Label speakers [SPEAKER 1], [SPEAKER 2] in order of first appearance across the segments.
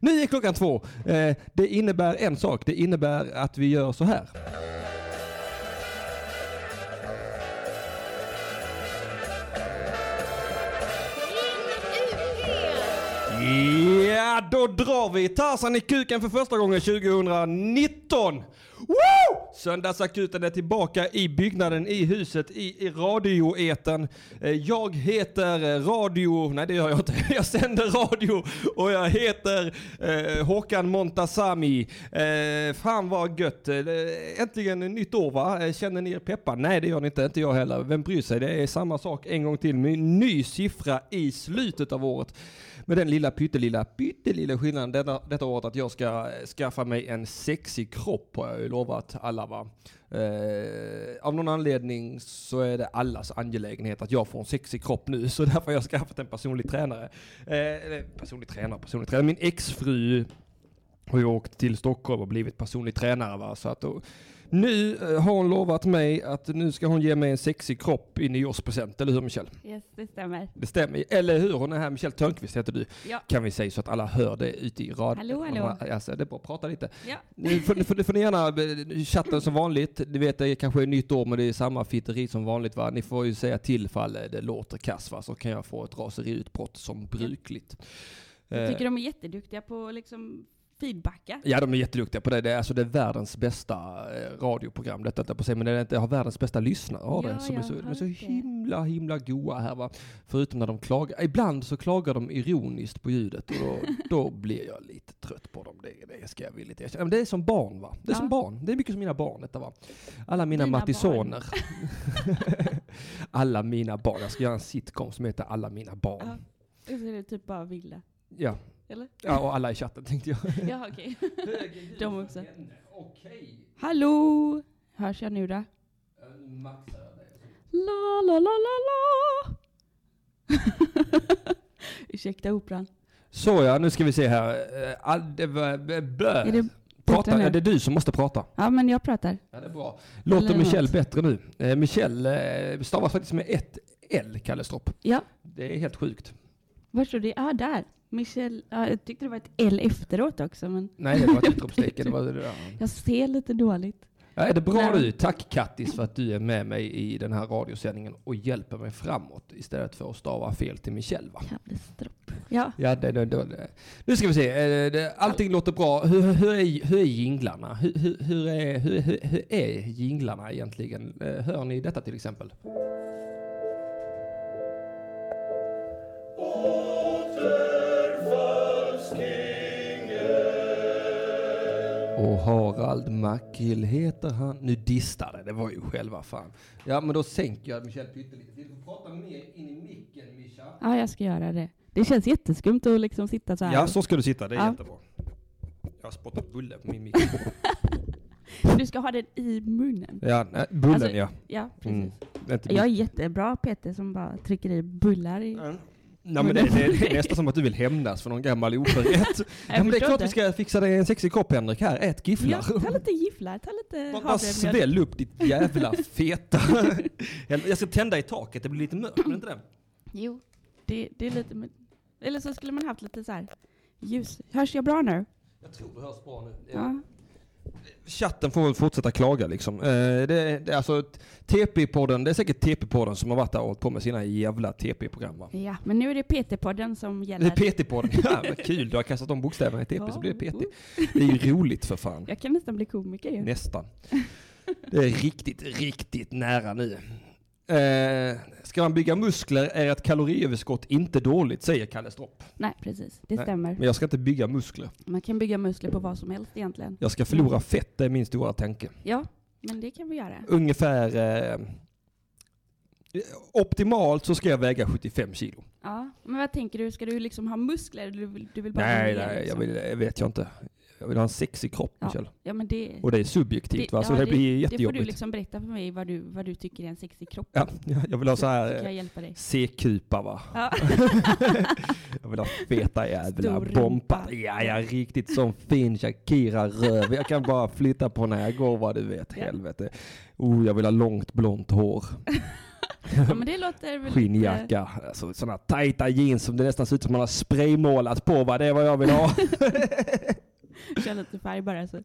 [SPEAKER 1] Nu är klockan två. Eh, det innebär en sak. Det innebär att vi gör så här. Ja, då drar vi Tarzan i kuken för första gången 2019. Woo! Söndagsakuten är tillbaka i byggnaden, i huset, i, i radioeten. Eh, Jag heter eh, radio... Nej, det gör jag inte. Jag sänder radio och jag heter eh, Håkan Montasami. Eh, fan vad gött. Eh, Äntligen nytt år va? Eh, Känner ni er peppa? Nej, det gör ni inte. Inte jag heller. Vem bryr sig? Det är samma sak en gång till med en ny siffra i slutet av året. Med den lilla pyttelilla, pyttelilla skillnaden denna, detta året att jag ska eh, skaffa mig en sexig kropp har jag ju lovat alla va. Eh, av någon anledning så är det allas angelägenhet att jag får en sexig kropp nu så därför har jag skaffat en personlig tränare. Eh, eller personlig tränare, personlig tränare. Min exfru har ju åkt till Stockholm och blivit personlig tränare. Va? Så att, då- nu eh, har hon lovat mig att nu ska hon ge mig en sexig kropp i nyårspresent, eller hur Michelle?
[SPEAKER 2] Yes, det stämmer.
[SPEAKER 1] Det stämmer Eller hur? Hon är här, Michelle Törnqvist heter du.
[SPEAKER 2] Ja.
[SPEAKER 1] Kan vi säga så att alla hör det ute i rad.
[SPEAKER 2] Hallå, hallå.
[SPEAKER 1] Alltså, det är bra, prata lite.
[SPEAKER 2] Ja.
[SPEAKER 1] Nu får, nu får, nu får ni gärna eh, chatta som vanligt. Ni vet det är kanske är nytt år men det är samma fitteri som vanligt va. Ni får ju säga till fall eh, det låter kass va. Så kan jag få ett raseriutbrott som brukligt.
[SPEAKER 2] Jag
[SPEAKER 1] Eh,
[SPEAKER 2] tycker de är jätteduktiga på att liksom feedbacka.
[SPEAKER 1] Ja, de är jätteduktiga på det. Det är, alltså, det är världens bästa eh, radioprogram, detta höll jag på att säga. Men det är inte, jag har världens bästa lyssnare av
[SPEAKER 2] Ja,
[SPEAKER 1] det. Som är
[SPEAKER 2] jag
[SPEAKER 1] så, de är
[SPEAKER 2] hörde
[SPEAKER 1] så
[SPEAKER 2] det.
[SPEAKER 1] himla, himla goa här va. Förutom när de klagar. Ibland så klagar de ironiskt på ljudet och då, då blir jag lite trött på dem. Det, det ska jag villigt erkänna. Men det är som barn va. Det är som
[SPEAKER 2] Ja.
[SPEAKER 1] barn. Det är mycket som mina barn detta va. Alla mina
[SPEAKER 2] Dina
[SPEAKER 1] Mattisoner. Alla mina barn. Jag ska göra en sitcom som heter Alla mina barn.
[SPEAKER 2] Ja. Och så är det typ bara vilda.
[SPEAKER 1] Ja.
[SPEAKER 2] Eller?
[SPEAKER 1] ja, och alla i chatten tänkte jag.
[SPEAKER 2] Ja, okej. De också.
[SPEAKER 1] Okej.
[SPEAKER 2] Hallå! Hörs jag nu då? La, la, la, la, la! Ursäkta operan.
[SPEAKER 1] Så ja, nu ska vi se här. Eh, all- det var- b-
[SPEAKER 2] Är
[SPEAKER 1] Blö.
[SPEAKER 2] det...
[SPEAKER 1] Prata,
[SPEAKER 2] nu?
[SPEAKER 1] ja, det är du som måste prata.
[SPEAKER 2] Ja, men jag pratar.
[SPEAKER 1] Ja, det är bra. Låter
[SPEAKER 2] Eller
[SPEAKER 1] Michelle
[SPEAKER 2] något.
[SPEAKER 1] bättre nu? Eh, Michelle eh, stavas faktiskt med ett L, Kalle Stropp.
[SPEAKER 2] Ja.
[SPEAKER 1] Det är helt sjukt.
[SPEAKER 2] Var står det? Ja, ah, där. Michelle. Ja, jag tyckte det var ett L efteråt också, men
[SPEAKER 1] Nej, det var ett utropstecken. Det var, det var-
[SPEAKER 2] jag ser lite dåligt.
[SPEAKER 1] ja, är det bra
[SPEAKER 2] Nej.
[SPEAKER 1] du? Tack Kattis för att du är med mig i den här radiosändningen och hjälper mig framåt istället för att stava fel till Michelle. Va?
[SPEAKER 2] Kalle Stropp. Ja,
[SPEAKER 1] Ja, det, det, det, det. Nu ska vi se. Eh, det- Allting låter bra. Hur, hur, är, hur är jinglarna? Hur, hur, hur, är, hur, hur, hur är jinglarna egentligen? Eh, Hör ni detta till exempel? Och Harald Mackill heter han. Nu distade, det var ju själva fan. Ja, men då sänker jag Michel pyttelite. Vill du prata mer in i micken, Mischa?
[SPEAKER 2] ja jag ska göra det. Det känns jätteskumt att liksom sitta så här.
[SPEAKER 1] Ja, så ska du sitta. Det är
[SPEAKER 2] Ja.
[SPEAKER 1] jättebra. Jag har spottat bulle på min mick.
[SPEAKER 2] Du ska ha den i munnen.
[SPEAKER 1] ja, bullen
[SPEAKER 2] Alltså,
[SPEAKER 1] ja.
[SPEAKER 2] Ja, precis.
[SPEAKER 1] Mm. Inte
[SPEAKER 2] Jag är jättebra Peter som bara trycker i bullar i...
[SPEAKER 1] Mm. Nej, men det, det, det är nästan som att du vill hämnas för någon gammal oförrätt. ja, men det är
[SPEAKER 2] förstår
[SPEAKER 1] klart vi
[SPEAKER 2] inte.
[SPEAKER 1] ska fixa dig en sexig kopp Henrik här. Ät
[SPEAKER 2] Ja,
[SPEAKER 1] gifflar.
[SPEAKER 2] ta lite gifflar, ta lite
[SPEAKER 1] Bara- Bara
[SPEAKER 2] havremjölk.
[SPEAKER 1] sväll upp ditt jävla feta. Jag ska tända i taket, det blir lite mörkt, men inte det?
[SPEAKER 2] Jo, det, det är lite... men- Eller så skulle man haft lite så här ljus. Hörs jag bra nu?
[SPEAKER 1] Jag tror det hörs bra nu.
[SPEAKER 2] Ja.
[SPEAKER 1] Chatten får väl fortsätta klaga liksom. Eh, det, det, är alltså, t- TP-podden, det är säkert TP-podden som har varit där och hållit på med sina jävla TP-program va?
[SPEAKER 2] ja, men nu är det Peter-podden som
[SPEAKER 1] Eller
[SPEAKER 2] gäller.
[SPEAKER 1] PT-podden, ja vad kul, du har kastat om bokstäverna i TP så blir det PT. Det är ju roligt för fan.
[SPEAKER 2] Oh, Jag kan nästan bli komiker ju.
[SPEAKER 1] Nästan. Det är riktigt, riktigt nära nu. Eh, ska man bygga muskler är ett kaloriöverskott inte dåligt, säger Kalle Stropp.
[SPEAKER 2] Nej, precis. Det
[SPEAKER 1] Nej.
[SPEAKER 2] stämmer.
[SPEAKER 1] Men jag ska inte bygga muskler.
[SPEAKER 2] Man kan bygga muskler på vad som helst egentligen.
[SPEAKER 1] Jag ska
[SPEAKER 2] Mm.
[SPEAKER 1] förlora fett, det är min stora tanke.
[SPEAKER 2] Ja, men det kan vi göra.
[SPEAKER 1] Ungefär... Eh, optimalt så ska jag väga 75 kilo.
[SPEAKER 2] Ja, men vad tänker du? Ska du liksom ha muskler? eller Du vill, du vill bara
[SPEAKER 1] Nej,
[SPEAKER 2] gå ner,
[SPEAKER 1] nej, jag
[SPEAKER 2] liksom?
[SPEAKER 1] vill, jag vet jag inte. Jag vill ha en sexig kropp,
[SPEAKER 2] Ja.
[SPEAKER 1] Michelle.
[SPEAKER 2] Ja, men det...
[SPEAKER 1] Och det är subjektivt, va? så det, blir
[SPEAKER 2] Det får du
[SPEAKER 1] jättejobbigt.
[SPEAKER 2] liksom berätta för mig vad du, vad du tycker är en sexig kropp.
[SPEAKER 1] Ja, jag vill ha så
[SPEAKER 2] Så
[SPEAKER 1] här...
[SPEAKER 2] kan
[SPEAKER 1] eh,
[SPEAKER 2] jag hjälpa dig.
[SPEAKER 1] C-kupa va?
[SPEAKER 2] Ja.
[SPEAKER 1] jag vill ha feta jävla
[SPEAKER 2] Stor
[SPEAKER 1] bompa.
[SPEAKER 2] rumpa.
[SPEAKER 1] Ja, ja, riktigt som fin Shakira-röv. Jag kan bara flytta på när jag går vad du vet.
[SPEAKER 2] Ja.
[SPEAKER 1] Helvete. Oh, jag vill ha långt blont hår.
[SPEAKER 2] Ja, men det låter väl lite-
[SPEAKER 1] Skinnjacka, alltså sådana tajta jeans som det nästan ser ut som man har spraymålat på. Va? Det är vad jag vill ha.
[SPEAKER 2] Kör lite färg bara. Så.
[SPEAKER 1] uh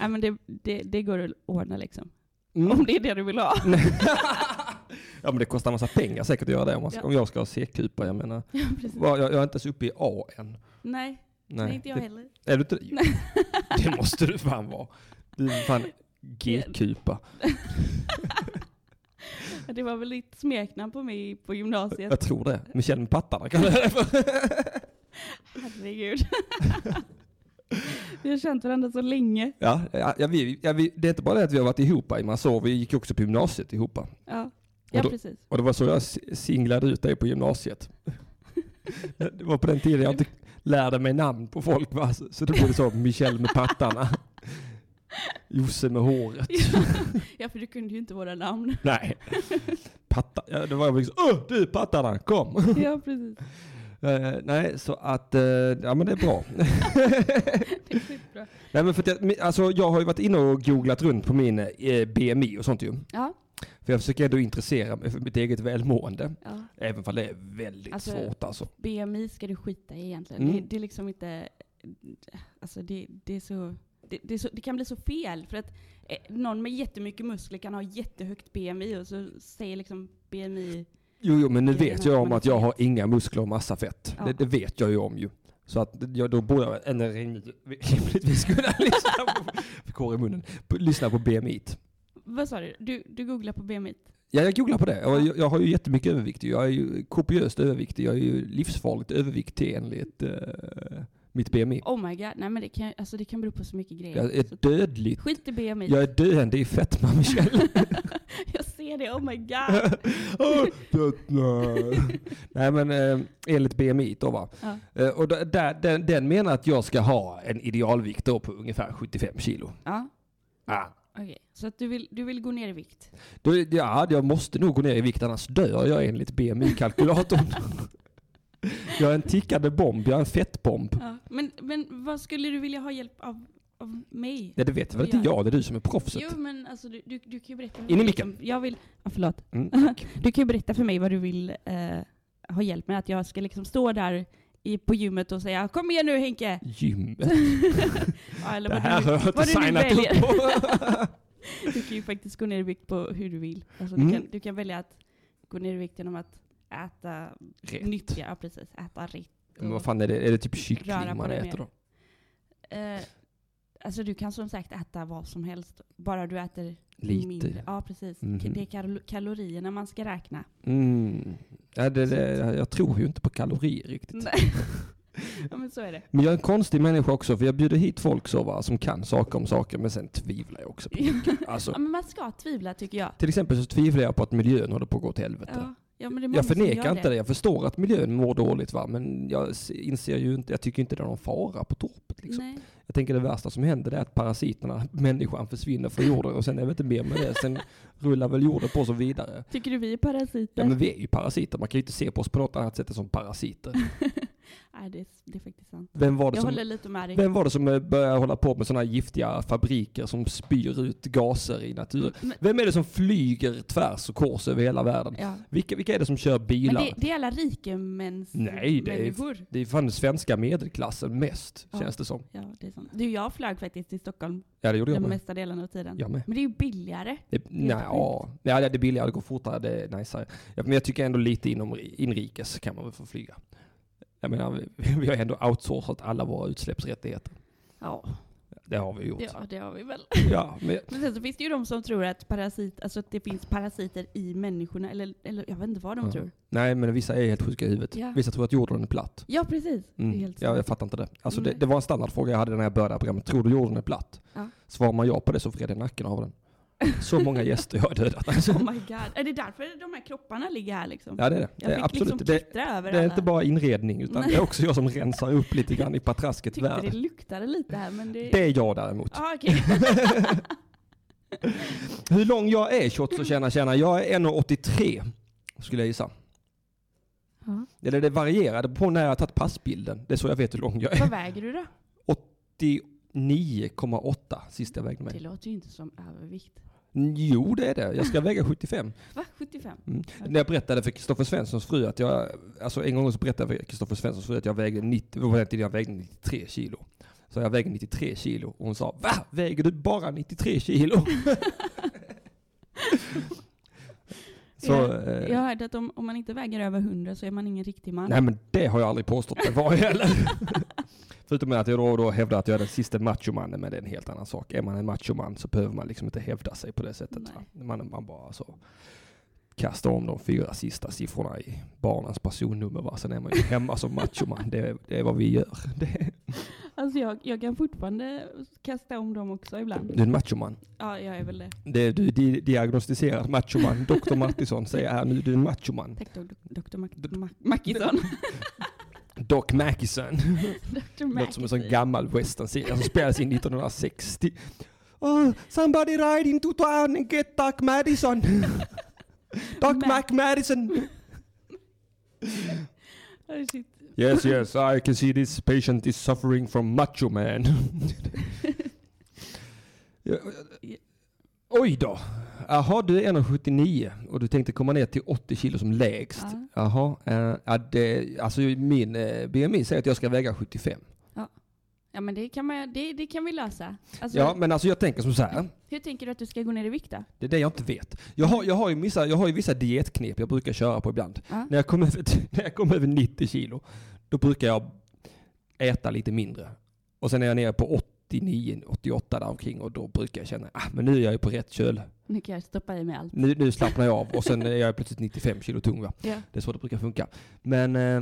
[SPEAKER 2] Ja, men det, det, det går att ordna liksom.
[SPEAKER 1] Mm.
[SPEAKER 2] Om det är det du vill ha.
[SPEAKER 1] ja men det kostar en massa pengar säkert att göra det om, man,
[SPEAKER 2] Ja.
[SPEAKER 1] om jag ska ha C-kupa. Jag menar,
[SPEAKER 2] Ja, precis.
[SPEAKER 1] va, jag, jag är inte ens uppe i A än.
[SPEAKER 2] Nej,
[SPEAKER 1] Nej,
[SPEAKER 2] inte jag
[SPEAKER 1] det-
[SPEAKER 2] heller.
[SPEAKER 1] Är du inte det? Jo, Det måste du fan vara. Du är fan G-kupa.
[SPEAKER 2] Det var väl ditt smeknamn på mig på gymnasiet.
[SPEAKER 1] Jag tror det. Michel med pattarna kan det
[SPEAKER 2] Herregud. Vi har känt varandra så länge.
[SPEAKER 1] ja, ja, ja, vi, ja, vi, Det är inte bara det att vi har varit ihop i massa år. Vi gick också på gymnasiet ihop.
[SPEAKER 2] Ja, ja
[SPEAKER 1] då-
[SPEAKER 2] precis.
[SPEAKER 1] Och det var så jag s- singlade ut dig på gymnasiet. Det var på den tiden jag inte lärde mig namn på folk. Va? Så så då blev det så Michel med pattarna. Josse med håret.
[SPEAKER 2] Ja, för du kunde ju inte våra namn.
[SPEAKER 1] Nej. Patta. Ja, det var jag liksom, Åh, du pattarna, kom.
[SPEAKER 2] Ja, precis.
[SPEAKER 1] Eh, nej, så att, eh, ja men det är bra.
[SPEAKER 2] Det är skitbra.
[SPEAKER 1] nej men för att jag, mi- alltså, jag har ju varit inne och googlat runt på min eh, BMI och sånt ju.
[SPEAKER 2] Ja,
[SPEAKER 1] För jag försöker ändå intressera mig för mitt eget välmående.
[SPEAKER 2] ja.
[SPEAKER 1] Även fall det är väldigt
[SPEAKER 2] Alltså,
[SPEAKER 1] svårt alltså.
[SPEAKER 2] BMI ska du skita i egentligen.
[SPEAKER 1] Mm.
[SPEAKER 2] Det, det är liksom inte... Alltså det, det är så... Det, det, är så, det kan bli så fel för att eh, någon med jättemycket muskler kan ha jättehögt BMI och så säger liksom BMI...
[SPEAKER 1] Jo, jo men nu
[SPEAKER 2] Ja,
[SPEAKER 1] vet
[SPEAKER 2] men
[SPEAKER 1] jag om
[SPEAKER 2] man
[SPEAKER 1] att
[SPEAKER 2] är
[SPEAKER 1] jag har
[SPEAKER 2] fet.
[SPEAKER 1] inga muskler och massa fett.
[SPEAKER 2] Ja.
[SPEAKER 1] Det, det vet jag ju om ju. Så att jag, då borde jag ändå rim- rimligtvis kunna lyssna på, fick hår i munnen, på, lyssna på BMI. -t.
[SPEAKER 2] Vad sa du? Du, du googlar på BMI?
[SPEAKER 1] Ja, jag googlar på det. Jag, jag har ju jättemycket övervikt. ju. Jag är ju kopiöst överviktig. Jag är ju livsfarligt överviktig enligt eh, mitt BMI.
[SPEAKER 2] Oh my god, nej men det kan, alltså det kan bero på så mycket grejer.
[SPEAKER 1] Jag är
[SPEAKER 2] Så
[SPEAKER 1] dödligt.
[SPEAKER 2] Skit i BMI.
[SPEAKER 1] Jag är döende i fetma, Michelle.
[SPEAKER 2] Jag ser det, oh my god.
[SPEAKER 1] Åh, fetma. Nej, men eh, enligt BMI då va.
[SPEAKER 2] Ja.
[SPEAKER 1] Eh, och d- där, den, den menar att jag ska ha en idealvikt då på ungefär 75 kilo.
[SPEAKER 2] Ja,
[SPEAKER 1] Ah.
[SPEAKER 2] okej. Så att du vill, du vill gå ner i vikt?
[SPEAKER 1] Då, är- ja, jag måste nog gå ner i vikt annars dör jag enligt BMI-kalkylatorn. jag är en tickande bomb, jag är en fettbomb.
[SPEAKER 2] Ja. Men, men vad skulle du vilja ha hjälp av, av mig?
[SPEAKER 1] Ja, det vet väl inte
[SPEAKER 2] Ja.
[SPEAKER 1] jag, det är du som är proffset.
[SPEAKER 2] Jo men alltså du, du, du kan ju berätta för
[SPEAKER 1] In i
[SPEAKER 2] mig.
[SPEAKER 1] micken.
[SPEAKER 2] liksom, Jag vill, ja, förlåt.
[SPEAKER 1] Mm,
[SPEAKER 2] Du kan ju berätta för mig vad du vill eh, ha hjälp med. Att jag ska liksom stå där i, på gymmet och säga kom igen nu Henke.
[SPEAKER 1] Gymmet.
[SPEAKER 2] Ja, eller
[SPEAKER 1] Det
[SPEAKER 2] vad
[SPEAKER 1] här
[SPEAKER 2] du,
[SPEAKER 1] har jag inte
[SPEAKER 2] vad du nu
[SPEAKER 1] signat upp
[SPEAKER 2] väljer.
[SPEAKER 1] på.
[SPEAKER 2] Du kan ju faktiskt gå ner i vikt på hur du vill. Alltså,
[SPEAKER 1] Mm.
[SPEAKER 2] du, kan, du kan välja att gå ner i vikt genom att äta
[SPEAKER 1] Rätt.
[SPEAKER 2] nyttiga, ja, precis, äta rätt.
[SPEAKER 1] Men vad fan är det? Är det typ kyckling
[SPEAKER 2] Röra på
[SPEAKER 1] man
[SPEAKER 2] det
[SPEAKER 1] äter då?
[SPEAKER 2] Eh, alltså du kan som sagt äta vad som helst, bara du äter mindre.
[SPEAKER 1] Lite.
[SPEAKER 2] Ja, precis.
[SPEAKER 1] Mhm.
[SPEAKER 2] Det är kal- kalorierna man ska räkna.
[SPEAKER 1] Mm. Ja, det, det, jag- jag tror ju inte på kalorier riktigt.
[SPEAKER 2] Nej. ja, men så är det.
[SPEAKER 1] Men jag är en konstig människa också för jag bjuder hit folk så, va, som kan saker om saker men sen tvivlar jag också på mycket.
[SPEAKER 2] Ja,
[SPEAKER 1] Alltså,
[SPEAKER 2] men man ska tvivla tycker jag.
[SPEAKER 1] till exempel så tvivlar jag på att miljön håller på att gå åt helvete.
[SPEAKER 2] Ja, ja, men det är många
[SPEAKER 1] Jag
[SPEAKER 2] som
[SPEAKER 1] förnekar
[SPEAKER 2] gör
[SPEAKER 1] inte det. Jag förstår att miljön mår dåligt va, men jag s- inser ju inte, jag tycker inte det är någon fara på torpet liksom.
[SPEAKER 2] Nej.
[SPEAKER 1] Jag tänker det värsta som händer det är att parasiterna, människan försvinner från jorden och sen är vi inte mer med det. Sen rullar väl jorden på så vidare.
[SPEAKER 2] Tycker du vi är parasiter?
[SPEAKER 1] Ja men vi är ju parasiter, man kan ju inte se på oss på något annat sätt än som parasiter.
[SPEAKER 2] Nej, det är, det är faktiskt sant.
[SPEAKER 1] Vem var det
[SPEAKER 2] Jag
[SPEAKER 1] som,
[SPEAKER 2] håller lite med dig.
[SPEAKER 1] vem var det som eh, började hålla på med sådana giftiga fabriker som spyr ut gaser i naturen?
[SPEAKER 2] Men-
[SPEAKER 1] Vem är det som flyger tvärs och kors över hela världen?
[SPEAKER 2] Ja.
[SPEAKER 1] Vilka, vilka är det som kör bilar?
[SPEAKER 2] Men det, det är alla rikemäns
[SPEAKER 1] Nej, det är-
[SPEAKER 2] människor.
[SPEAKER 1] Det är fan den svenska medelklassen mest,
[SPEAKER 2] Ja.
[SPEAKER 1] känns det som.
[SPEAKER 2] Ja, det är sant. Du, jag flög faktiskt till Stockholm
[SPEAKER 1] Ja, det gjorde jag
[SPEAKER 2] den
[SPEAKER 1] med.
[SPEAKER 2] mesta delen av tiden.
[SPEAKER 1] Jag med.
[SPEAKER 2] Men det är ju billigare.
[SPEAKER 1] Det, nej, ja, nej, det är billigare, det går fortare, det är najsare. Ja, men jag tycker ändå lite inom inrikes kan man väl få flyga. Jag menar, vi, vi har ändå outsourcat alla våra utsläppsrättigheter.
[SPEAKER 2] Ja,
[SPEAKER 1] Det har vi gjort. Ja,
[SPEAKER 2] ja det har vi väl.
[SPEAKER 1] men,
[SPEAKER 2] Men sen så finns det ju de som tror att, parasit, alltså att det finns parasiter i människorna, eller, eller jag vet inte vad de
[SPEAKER 1] Ja.
[SPEAKER 2] tror.
[SPEAKER 1] nej, men vissa är helt sjuka i huvudet.
[SPEAKER 2] Ja.
[SPEAKER 1] Vissa tror att jorden är platt.
[SPEAKER 2] Ja, precis. Det är
[SPEAKER 1] Mm.
[SPEAKER 2] helt
[SPEAKER 1] Ja, jag
[SPEAKER 2] sant.
[SPEAKER 1] fattar inte det. Alltså, det.
[SPEAKER 2] Nej.
[SPEAKER 1] Det var en standardfråga jag hade när jag började programmet. Tror du jorden är platt?
[SPEAKER 2] Ja.
[SPEAKER 1] Svarar man ja på det så vrider jag nacken av den. Så många gäster jag har dödat. Alltså.
[SPEAKER 2] Oh my god. Är det därför de här kropparna ligger här liksom?
[SPEAKER 1] Ja, det är det.
[SPEAKER 2] jag
[SPEAKER 1] det är
[SPEAKER 2] fick
[SPEAKER 1] absolut.
[SPEAKER 2] liksom
[SPEAKER 1] det,
[SPEAKER 2] klittra över
[SPEAKER 1] Det är
[SPEAKER 2] alla.
[SPEAKER 1] inte bara inredning utan
[SPEAKER 2] Nej.
[SPEAKER 1] det är också jag som rensar upp lite grann i
[SPEAKER 2] Jag
[SPEAKER 1] patrasket
[SPEAKER 2] tyckte det
[SPEAKER 1] värld.
[SPEAKER 2] luktade lite här men det...
[SPEAKER 1] Det är jag däremot.
[SPEAKER 2] Ah, okej.
[SPEAKER 1] Hur lång jag är, shots och tjena tjena. Jag är 1,83 skulle jag gissa.
[SPEAKER 2] Ja.
[SPEAKER 1] Eller det varierade på när jag har tagit passbilden. Det är så jag vet hur lång jag är.
[SPEAKER 2] Vad väger du då?
[SPEAKER 1] 89,8 sist jag vägde
[SPEAKER 2] Det
[SPEAKER 1] mig. Mm,
[SPEAKER 2] låter ju inte som övervikt.
[SPEAKER 1] Jo, det är det. Jag ska väga 75.
[SPEAKER 2] Va? 75?
[SPEAKER 1] När jag berättade för Kristoffer Svenssons fru att jag, alltså en gång så berättade jag för Kristoffer Svenssons fru att jag vägde 90, på den tiden jag vägde 93 kilo. Så jag vägde 93 kilo och hon sa Va? Väger du bara 93 kilo? så,
[SPEAKER 2] Ja,
[SPEAKER 1] eh,
[SPEAKER 2] Jag hörde att om, om man inte väger över 100 så är man ingen riktig man.
[SPEAKER 1] Nej men det har jag aldrig påstått mig vara heller. Förutom att jag då och då hävdar att jag är den sista machomannen, men det är en helt annan sak. Är man en machoman så behöver man liksom inte hävda sig på det sättet.
[SPEAKER 2] Nej.
[SPEAKER 1] va. Man, man bara så kastar om de fyra sista siffrorna i barnens personnummer, va? sen är man ju hemma som machoman. Det, är- det är vad vi gör. Det är,
[SPEAKER 2] Alltså jag, jag kan fortfarande kasta om dem också ibland.
[SPEAKER 1] du är en machoman.
[SPEAKER 2] Ja, jag är väl det.
[SPEAKER 1] Det är, du är di- diagnostiserad machoman. Dr. Martinsson säger här nu, du är en machoman.
[SPEAKER 2] Tack dok-
[SPEAKER 1] D-
[SPEAKER 2] Dr. Mac- Mac- Mackison.
[SPEAKER 1] Doc Mackison.
[SPEAKER 2] Dr.
[SPEAKER 1] Låter som en
[SPEAKER 2] Mackison.
[SPEAKER 1] sån gammal westernserie som spelades in 1960. Oh, somebody ride into town and get Doc Madison. Doc
[SPEAKER 2] Mac.
[SPEAKER 1] Mac Madison.
[SPEAKER 2] Oh, shit.
[SPEAKER 1] Yes, yes, I can see this patient is suffering from macho man. Ja, eh, Oj då. Jaha, du är 1,79 och du tänkte komma ner till 80 kilo som lägst.
[SPEAKER 2] Ja.
[SPEAKER 1] Jaha, eh, ja, det, alltså min eh, BMI säger att jag ska väga 75.
[SPEAKER 2] Ja, men det kan, man, det, det kan vi lösa. Alltså,
[SPEAKER 1] Ja, men alltså jag tänker som så här.
[SPEAKER 2] Hur tänker du att du ska gå ner i vikt då?
[SPEAKER 1] Det är det jag inte vet. Jag har, jag har, ju, vissa, jag har ju vissa dietknep jag brukar köra på ibland.
[SPEAKER 2] Ja.
[SPEAKER 1] När, jag kommer över, när jag kommer över 90 kilo, då brukar jag äta lite mindre. Och sen är jag nere på 89, 88 där omkring och då brukar jag känna ah, men nu är jag ju på rätt köl.
[SPEAKER 2] Nu kan jag stoppa i mig allt.
[SPEAKER 1] Nu, nu slappnar jag av och sen är jag plötsligt 95 kilo tung. Va?
[SPEAKER 2] Ja.
[SPEAKER 1] Det är så det brukar funka. Men eh,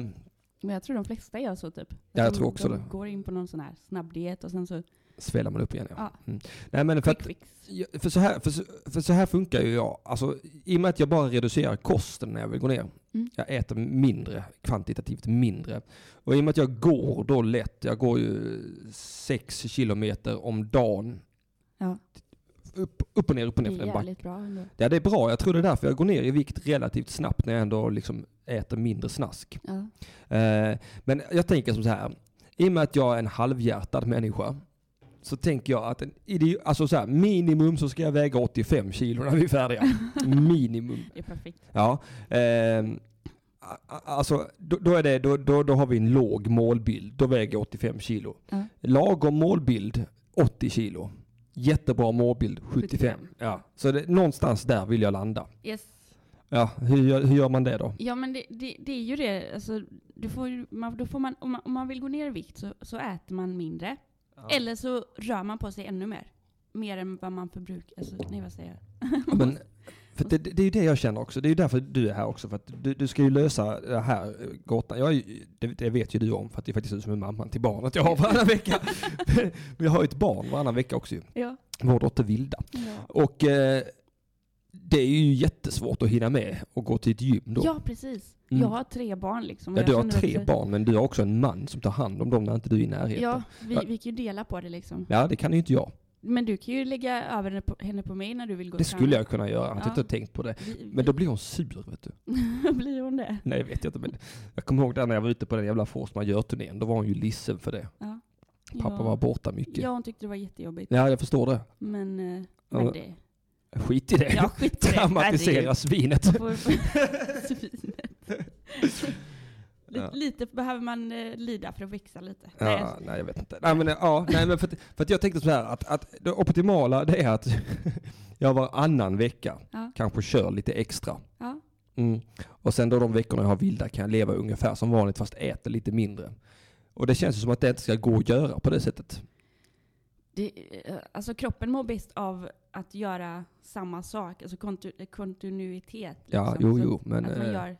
[SPEAKER 2] Men jag tror de flesta gör så typ.
[SPEAKER 1] Ja, jag
[SPEAKER 2] de,
[SPEAKER 1] tror också
[SPEAKER 2] de
[SPEAKER 1] det.
[SPEAKER 2] går in på någon sån här snabbdiet och sen så
[SPEAKER 1] sväljer man upp igen. Ja.
[SPEAKER 2] Ja.
[SPEAKER 1] Mm. Nej, men för att,
[SPEAKER 2] quick fix.
[SPEAKER 1] Ja, För så, här, för, så, för så här funkar ju jag. Alltså, I och med att jag bara reducerar kosten när jag vill gå ner.
[SPEAKER 2] Mm.
[SPEAKER 1] Jag äter mindre, kvantitativt mindre. Och i och med att jag går då lätt, jag går ju sex kilometer om dagen.
[SPEAKER 2] Ja.
[SPEAKER 1] Upp, upp och ner, upp och
[SPEAKER 2] Det
[SPEAKER 1] ner för
[SPEAKER 2] är
[SPEAKER 1] den backen.
[SPEAKER 2] jävligt bra ändå.
[SPEAKER 1] Ja, det är bra. Jag tror det är därför jag går ner i vikt relativt snabbt när jag ändå liksom äter mindre snask.
[SPEAKER 2] Ja.
[SPEAKER 1] Eh, men jag tänker som så här. I och med att jag är en halvhjärtad människa så tänker jag att en idi- alltså så här, minimum så ska jag väga 85 kilo när vi är färdiga. minimum.
[SPEAKER 2] Det är perfekt.
[SPEAKER 1] Ja. ehm, a- a- alltså, då, då, är det, då, då, då har vi en låg målbild. Då väger jag 85 kilo.
[SPEAKER 2] Ja.
[SPEAKER 1] Lagom målbild 80 kilo. Jättebra målbild 75.
[SPEAKER 2] 75.
[SPEAKER 1] Ja. Så det, någonstans där vill jag landa.
[SPEAKER 2] Yes.
[SPEAKER 1] Ja, hur, gör, hur gör man det då?
[SPEAKER 2] Ja men det, det, det är ju det, alltså, du får, ju- man, då får man, om, man, om man vill gå ner i vikt så, så äter man mindre. Eller så rör man på sig ännu mer. Mer än vad man förbrukar. Alltså, nej vad säger jag?
[SPEAKER 1] Ja, Men, för det, det det är ju det jag känner också. Det är ju därför du är här också. För att du, du ska ju lösa det här eh, gåtan. Jag är ju, det, det vet ju du om, för att det är faktiskt du som är mamman till barnet jag har varannan vecka. Men jag har ju ett barn varannan vecka också ju.
[SPEAKER 2] Ja.
[SPEAKER 1] Vår dotter Vilda.
[SPEAKER 2] Ja,
[SPEAKER 1] Och eh, det är ju jättesvårt att hinna med och gå till ett gym då.
[SPEAKER 2] precis.
[SPEAKER 1] Mm.
[SPEAKER 2] Jag har tre barn liksom. och
[SPEAKER 1] Ja,
[SPEAKER 2] jag
[SPEAKER 1] du har
[SPEAKER 2] känner
[SPEAKER 1] tre
[SPEAKER 2] också-
[SPEAKER 1] barn, men du har också en man som tar hand om dem när inte du är i närheten.
[SPEAKER 2] Ja, vi,
[SPEAKER 1] Ja.
[SPEAKER 2] vi kan ju dela på det liksom.
[SPEAKER 1] Ja, det kan ju inte jag.
[SPEAKER 2] Men du kan ju lägga över henne på, henne på mig när du vill gå
[SPEAKER 1] Det
[SPEAKER 2] och
[SPEAKER 1] skulle
[SPEAKER 2] träna.
[SPEAKER 1] jag kunna göra, jag hade
[SPEAKER 2] Ja.
[SPEAKER 1] inte tänkt på det.
[SPEAKER 2] Vi, vi,
[SPEAKER 1] Men då blir hon sur, vet du.
[SPEAKER 2] blir hon det.
[SPEAKER 1] Nej, det vet jag inte. Men jag kommer ihåg där när jag var ute på den jävla Force Majeure-turnén. Då var hon ju ledsen för det. Pappa
[SPEAKER 2] ja.
[SPEAKER 1] var borta mycket.
[SPEAKER 2] Ja,
[SPEAKER 1] Ja.
[SPEAKER 2] hon tyckte det var jättejobbigt.
[SPEAKER 1] jag förstår det.
[SPEAKER 2] Men, eh,
[SPEAKER 1] Ja.
[SPEAKER 2] men det...
[SPEAKER 1] Skit i det.
[SPEAKER 2] Ja, skit i det.
[SPEAKER 1] Dramatisera svinet.
[SPEAKER 2] Herregud. Får- får- Svinet. Lite-
[SPEAKER 1] Ja.
[SPEAKER 2] Lite behöver man eh, lida för att växa lite. Nej,
[SPEAKER 1] Ja,
[SPEAKER 2] alltså,
[SPEAKER 1] nej, jag vet inte. Nej, men, ja, nej, men för, att, för att jag tänkte så här att, att det optimala det är att jag varannan vecka
[SPEAKER 2] Ja.
[SPEAKER 1] kanske kör lite extra.
[SPEAKER 2] ja.
[SPEAKER 1] Mm. Och sen då de veckorna jag har vilda kan jag leva ungefär som vanligt fast äter lite mindre. Och det känns ju som att det inte ska gå att göra på det sättet.
[SPEAKER 2] Det, eh, alltså kroppen mår bäst av att göra samma sak, alltså kontu, eh, kontinuitet.
[SPEAKER 1] Ja,
[SPEAKER 2] liksom.
[SPEAKER 1] jo,
[SPEAKER 2] Så
[SPEAKER 1] jo, men...
[SPEAKER 2] Att man
[SPEAKER 1] eh,
[SPEAKER 2] gör,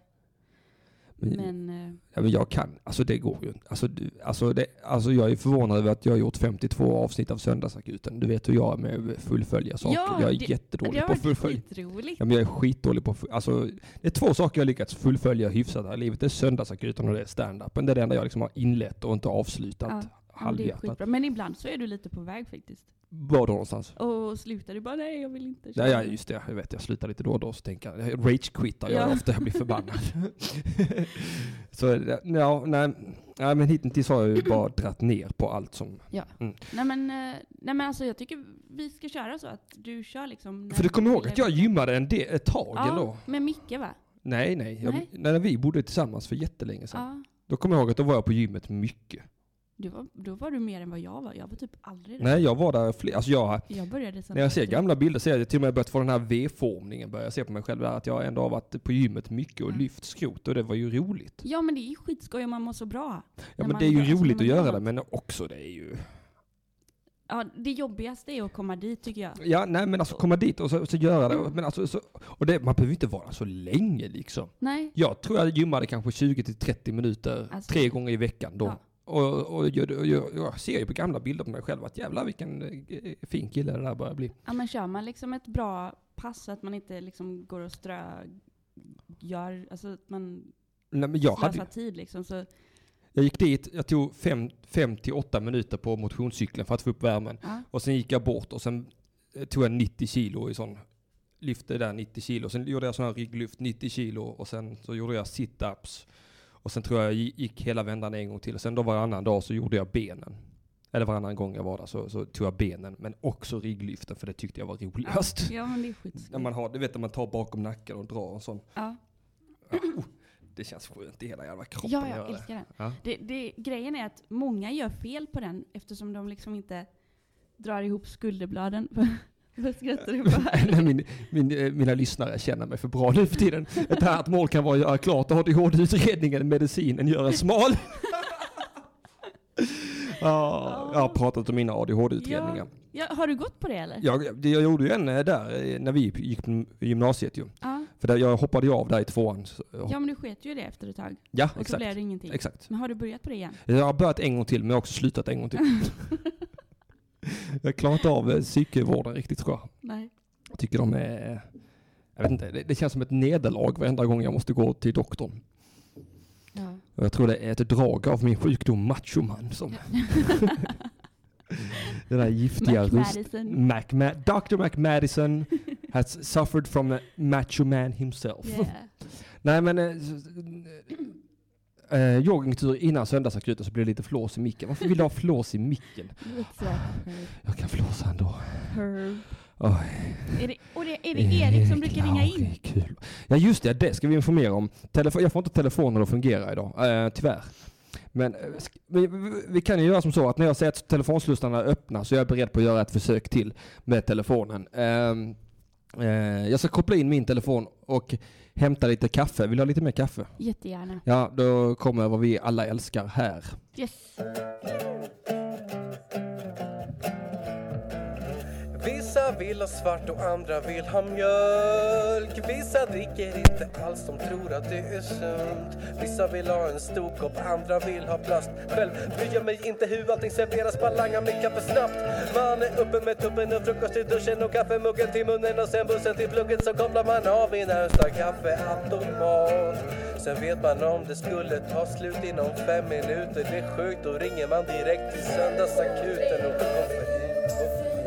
[SPEAKER 1] men-
[SPEAKER 2] men... eh,
[SPEAKER 1] Ja, men jag kan, alltså det går ju inte. Alltså, du, alltså, det, alltså jag är förvånad över att jag har gjort 52 avsnitt av Söndagsakuten. Du vet hur jag är med att fullfölja saker.
[SPEAKER 2] Ja,
[SPEAKER 1] jag är
[SPEAKER 2] det-
[SPEAKER 1] jättedålig
[SPEAKER 2] Det har
[SPEAKER 1] på att
[SPEAKER 2] varit
[SPEAKER 1] fullfölja.
[SPEAKER 2] skitroligt.
[SPEAKER 1] Ja, men jag är skitdålig på att full- alltså, Det är två saker jag har lyckats fullfölja hyfsat här i livet. Det är Söndagsakuten och det är standupen. Det är det enda jag liksom har inlett och inte avslutat.
[SPEAKER 2] Ja, Ja, det är
[SPEAKER 1] halvhjärtat.
[SPEAKER 2] skitbra. Men ibland så är du lite på väg faktiskt.
[SPEAKER 1] Var då någonstans?
[SPEAKER 2] Och slutar du bara nej jag vill inte.
[SPEAKER 1] Ja, ja, just det. Jag vet, jag slutar lite då och då så tänker jag, jag rage-quittar jag
[SPEAKER 2] Ja.
[SPEAKER 1] ofta, jag blir förbannad. så ja, nej, Nej men hittills har jag ju bara dratt ner på allt som...
[SPEAKER 2] Nej men, eh, nej men alltså jag tycker vi ska köra så att du kör liksom. när
[SPEAKER 1] För du kommer
[SPEAKER 2] vill
[SPEAKER 1] ihåg att jag gymmade en del, ett tag eller?
[SPEAKER 2] Ja, med Micke va?
[SPEAKER 1] Nej nej. Jag,
[SPEAKER 2] Nej.
[SPEAKER 1] När vi bodde tillsammans för jättelänge sedan.
[SPEAKER 2] Ja.
[SPEAKER 1] Då kommer jag ihåg att då var jag på gymmet mycket.
[SPEAKER 2] Du var, då var du mer än vad jag var. Jag var typ aldrig där.
[SPEAKER 1] Nej jag var där fler, alltså jag,
[SPEAKER 2] Jag började sen.
[SPEAKER 1] när jag ser
[SPEAKER 2] typ-
[SPEAKER 1] gamla bilder ser jag till och med börjat få den här V-formningen börjar jag se på mig själv där att jag ändå har varit på gymmet mycket och
[SPEAKER 2] Mm.
[SPEAKER 1] lyft skrot och det var ju roligt.
[SPEAKER 2] Ja men det är ju skitskoj om man mår så bra.
[SPEAKER 1] Ja
[SPEAKER 2] När
[SPEAKER 1] men
[SPEAKER 2] man
[SPEAKER 1] det är
[SPEAKER 2] gör-
[SPEAKER 1] ju
[SPEAKER 2] alltså, när
[SPEAKER 1] roligt att
[SPEAKER 2] man
[SPEAKER 1] göra
[SPEAKER 2] gör
[SPEAKER 1] det men också det är ju...
[SPEAKER 2] Ja, det jobbigaste är att komma dit tycker jag.
[SPEAKER 1] Ja nej men alltså komma dit och så, så göra det. Men alltså, så, och det, man behöver inte vara så länge liksom.
[SPEAKER 2] Nej,
[SPEAKER 1] Jag tror jag gymmade kanske 20 till 30 minuter
[SPEAKER 2] Alltså-
[SPEAKER 1] tre gånger i veckan då.
[SPEAKER 2] Ja.
[SPEAKER 1] Och, och jag, jag, jag ser ju på gamla bilder på mig själv att jävlar vilken eh, fin kille det där börjar bli.
[SPEAKER 2] ja, men kör man liksom ett bra pass så att man inte liksom går och strö... Gör, alltså att man
[SPEAKER 1] Nej, men jag,
[SPEAKER 2] slösar
[SPEAKER 1] hade,
[SPEAKER 2] tid liksom. Så,
[SPEAKER 1] jag gick dit, jag tog 5 till 8 minuter på motionscykeln för att få upp värmen.
[SPEAKER 2] ja.
[SPEAKER 1] Och sen gick jag bort och sen eh, tog jag 90 kilo i sån, lyfte där 90 kilo. Sen gjorde jag sån här rygglyft 90 kilo och sen så gjorde jag situps. Och sen tror jag jag gi- gick hela vändan en gång till. Och sen då varannan dag så gjorde jag benen. Eller varannan gång jag var där så, så tog jag benen. Men också rygglyften för det tyckte jag var roligast.
[SPEAKER 2] ja men det är
[SPEAKER 1] När
[SPEAKER 2] skitskoj.
[SPEAKER 1] man har, du vet när man tar bakom nacken och drar en sån.
[SPEAKER 2] Ja.
[SPEAKER 1] Ah, oh, det känns skönt i hela jävla kroppen
[SPEAKER 2] Ja,
[SPEAKER 1] att
[SPEAKER 2] jag
[SPEAKER 1] göra det.
[SPEAKER 2] älskar den.
[SPEAKER 1] Ja.
[SPEAKER 2] Det, det, grejen är att många gör fel på den eftersom de liksom inte drar ihop skulderbladen. Vad skrattar du på?
[SPEAKER 1] Nej, min, min, eh, mina lyssnare känner mig för bra nu för tiden. Ett annat mål kan vara att göra klart ADHD-utredningen, medicinen, göra smal. ja, jag har pratat om mina ADHD-utredningar.
[SPEAKER 2] Ja, har du gått på det eller?
[SPEAKER 1] Jag, det- jag gjorde ju en eh, där eh, när vi gick på gymnasiet ju.
[SPEAKER 2] Ja,
[SPEAKER 1] För där, jag hoppade ju av där i tvåan. Så, ja,
[SPEAKER 2] ja men du sket ju i det efter ett tag. Och så
[SPEAKER 1] exakt.
[SPEAKER 2] blev det ingenting.
[SPEAKER 1] Exakt.
[SPEAKER 2] Men har du börjat på det igen?
[SPEAKER 1] Jag har börjat en gång till men jag har också slutat en gång till. jag klarar inte av eh, psykvården riktigt tror jag.
[SPEAKER 2] Nej.
[SPEAKER 1] Jag tycker de är... Jag vet inte, det, det känns som ett nederlag varenda gång jag måste gå till doktorn.
[SPEAKER 2] Ja.
[SPEAKER 1] Och jag tror det är ett drag av min sjukdom machoman som... Den där giftiga rösten.
[SPEAKER 2] McMadison.
[SPEAKER 1] McMa- Dr. McMadison has suffered from a macho man himself.
[SPEAKER 2] Yeah.
[SPEAKER 1] Nej men... eh, s- eh, eh, joggingtur innan söndagsakuten så blev det lite flås i micken. Varför vill du ha flås i micken?
[SPEAKER 2] Du vet så här,
[SPEAKER 1] Jag kan flåsa ändå.
[SPEAKER 2] Herb.
[SPEAKER 1] Oj.
[SPEAKER 2] Är det, och det, är det Erik som brukar ringa in?
[SPEAKER 1] Laurik, kul. Ja just det, det ska vi informera om. Telefo- jag får inte telefonen att fungera idag, eh, tyvärr. Men eh, sk- vi, vi, vi kan ju göra som så att när jag säger att telefonslussarna är öppna så är jag beredd på att göra ett försök till med telefonen. Ehm, eh, jag ska koppla in min telefon och hämta lite kaffe. Vill du ha lite mer kaffe?
[SPEAKER 2] Jättegärna.
[SPEAKER 1] Ja, då kommer vad vi alla älskar här.
[SPEAKER 2] Yes.
[SPEAKER 3] Vissa vill ha svart och andra vill ha mjölk Vissa dricker inte alls, de tror att det är sunt Vissa vill ha en stor kopp, andra vill ha plast Själv bryr jag mig inte hur allting serveras, bara langar mitt kaffe snabbt Man är uppe med tuppen och frukost i duschen och kaffemuggen till munnen och sen bussen till plugget så kopplar man av i närmsta kaffeautomat Sen vet man om det skulle ta slut inom fem minuter Det är sjukt, då ringer man direkt till söndagsakuten och får koffein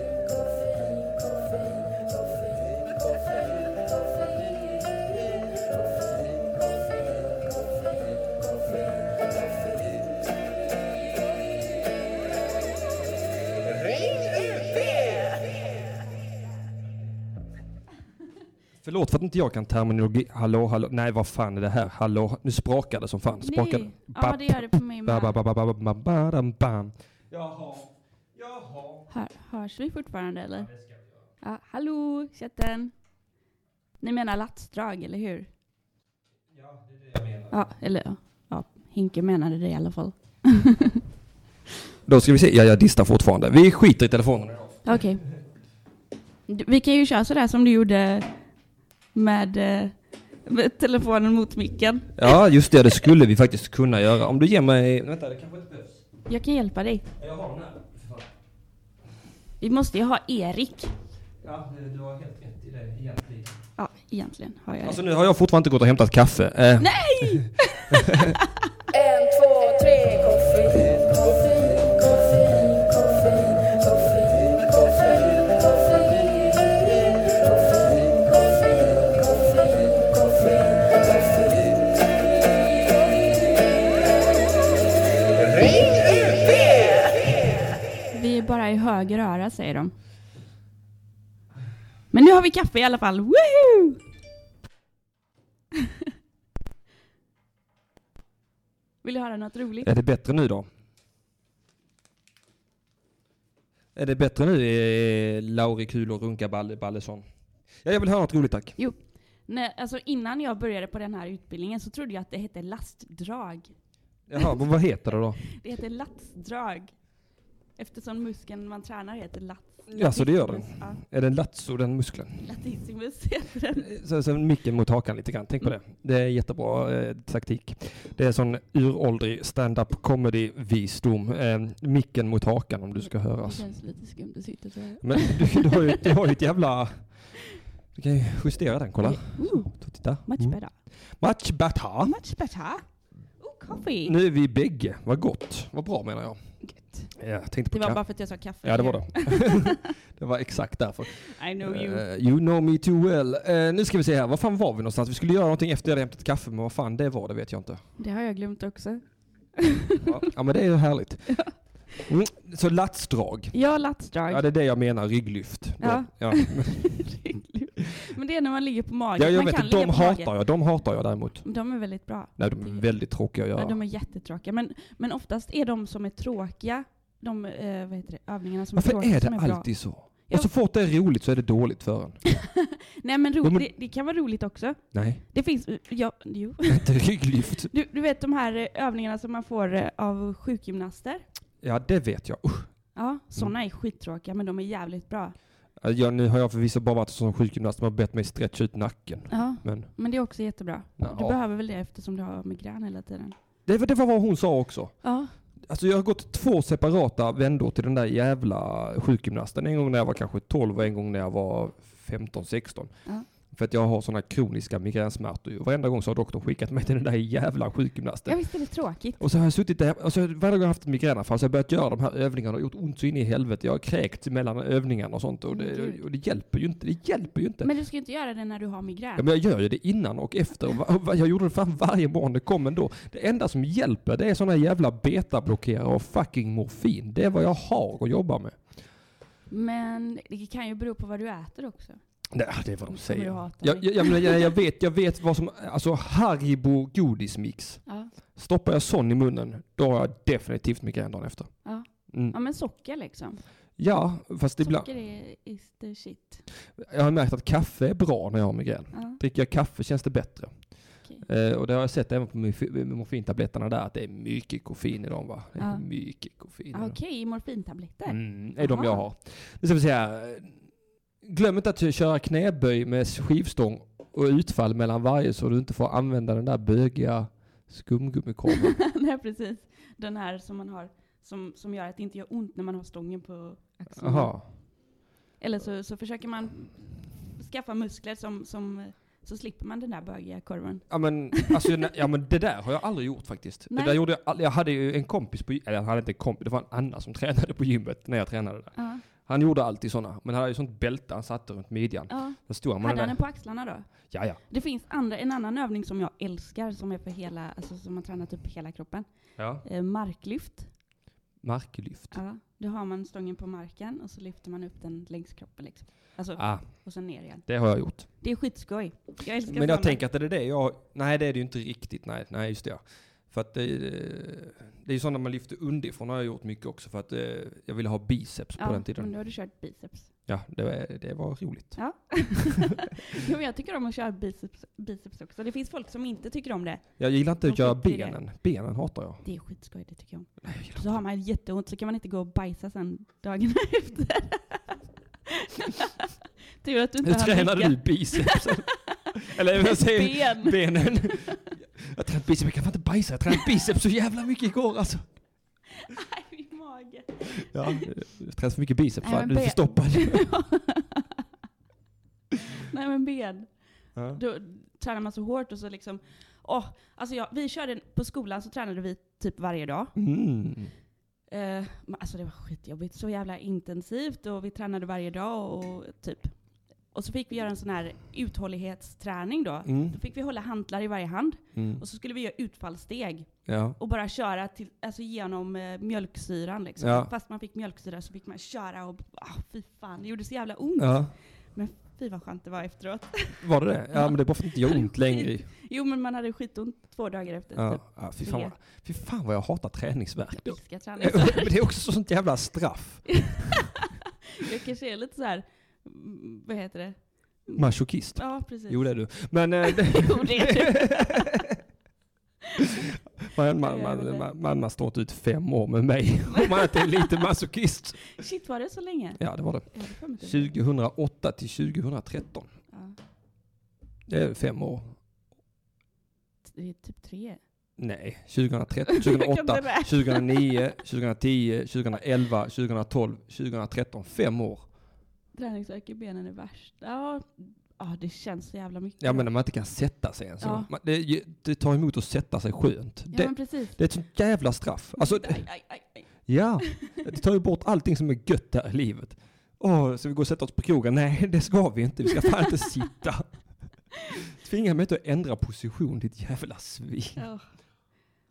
[SPEAKER 1] Förlåt för att inte jag kan terminologi. Hallå, hallå. Nej, vad fan är det här? Hallå. Nu sprakar det som fan. Sprakar
[SPEAKER 2] Nej. Ja, det gör det på mig
[SPEAKER 1] Ba, ba,
[SPEAKER 2] med.
[SPEAKER 1] ba, ba, ba, ba, ba, dam, bam. Jaha. Jaha.
[SPEAKER 2] Hör, hörs vi fortfarande eller? Ja, hallå chatten. Ni menar latsdrag, eller hur? Ja, eller ja. ja. Henke menade det i alla fall.
[SPEAKER 1] Då ska vi se. Ja, jag distar fortfarande. Vi skiter i telefonen.
[SPEAKER 2] Okej. Du- Vi kan ju köra sådär som du gjorde med, eh, med telefonen mot micken.
[SPEAKER 1] Ja, just det. Det skulle vi faktiskt kunna göra. Om du ger mig... Vänta, det kanske inte behövs.
[SPEAKER 2] Jag kan hjälpa dig.
[SPEAKER 1] Jag har den här. För fan.
[SPEAKER 2] Vi måste ju ha Erik.
[SPEAKER 1] Ja, du har helt rätt i det egentligen.
[SPEAKER 2] Ja, egentligen har jag
[SPEAKER 1] Alltså
[SPEAKER 2] det.
[SPEAKER 1] nu har jag fortfarande inte gått och hämtat kaffe. Eh,
[SPEAKER 2] Nej!
[SPEAKER 4] En, två, tre, koffein. Koffein, koffein, koffein, koffein, koffein, koffein. Koffein, koffein, koffein, koffein, koffein.
[SPEAKER 2] Det är bara i höger öra säger de. Men nu har vi kaffe i alla fall. Woohoo! Vill du höra något roligt?
[SPEAKER 1] Är det bättre nu då? Är det bättre nu, eh, Lauri Kul och Runka Balle Ballesson? Ja, jag vill höra något roligt tack.
[SPEAKER 2] Jo. Nej, alltså innan jag började på den här utbildningen så trodde jag att det hette lastdrag.
[SPEAKER 1] Jaha, men vad heter det då?
[SPEAKER 2] Det heter latsdrag. Eftersom muskeln man tränar heter lats.
[SPEAKER 1] Ja, så det gör den.
[SPEAKER 2] Ja,
[SPEAKER 1] Är det en latso, den muskeln?
[SPEAKER 2] latissimus heter den.
[SPEAKER 1] Så, så micken mot hakan lite grann,
[SPEAKER 2] Mm.
[SPEAKER 1] tänk på det. Det är jättebra eh, taktik. Det är sån uråldrig stand-up comedy-visdom. Eh, micken mot hakan om du ska höras.
[SPEAKER 2] Det känns lite skumt att sitta så här.
[SPEAKER 1] Men du, du, har ju, du har ju ett jävla... Du kan ju justera den, kolla.
[SPEAKER 2] Ooh,
[SPEAKER 1] Så, titta. Mm.
[SPEAKER 2] much better.
[SPEAKER 1] Much better.
[SPEAKER 2] Much better. Oh, coffee.
[SPEAKER 1] Nu är vi bägge. Vad gott. Vad bra menar jag.
[SPEAKER 2] Gött.
[SPEAKER 1] Ja, Jag tänkte på
[SPEAKER 2] Det var
[SPEAKER 1] ka-
[SPEAKER 2] bara för att jag sa kaffe.
[SPEAKER 1] Ja, det var det. det var exakt därför.
[SPEAKER 2] I know you.
[SPEAKER 1] Eh, you know me too well. Eh, nu ska vi se här. Var fan var vi någonstans? Vi skulle göra någonting efter jag hade hämtat kaffe, men vad fan det var, det vet jag inte.
[SPEAKER 2] Det har jag glömt också.
[SPEAKER 1] Ja, ja men det är ju härligt. Mm, så latsdrag.
[SPEAKER 2] Ja, latsdrag.
[SPEAKER 1] Ja, det är det jag menar, rygglyft.
[SPEAKER 2] Ja.
[SPEAKER 1] ja.
[SPEAKER 2] Men det är när man ligger på magen.
[SPEAKER 1] ja jag
[SPEAKER 2] man
[SPEAKER 1] vet
[SPEAKER 2] kan
[SPEAKER 1] inte, de
[SPEAKER 2] ligga på magen.
[SPEAKER 1] hatar jag. De hatar jag däremot.
[SPEAKER 2] De är väldigt bra.
[SPEAKER 1] Nej, de är väldigt tråkiga att
[SPEAKER 2] Ja.
[SPEAKER 1] göra.
[SPEAKER 2] de är jättetråkiga. Men, men oftast är de som är tråkiga, de eh, vad heter det, övningarna som är
[SPEAKER 1] Varför
[SPEAKER 2] tråkiga
[SPEAKER 1] är det
[SPEAKER 2] som är bra.
[SPEAKER 1] alltid så?
[SPEAKER 2] Ja.
[SPEAKER 1] Och så fort det är roligt så är det dåligt för en.
[SPEAKER 2] Nej men, ro,
[SPEAKER 1] Jo, men-
[SPEAKER 2] Det, det kan vara roligt också.
[SPEAKER 1] Nej,
[SPEAKER 2] Det finns, ja, jo.
[SPEAKER 1] inte rygglyft.
[SPEAKER 2] Du, du vet de här eh, övningarna som man får eh, av sjukgymnaster?
[SPEAKER 1] Ja, det vet jag. Usch.
[SPEAKER 2] Ja, sådana
[SPEAKER 1] Mm.
[SPEAKER 2] är skittråkiga men de är jävligt bra.
[SPEAKER 1] Ja, nu har jag förvisso bara varit som sjukgymnast som har bett mig stretcha ut nacken.
[SPEAKER 2] Ja,
[SPEAKER 1] Men
[SPEAKER 2] men det är också jättebra.
[SPEAKER 1] Ja.
[SPEAKER 2] Du behöver väl det eftersom du har migrän hela tiden?
[SPEAKER 1] det, var- det var vad hon sa också.
[SPEAKER 2] Ja.
[SPEAKER 1] Alltså jag har gått två separata vändor till den där jävla sjukgymnasten. En gång när jag var kanske 12 och en gång när jag var 15-16.
[SPEAKER 2] Ja.
[SPEAKER 1] För att jag har sådana kroniska migränsmärtor. Och Varenda gång så har doktorn skickat mig till den där jävla sjukgymnasten.
[SPEAKER 2] ja, visst är det tråkigt?
[SPEAKER 1] Och så har jag suttit där, alltså varje gång jag har haft migränanfall så har jag börjat göra de här övningarna och gjort ont så in i helvete. Jag har kräkt mellan övningarna och sånt och det, och det hjälper ju inte. Det hjälper ju inte.
[SPEAKER 2] Men du ska ju inte göra det när du har migrän.
[SPEAKER 1] Ja, men jag gör ju det innan och efter. Och va- va- Jag gjorde det fan varje morgon det kom ändå. Det enda som hjälper det är såna jävla betablockerare och fucking morfin. Det är vad jag har att jobba med.
[SPEAKER 2] Men det kan ju bero på vad du äter också.
[SPEAKER 1] Nej, det är vad de
[SPEAKER 2] Kommer du
[SPEAKER 1] säger.
[SPEAKER 2] hata
[SPEAKER 1] Jag,
[SPEAKER 2] mig?
[SPEAKER 1] jag, jag, menar, jag, jag, vet, jag vet vad som... Alltså Haribo godismix.
[SPEAKER 2] Ja.
[SPEAKER 1] Stoppar jag sån i munnen, då har jag definitivt migrän dagen efter.
[SPEAKER 2] Ja.
[SPEAKER 1] Mm.
[SPEAKER 2] ja, men socker liksom.
[SPEAKER 1] Ja, fast ibland...
[SPEAKER 2] Socker är is the shit.
[SPEAKER 1] Jag har märkt att kaffe är bra när jag har migrän.
[SPEAKER 2] Ja,
[SPEAKER 1] Dricker jag kaffe känns det bättre.
[SPEAKER 2] okej.
[SPEAKER 1] Eh, och det har jag sett även på morfi- morfintabletterna där, att det är mycket koffein i dem va? Det är
[SPEAKER 2] Ja.
[SPEAKER 1] mycket koffein i
[SPEAKER 2] Ah,
[SPEAKER 1] dem.
[SPEAKER 2] Okej, morfintabletter.
[SPEAKER 1] Mm, är de
[SPEAKER 2] Aha.
[SPEAKER 1] jag har. Nu ska vi se här. Glöm inte att köra knäböj med skivstång och utfall mellan varje så du inte får använda den där bögiga skumgummikorven.
[SPEAKER 2] Nej, precis. Den här som man har, som, som gör att det inte gör ont när man har stången på axeln.
[SPEAKER 1] Jaha.
[SPEAKER 2] Eller så, så försöker man skaffa muskler som, som så slipper man den där bögiga korven.
[SPEAKER 1] Ja men, alltså, ne- ja men det där har jag aldrig gjort faktiskt.
[SPEAKER 2] Nej.
[SPEAKER 1] Det där gjorde jag, aldrig. jag hade ju en kompis på eller jag hade inte en kompis, det var en Anna som tränade på gymmet när jag tränade där.
[SPEAKER 2] Ja.
[SPEAKER 1] Han gjorde alltid sådana, men han hade ju sånt bälte han satte runt midjan.
[SPEAKER 2] Ja.
[SPEAKER 1] Då stod han med
[SPEAKER 2] Hade
[SPEAKER 1] den där.
[SPEAKER 2] han den på axlarna då?
[SPEAKER 1] Ja, ja.
[SPEAKER 2] Det finns andra, en annan övning som jag älskar som är för hela, alltså som man tränar typ hela kroppen.
[SPEAKER 1] ja.
[SPEAKER 2] Eh, marklyft.
[SPEAKER 1] Marklyft.
[SPEAKER 2] Ja, då har man stången på marken och så lyfter man upp den längs kroppen liksom. Alltså,
[SPEAKER 1] Ah,
[SPEAKER 2] och sen ner igen.
[SPEAKER 1] det har jag gjort.
[SPEAKER 2] Det är skitskoj. Jag älskar
[SPEAKER 1] Men jag
[SPEAKER 2] sådana.
[SPEAKER 1] tänker att det är det jag... Nej, det är det ju inte riktigt. Nej, nej just det. ja. För att det, eh, det är ju sådana man lyfter underifrån har jag gjort mycket också för att eh, jag ville ha biceps på
[SPEAKER 2] ja,
[SPEAKER 1] den
[SPEAKER 2] Men
[SPEAKER 1] tiden.
[SPEAKER 2] då har du kört biceps.
[SPEAKER 1] Ja, det var, det var roligt.
[SPEAKER 2] Ja. jo, men jag tycker om att köra biceps, biceps också. Det finns folk som inte tycker om det.
[SPEAKER 1] Jag gillar inte att
[SPEAKER 2] Jag
[SPEAKER 1] göra
[SPEAKER 2] skiter i det.
[SPEAKER 1] benen. Benen hatar jag.
[SPEAKER 2] Det är skitskoj, det tycker jag om.
[SPEAKER 1] Nej, jag gillar
[SPEAKER 2] Så har man jätteont så kan man inte gå och bajsa sen dagen efter. Tur att du inte
[SPEAKER 1] Hur
[SPEAKER 2] har
[SPEAKER 1] tränade du
[SPEAKER 2] lyckats.
[SPEAKER 1] biceps? Eller jag säger
[SPEAKER 2] ben.
[SPEAKER 1] benen. Jag tränade biceps, jag kan fan inte bajsa. Jag tränade biceps så jävla mycket igår alltså.
[SPEAKER 2] Nej, min mage.
[SPEAKER 1] Ja, jag tränade så mycket biceps
[SPEAKER 2] Nej,
[SPEAKER 1] va?
[SPEAKER 2] men
[SPEAKER 1] Du är
[SPEAKER 2] ben.
[SPEAKER 1] förstoppad.
[SPEAKER 2] Nej men ben.
[SPEAKER 1] Ja.
[SPEAKER 2] Då tränar man så hårt och så liksom, åh, alltså jag, vi körde på skolan så tränade vi typ varje dag.
[SPEAKER 1] Mm.
[SPEAKER 2] Eh, men alltså det var skitjobbigt. Så jävla intensivt och vi tränade varje dag och typ Och så fick vi göra en sån här uthållighetsträning då.
[SPEAKER 1] Mm.
[SPEAKER 2] Då fick vi hålla hantlar i varje hand.
[SPEAKER 1] Mm.
[SPEAKER 2] Och så skulle vi göra utfallssteg.
[SPEAKER 1] Ja.
[SPEAKER 2] Och bara köra till, alltså genom eh, mjölksyran liksom.
[SPEAKER 1] Ja.
[SPEAKER 2] Fast man fick mjölksyra så fick man köra och ah, fy fan, det gjorde så jävla ont.
[SPEAKER 1] ja.
[SPEAKER 2] Men fy vad skönt det var efteråt.
[SPEAKER 1] Var det det? Ja, men det är bara för att det inte gör ont längre.
[SPEAKER 2] jo men man hade skitont två dagar efter.
[SPEAKER 1] Ja,
[SPEAKER 2] Typ.
[SPEAKER 1] ja, fy, fan vad, fy fan vad jag hatar träningsvärk.
[SPEAKER 2] Jag älskar träning.
[SPEAKER 1] Men det är också sånt jävla straff.
[SPEAKER 2] Jag kanske är lite så här. mm, vad heter det?
[SPEAKER 1] Masochist.
[SPEAKER 2] Ja precis.
[SPEAKER 1] Jo det är du. Men... eh,
[SPEAKER 2] Jo, det är
[SPEAKER 1] man, man, man, man, man har stått ut fem år med mig om man inte är lite masochist.
[SPEAKER 2] Shit var det så länge?
[SPEAKER 1] Ja det var det.
[SPEAKER 2] Jag hade för mig typ-
[SPEAKER 1] 2008 till 2013.
[SPEAKER 2] Ja.
[SPEAKER 1] Det är fem år.
[SPEAKER 2] Det är typ tre.
[SPEAKER 1] Nej, 2013,
[SPEAKER 2] Jag kan
[SPEAKER 1] 2008,
[SPEAKER 2] inte räkna.
[SPEAKER 1] 2009, 2010, 2011, 2012, 2013. Fem år.
[SPEAKER 2] Träningsvärk i benen är värst. Ja, ja det känns så jävla mycket.
[SPEAKER 1] Ja men när man inte kan sätta sig ens.
[SPEAKER 2] Ja.
[SPEAKER 1] Man- Det, är ju- det tar emot att sätta sig skönt.
[SPEAKER 2] Ja,
[SPEAKER 1] det,
[SPEAKER 2] men precis.
[SPEAKER 1] det är ett sånt jävla straff. Alltså,
[SPEAKER 2] Aj, aj, aj, aj.
[SPEAKER 1] ja, det tar ju bort allting som är gött här i livet. Åh, ska vi gå och sätta oss på krogen? Nej, det ska vi inte. Vi ska fan inte sitta. Tvinga mig inte att ändra position, ditt jävla svin.
[SPEAKER 2] Ja.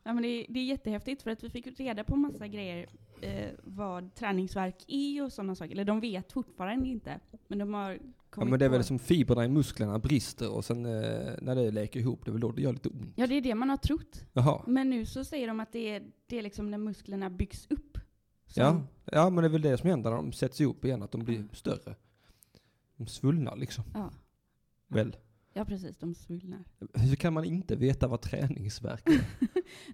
[SPEAKER 2] Ja, men det, är, det är jättehäftigt för att vi fick reda på massa grejer eh, vad träningsvärk är och sådana saker. Eller de vet fortfarande inte. Men de har
[SPEAKER 1] Ja,
[SPEAKER 2] kommit
[SPEAKER 1] men det är
[SPEAKER 2] på-
[SPEAKER 1] väl som fibrerna i musklerna brister och sen eh, när det läker ihop, det är väl då det gör lite ont.
[SPEAKER 2] Ja, det är det man har trott.
[SPEAKER 1] Jaha.
[SPEAKER 2] Men nu så säger de att det är, det är liksom när musklerna byggs upp. som-
[SPEAKER 1] Ja. ja, men det är väl det som händer när de sätts ihop igen, att de blir större. De svullnar liksom.
[SPEAKER 2] Ja.
[SPEAKER 1] Väl.
[SPEAKER 2] ja, precis. De svullnar.
[SPEAKER 1] Hur kan man inte veta vad träningsvärk är?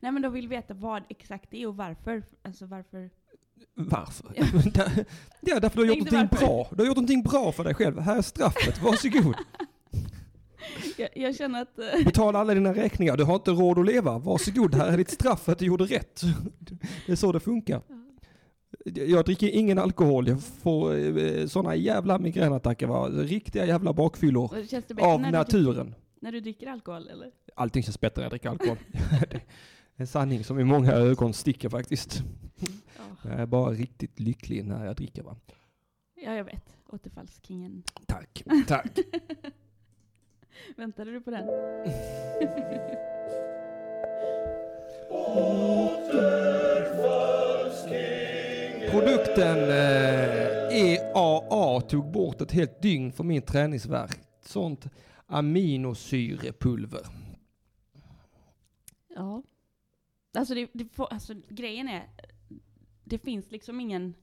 [SPEAKER 2] Nej, men de vill veta vad exakt det är och varför. Alltså varför.
[SPEAKER 1] Varför? ja, därför du har gjort
[SPEAKER 2] Tänkte
[SPEAKER 1] någonting
[SPEAKER 2] varför.
[SPEAKER 1] bra. Du har gjort någonting bra för dig själv. Här är straffet, varsågod.
[SPEAKER 2] Jag, jag känner att... eh,
[SPEAKER 1] Betala alla dina räkningar. Du har inte råd att leva. Varsågod, här är ditt straff för att du gjorde rätt. Det är så det funkar. Jag dricker ingen alkohol. Jag får sådana jävla migränattacker. Va? Riktiga jävla bakfyllor.
[SPEAKER 2] Känns det bättre
[SPEAKER 1] Av
[SPEAKER 2] när du,
[SPEAKER 1] naturen.
[SPEAKER 2] när du dricker alkohol eller?
[SPEAKER 1] Allting känns bättre när jag dricker alkohol. Det är en sanning som i många ögon sticker faktiskt.
[SPEAKER 2] Ja,
[SPEAKER 1] Jag är bara riktigt lycklig när jag dricker. Va?
[SPEAKER 2] ja jag vet. Återfallskingen.
[SPEAKER 1] Tack, tack.
[SPEAKER 2] Väntade du på den?
[SPEAKER 1] Produkten eh, EAA tog bort ett helt dygn för min träningsvärk. Sånt aminosyrepulver.
[SPEAKER 2] Ja. Alltså, det, det får, alltså grejen är, det finns liksom ingen,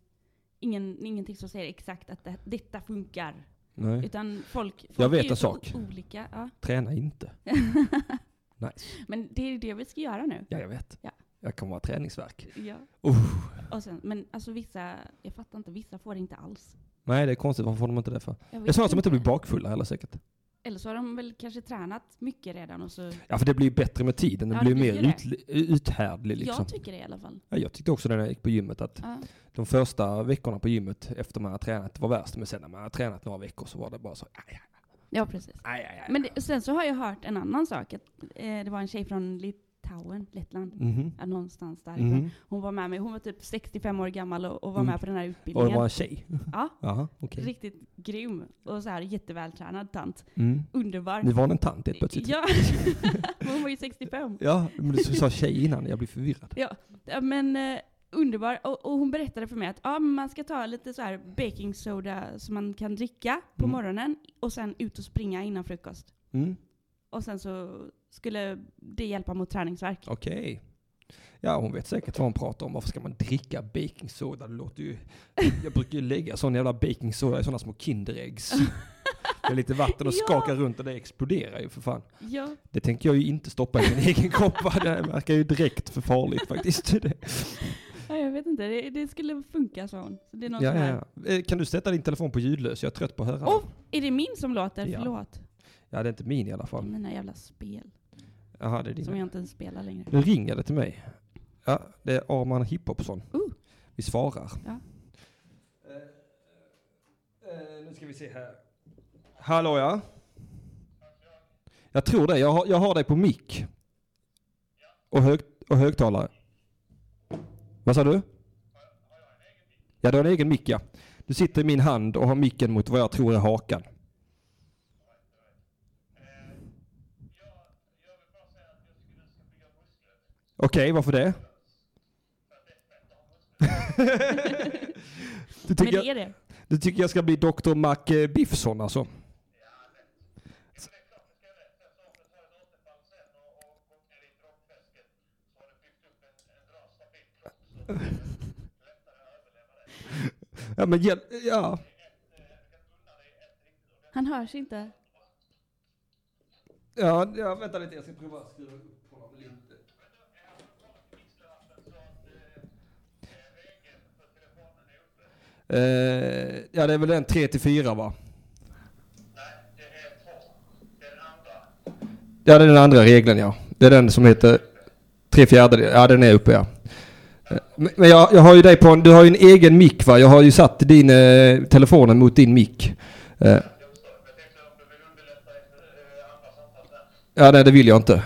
[SPEAKER 2] ingen, ingenting som säger exakt att det, detta funkar.
[SPEAKER 1] Nej.
[SPEAKER 2] Utan folk, folk
[SPEAKER 1] Mm. Jag vet
[SPEAKER 2] är ju
[SPEAKER 1] en
[SPEAKER 2] så
[SPEAKER 1] sak.
[SPEAKER 2] olika. Ja.
[SPEAKER 1] Träna inte. Nice.
[SPEAKER 2] Men det är det vi ska göra nu.
[SPEAKER 1] Ja, jag vet.
[SPEAKER 2] Ja.
[SPEAKER 1] Jag kommer ha träningsvärk.
[SPEAKER 2] Ja.
[SPEAKER 1] Uh.
[SPEAKER 2] Och sen, men alltså vissa, jag fattar inte, vissa får det inte alls.
[SPEAKER 1] Nej, det är konstigt. Varför får de inte det för?
[SPEAKER 2] Jag
[SPEAKER 1] Det är
[SPEAKER 2] vet
[SPEAKER 1] sådana som inte blir bakfulla heller säkert.
[SPEAKER 2] Eller så har de väl kanske tränat mycket redan och så.
[SPEAKER 1] Ja, för det blir ju bättre med tiden. Den
[SPEAKER 2] Ja,
[SPEAKER 1] blir
[SPEAKER 2] det
[SPEAKER 1] mer
[SPEAKER 2] blir
[SPEAKER 1] ut, uthärdlig liksom. Typ.
[SPEAKER 2] Jag tycker det i alla fall.
[SPEAKER 1] Ja, jag tyckte också när jag gick på gymmet att
[SPEAKER 2] Ja.
[SPEAKER 1] de första veckorna på gymmet efter man har tränat var värst. Men sen när man har tränat några veckor så var det bara så aj, aj,
[SPEAKER 2] Ja, precis.
[SPEAKER 1] aj, aj, aj.
[SPEAKER 2] Men det, sen så har jag hört en annan sak. Att, eh, det var en tjej från Litauen, Lettland,
[SPEAKER 1] Mhm.
[SPEAKER 2] ja, någonstans där.
[SPEAKER 1] Mhm.
[SPEAKER 2] Hon var med mig. Hon var typ 65 år gammal och, och var
[SPEAKER 1] Mm.
[SPEAKER 2] med på den här
[SPEAKER 1] Och
[SPEAKER 2] utbildningen.
[SPEAKER 1] det var en tjej?
[SPEAKER 2] Ja.
[SPEAKER 1] Jaha, okej.
[SPEAKER 2] Riktigt grym och så här jättevältränad tant.
[SPEAKER 1] Mm.
[SPEAKER 2] Underbar.
[SPEAKER 1] Nu var det en tant helt plötsligt.
[SPEAKER 2] Ja, Men hon var ju 65.
[SPEAKER 1] Ja, men du sa tjej innan, jag blev förvirrad.
[SPEAKER 2] Ja, men eh, underbar. Och, och hon berättade för mig att ja, men man ska ta lite så här baking soda som man kan dricka på
[SPEAKER 1] Mm.
[SPEAKER 2] morgonen och sen ut och springa innan frukost.
[SPEAKER 1] Mm.
[SPEAKER 2] Och sen så skulle det hjälpa mot träningsvärk.
[SPEAKER 1] Okej. Ja, hon vet säkert vad hon pratar om. Varför ska man dricka baking soda? Det låter ju... Jag brukar ju lägga sån jävla baking soda i såna små Kinderäggs. Med lite vatten och
[SPEAKER 2] Ja.
[SPEAKER 1] skaka runt och det exploderar ju för fan.
[SPEAKER 2] Ja,
[SPEAKER 1] Det tänker jag ju inte stoppa i min egen kopp. va? Det här verkar ju direkt för farligt faktiskt. Det-
[SPEAKER 2] ja jag vet inte. Det, det skulle funka sa hon. Så det är någon
[SPEAKER 1] Ja,
[SPEAKER 2] sån här...
[SPEAKER 1] ja, ja. Eh, Kan du sätta din telefon på ljudlös? Jag är trött på att höra. den.
[SPEAKER 2] Åh, är det min som låter?
[SPEAKER 1] Ja.
[SPEAKER 2] Förlåt.
[SPEAKER 1] Ja, det är inte min i alla
[SPEAKER 2] Det är
[SPEAKER 1] fall.
[SPEAKER 2] mina jävla spel.
[SPEAKER 1] Jaha, det är din.
[SPEAKER 2] Som jag inte ens spelar längre.
[SPEAKER 1] Nu ringer det till mig. Ja, det är Arman Hiphopsson.
[SPEAKER 2] Oh.
[SPEAKER 1] Vi svarar. Eh,
[SPEAKER 2] Ja.
[SPEAKER 1] nu ska vi se här. Hallå ja. Jag tror det. Jag har, jag har dig på mick. Och, hög, och högtalare. Vad sa du? Ja, du har en egen mick ja. Du sitter i min hand och har micken mot vad jag tror är hakan. Okej, varför det? du,
[SPEAKER 2] Men
[SPEAKER 1] tycker jag,
[SPEAKER 2] det är det.
[SPEAKER 1] du tycker jag ska bli Dr. Mac eh, Biffson alltså? Ja, men hjäl- ja.
[SPEAKER 2] Han hörs inte.
[SPEAKER 1] Ja, ja, vänta lite. Jag ska prova att skruva upp honom lite. Eh, ja, det är väl den 3 till 4 va? Ja, det är den andra regeln ja. Det är den som heter tre fjärdedelar. Ja, den är uppe ja. Eh, Men men jag, jag har ju dig på en, du har ju en egen mick va? Jag har ju satt din eh, telefonen mot din mick. Eh, Ja, nej, det vill jag inte.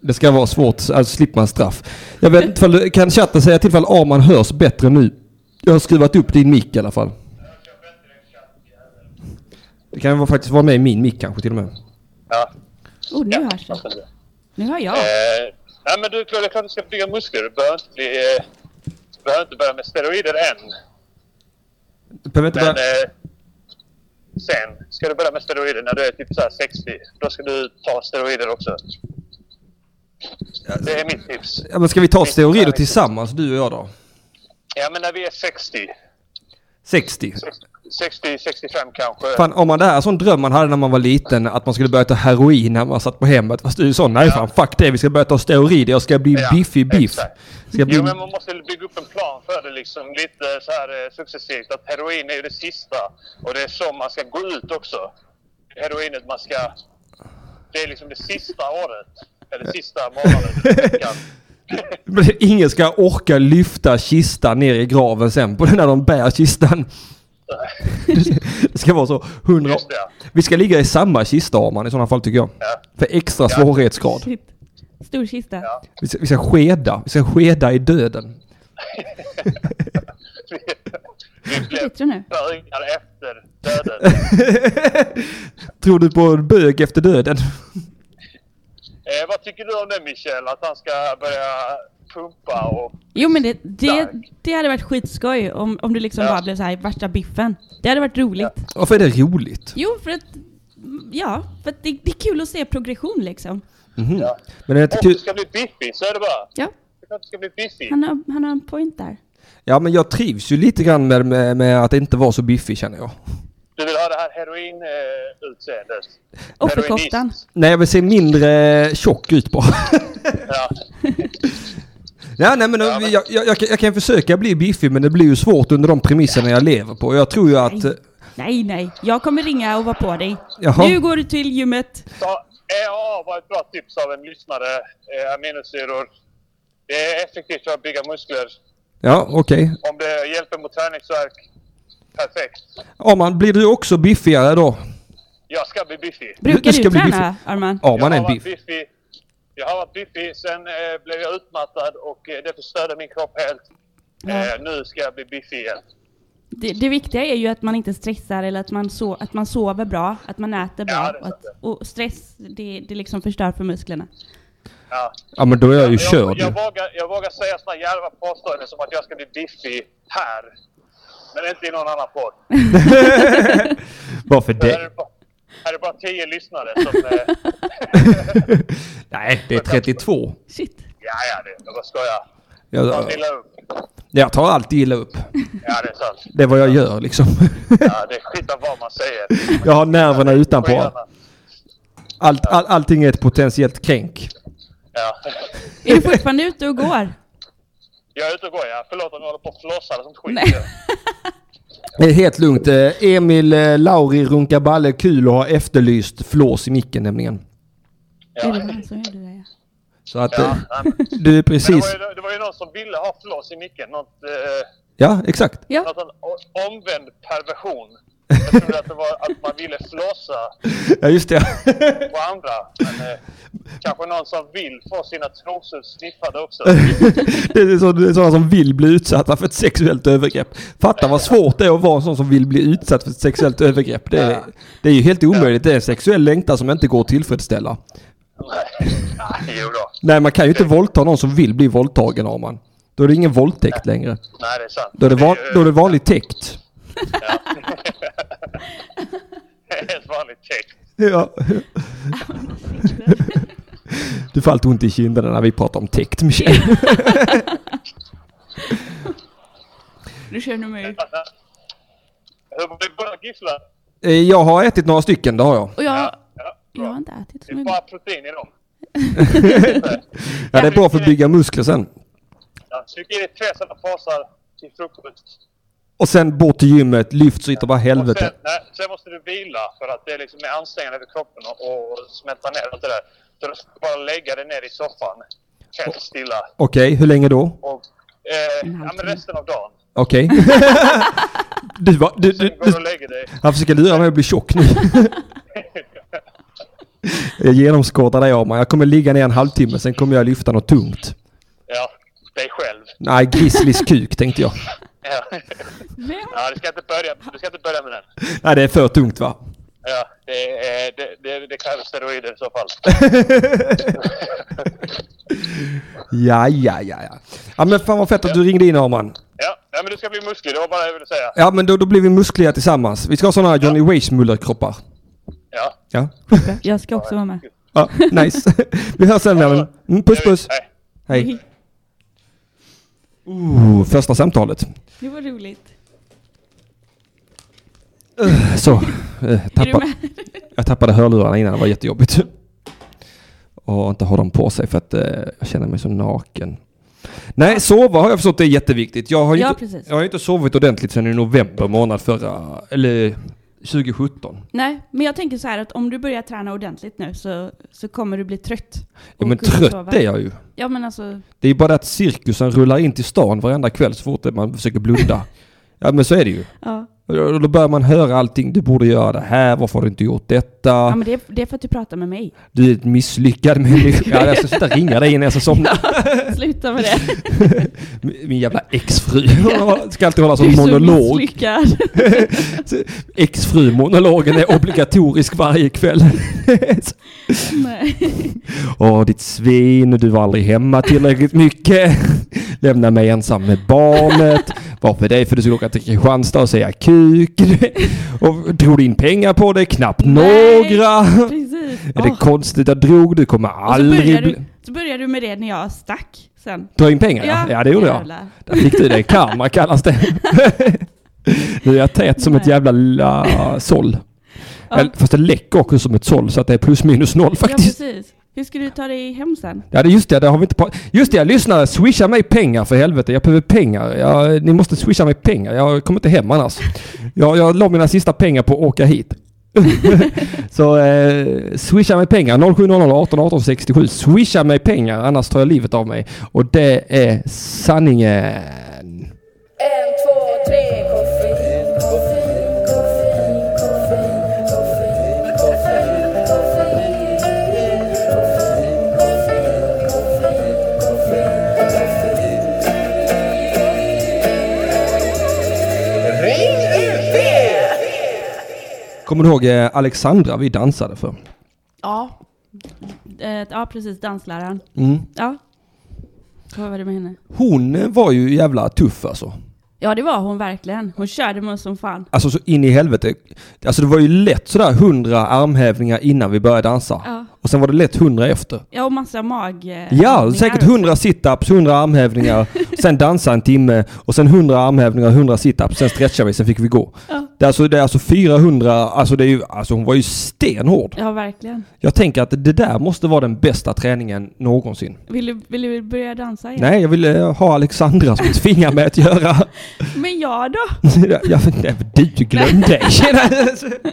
[SPEAKER 1] Det ska vara svårt, så- alltså slipper man straff. Jag vet inte, ifall du- kan chatten säga till ifall Arman hörs bättre nu? Jag har skruvat upp din mick i alla fall. Det kan ju faktiskt vara med i min mick kanske till och med.
[SPEAKER 5] Ja.
[SPEAKER 2] Oh, nu hörs det.
[SPEAKER 5] varför inte?
[SPEAKER 2] Nu hör jag.
[SPEAKER 5] Eh, nej, men du Claudia, kanske ska bygga muskler. Du behöver inte, bli, eh, du behöver inte börja med steroider än.
[SPEAKER 1] Behöver inte
[SPEAKER 5] Men
[SPEAKER 1] bara...
[SPEAKER 5] eh, sen ska du börja med steroider när du är typ så här 60. Då ska du ta steroider också. Det är mitt tips.
[SPEAKER 1] Ja, men ska vi ta steroider tillsammans, du och jag då?
[SPEAKER 5] Ja, men när vi är 60,
[SPEAKER 1] 60.
[SPEAKER 5] 60, 65 kanske.
[SPEAKER 1] Fan, om man det här är en sån dröm man hade när man var liten, att man skulle börja ta heroin när man satt på hemmet. Fast du är sån, nej fan fuck det, vi ska börja ta steroider, jag ska bli
[SPEAKER 5] Ja,
[SPEAKER 1] biffig biff.
[SPEAKER 5] exakt.
[SPEAKER 1] Ska bli...
[SPEAKER 5] Jo, men man måste bygga upp en plan för det liksom lite så här eh, successivt. Att heroin är ju det sista och det är så man ska gå ut också. Heroinet man ska... Det är liksom det sista året. Eller sista månaden. eller veckan.
[SPEAKER 1] Men ingen ska orka lyfta kistan ner i graven sen på när de bär kistan. Det ska vara så. 100...
[SPEAKER 5] Just det, ja.
[SPEAKER 1] Vi ska ligga i samma kista Arman i sådana fall tycker jag.
[SPEAKER 5] Ja.
[SPEAKER 1] För extra svårighetsgrad.
[SPEAKER 2] Shit. Stor kista.
[SPEAKER 1] Vi ska, vi ska skeda. Vi ska skeda i döden.
[SPEAKER 5] Vi, vi blev
[SPEAKER 2] Bättre nu.
[SPEAKER 5] bögar efter döden.
[SPEAKER 1] Tror du på en bög efter döden?
[SPEAKER 5] Eh, vad tycker du om det Michel? Att han ska börja pumpa och...
[SPEAKER 2] Jo men det, det,
[SPEAKER 5] Stark.
[SPEAKER 2] det hade varit skitskoj om, om du liksom
[SPEAKER 5] Ja.
[SPEAKER 2] bara blev så här värsta biffen. Det hade varit roligt.
[SPEAKER 1] Varför är det roligt?
[SPEAKER 2] Jo för att, ja, för att det, det är kul att se progression liksom.
[SPEAKER 5] Ja.
[SPEAKER 1] Men det är inte
[SPEAKER 5] Om du
[SPEAKER 1] kul.
[SPEAKER 5] ska bli biffig så är det bara.
[SPEAKER 2] Ja,
[SPEAKER 5] Du kanske ska bli biffig.
[SPEAKER 2] han har, han har en point där.
[SPEAKER 1] Ja men jag trivs ju lite grann med, med, med att inte vara så biffig känner jag.
[SPEAKER 5] Du vill ha det här eh, heroin-utseendet?
[SPEAKER 2] Offerkoftan.
[SPEAKER 1] Nej jag vill se mindre tjock ut bara.
[SPEAKER 5] Ja.
[SPEAKER 1] Ja, nej, men, Jag,
[SPEAKER 5] men-
[SPEAKER 1] jag, jag, kan- jag kan försöka bli biffig men det blir ju svårt under de premisserna jag lever på. Jag tror ju att... eh,
[SPEAKER 2] Nej nej, jag kommer ringa och vara på dig.
[SPEAKER 1] Jaha.
[SPEAKER 2] Nu går du till gymmet.
[SPEAKER 5] Ta, EAA var ett bra tips av en lyssnare. Eh, aminosyror. Det är effektivt för att bygga muskler.
[SPEAKER 1] Ja, okej.
[SPEAKER 5] Om det hjälper mot träningsvärk, perfekt.
[SPEAKER 1] Arman, blir du också biffigare då?
[SPEAKER 5] Jag ska bli biffig.
[SPEAKER 1] Det
[SPEAKER 2] Brukar
[SPEAKER 1] ska
[SPEAKER 2] du
[SPEAKER 1] bli
[SPEAKER 2] träna Arman?
[SPEAKER 1] Arman är
[SPEAKER 5] jag har
[SPEAKER 1] en
[SPEAKER 5] varit
[SPEAKER 1] biff.
[SPEAKER 5] biffig. Jag har varit biffig, sen eh, blev jag utmattad och eh, det förstörde min kropp helt. Eh, nu ska jag bli biffig igen.
[SPEAKER 2] Det, det viktiga är ju att man inte stressar eller att man, so, att man sover bra, att man äter bra.
[SPEAKER 5] Ja, det är
[SPEAKER 2] och, att, och stress, det, det liksom förstör för musklerna.
[SPEAKER 5] Ja.
[SPEAKER 1] Ja, men då är jag ju
[SPEAKER 5] Jag,
[SPEAKER 1] körd ju.
[SPEAKER 5] jag, vågar, jag vågar säga såna djärva påståenden som att jag ska bli biffig här. Men inte i någon annan podd.
[SPEAKER 1] Varför
[SPEAKER 5] Här är
[SPEAKER 1] det?
[SPEAKER 5] det bara- här är det bara tio lyssnare som... Eh,
[SPEAKER 1] Nej, det är 32.
[SPEAKER 2] Shit.
[SPEAKER 5] ja, ja, det, jag bara skojar.
[SPEAKER 1] Jag,
[SPEAKER 5] Ta illa upp.
[SPEAKER 1] jag tar alltid illa upp.
[SPEAKER 5] Ja, det är sant.
[SPEAKER 1] Det är vad jag gör liksom.
[SPEAKER 5] Ja, det är skit av vad man säger.
[SPEAKER 1] Jag har nerverna utanpå.
[SPEAKER 5] Skyarna.
[SPEAKER 1] Allt, all, allting är ett potentiellt kränk.
[SPEAKER 5] Ja.
[SPEAKER 2] Är du fortfarande ute och går?
[SPEAKER 5] Jag är ute och går, ja. Förlåt om jag håller på och flossar och sånt skit.
[SPEAKER 2] Nej.
[SPEAKER 1] Det är helt lugnt. Eh, Emil eh, Lauri Runkaballe Kulo har efterlyst flås i micken nämligen.
[SPEAKER 2] Är
[SPEAKER 5] Ja.
[SPEAKER 2] det han som gjorde det?
[SPEAKER 1] Så att eh,
[SPEAKER 5] Ja, nej, men-
[SPEAKER 1] du är
[SPEAKER 5] men det, var
[SPEAKER 1] precis...
[SPEAKER 5] ju, det var ju någon som ville ha flås i micken. Något, eh,
[SPEAKER 1] Ja, exakt.
[SPEAKER 2] Ja,
[SPEAKER 5] något sån o- omvänd perversion. Jag trodde att det var att man ville flåsa
[SPEAKER 1] Ja, just det.
[SPEAKER 5] på andra. Men, eh, kanske någon som vill få sina trosor sniffade också.
[SPEAKER 1] Det är så- det är sådana som vill bli utsatta för ett sexuellt övergrepp. Fatta vad svårt det är att vara en sån som vill bli utsatt för ett sexuellt övergrepp. Det är, det är ju helt omöjligt. Det är en sexuell längtan som inte går att tillfredsställa.
[SPEAKER 5] Nej, nej, jo då.
[SPEAKER 1] Nej, man kan ju inte våldta någon som vill bli våldtagen Arman. Då är det ingen våldtäkt längre.
[SPEAKER 5] Nej, det är sant.
[SPEAKER 1] Då är det, van,
[SPEAKER 5] ju-
[SPEAKER 1] då är det vanlig täkt.
[SPEAKER 5] Helt vanlig text.
[SPEAKER 1] Ja. Du får alltid ont i kinderna när vi pratar om täkt, Michel.
[SPEAKER 2] Nu känner mig...
[SPEAKER 5] Hur blir det med gisslan?
[SPEAKER 1] Eh, Jag har ätit några stycken, det har jag.
[SPEAKER 2] Och jag,
[SPEAKER 5] Ja, ja,
[SPEAKER 2] jag har
[SPEAKER 5] bra.
[SPEAKER 2] inte ätit
[SPEAKER 5] Det
[SPEAKER 2] så
[SPEAKER 5] är
[SPEAKER 2] mycket.
[SPEAKER 5] bara protein i dem.
[SPEAKER 1] Ja, det är bra för att bygga muskler sen.
[SPEAKER 5] Ja, Tryck i dig tre sådana påsar till frukost.
[SPEAKER 1] Och sen bort till gymmet, lyft så hittar bara
[SPEAKER 5] Och sen,
[SPEAKER 1] helvete.
[SPEAKER 5] nej, sen måste du vila för att det är liksom är ansträngande för kroppen och, och smälta ner allt det där. Så du ska bara lägga dig ner i soffan, helt stilla.
[SPEAKER 1] Okej, hur länge då?
[SPEAKER 5] Och, eh,
[SPEAKER 2] En
[SPEAKER 5] ja, men
[SPEAKER 2] halvtimme.
[SPEAKER 5] resten av dagen.
[SPEAKER 1] Okej. Du, var- du,
[SPEAKER 5] Sen
[SPEAKER 1] du,
[SPEAKER 5] går
[SPEAKER 1] du,
[SPEAKER 5] du och lägger dig.
[SPEAKER 1] han försöker lura mig att bli tjock nu. Jag genomskådar dig Arman. Jag kommer ligga ner en halvtimme, sen kommer jag lyfta något tungt.
[SPEAKER 5] Ja, dig själv.
[SPEAKER 1] Nej, Grizzlys kuk tänkte jag.
[SPEAKER 5] Ja. ja, du ska inte börja, du ska inte börja med den.
[SPEAKER 1] Nej, det är för tungt va?
[SPEAKER 5] Ja, det, är- det, det, det krävs steroider i så fall.
[SPEAKER 1] Ja, ja, ja, ja. Ja, men fan vad fett att du ringde in Arman.
[SPEAKER 5] Ja, nej, men du ska bli musklig, det var bara det jag ville säga.
[SPEAKER 1] Ja, men då, då blir vi muskliga tillsammans. Vi ska ha sådana Johnny Weissmuller-kroppar.
[SPEAKER 5] Ja.
[SPEAKER 1] Ja.
[SPEAKER 2] Jag ska också vara med.
[SPEAKER 1] ja, nice. Vi hörs sen vännen. Mm, puss puss.
[SPEAKER 5] Nej.
[SPEAKER 1] Hej. Oh, första samtalet.
[SPEAKER 2] Det var roligt.
[SPEAKER 1] Så, eh,
[SPEAKER 2] Är du
[SPEAKER 1] tappa,
[SPEAKER 2] med?
[SPEAKER 1] jag tappade hörlurarna innan, det var jättejobbigt. Och inte ha dem på sig för att eh, jag känner mig så naken. Nej, sova har jag förstått det är jätteviktigt. Jag har ju
[SPEAKER 2] Ja,
[SPEAKER 1] inte,
[SPEAKER 2] precis.
[SPEAKER 1] jag har ju inte sovit ordentligt sedan i november månad förra, eller 2017.
[SPEAKER 2] Nej, men jag tänker så här att om du börjar träna ordentligt nu så, så kommer du bli trött.
[SPEAKER 1] Ja,
[SPEAKER 2] och
[SPEAKER 1] men
[SPEAKER 2] kunna
[SPEAKER 1] trött
[SPEAKER 2] sova.
[SPEAKER 1] är jag ju.
[SPEAKER 2] Ja, men alltså.
[SPEAKER 1] Det är bara det att cirkusen rullar in till stan varenda kväll så fort man försöker blunda. ja men så är det ju.
[SPEAKER 2] Ja.
[SPEAKER 1] Och Då då börjar man höra allting. Du borde göra det här. Varför har du inte gjort detta?
[SPEAKER 2] Ja, men det, är- det är för att du pratar med mig.
[SPEAKER 1] Du är ett misslyckad människa. Ja, jag ska sluta ringa dig innan jag ska somna.
[SPEAKER 2] Sluta med det.
[SPEAKER 1] Min min jävla exfru. Hon ska alltid hålla
[SPEAKER 2] Du är
[SPEAKER 1] sån
[SPEAKER 2] så
[SPEAKER 1] Alltså, monolog.
[SPEAKER 2] misslyckad.
[SPEAKER 1] Exfru-monologen är obligatorisk varje kväll.
[SPEAKER 2] Nej.
[SPEAKER 1] Åh, ditt svin. Du var aldrig hemma tillräckligt mycket. Lämna mig ensam med barnet. Varför det? För du skulle åka till Kristianstad och säga kuk. Och drog in pengar på det? Knappt
[SPEAKER 2] Nej.
[SPEAKER 1] några.
[SPEAKER 2] alltså, Precis.
[SPEAKER 1] Är det
[SPEAKER 2] Åh.
[SPEAKER 1] konstigt? Jag drog. Du kommer
[SPEAKER 2] Och så
[SPEAKER 1] aldrig...
[SPEAKER 2] börjar,
[SPEAKER 1] bli-
[SPEAKER 2] du, så börjar du med det när jag stack sen.
[SPEAKER 1] Dra in pengar? Ja, ja det gjorde jag.
[SPEAKER 2] jävlar.
[SPEAKER 1] Där fick du det. Karma kallas det. Nu är jag tät som ett
[SPEAKER 2] Nej.
[SPEAKER 1] jävla la, såll.
[SPEAKER 2] Ja.
[SPEAKER 1] Eller, Fast det läcker också som ett såll så att det är plus minus noll
[SPEAKER 2] Ja,
[SPEAKER 1] faktiskt.
[SPEAKER 2] precis. Hur ska du ta dig hem sen?
[SPEAKER 1] Ja, det, just det, det har vi inte pratat Just det, lyssnare, swisha mig pengar för helvete. Jag behöver pengar. Jag, ni måste swisha mig pengar. Jag kommer inte hem annars. Jag, jag la mina sista pengar på att åka hit. så eh, swisha mig pengar. 0700 18 18 67. Swisha mig pengar annars tar jag livet av mig. Och det är sanningen.
[SPEAKER 4] En, två, tre, koffein, koffein, koffein, koffein, koffein, koffein, koffein, koffein, koffein, koffein, koffein,
[SPEAKER 3] Ring UP!
[SPEAKER 1] Kommer du ihåg eh, Alexandra vi dansade för?
[SPEAKER 2] Ja. Eh, ja, precis. Dansläraren.
[SPEAKER 1] Mm.
[SPEAKER 2] Ja. Vad var det med henne?
[SPEAKER 1] Hon eh, var ju jävla tuff alltså.
[SPEAKER 2] Ja, det var hon verkligen. Hon körde med oss som fan.
[SPEAKER 1] Alltså så in i helvete. Alltså det var ju lätt sådär 100 armhävningar innan vi började dansa.
[SPEAKER 2] Ja.
[SPEAKER 1] Och sen var det lätt 100 efter.
[SPEAKER 2] Ja, och massa mag... eh,
[SPEAKER 1] Ja,
[SPEAKER 2] övningar
[SPEAKER 1] säkert
[SPEAKER 2] också.
[SPEAKER 1] 100 situps, 100 armhävningar, sen dansa en timme och sen 100 armhävningar, 100 situps, sen stretchade vi, sen fick vi gå.
[SPEAKER 2] Ja.
[SPEAKER 1] Det, är alltså, det är alltså 400, alltså, det är ju, alltså hon var ju stenhård.
[SPEAKER 2] Ja, verkligen.
[SPEAKER 1] Jag tänker att det där måste vara den bästa träningen någonsin.
[SPEAKER 2] Vill du, vill du börja dansa igen?
[SPEAKER 1] Nej, jag ville ha Alexandra som tvingade mig att göra
[SPEAKER 2] Men jag då?
[SPEAKER 1] jag, jag, nej, men du glömde dig.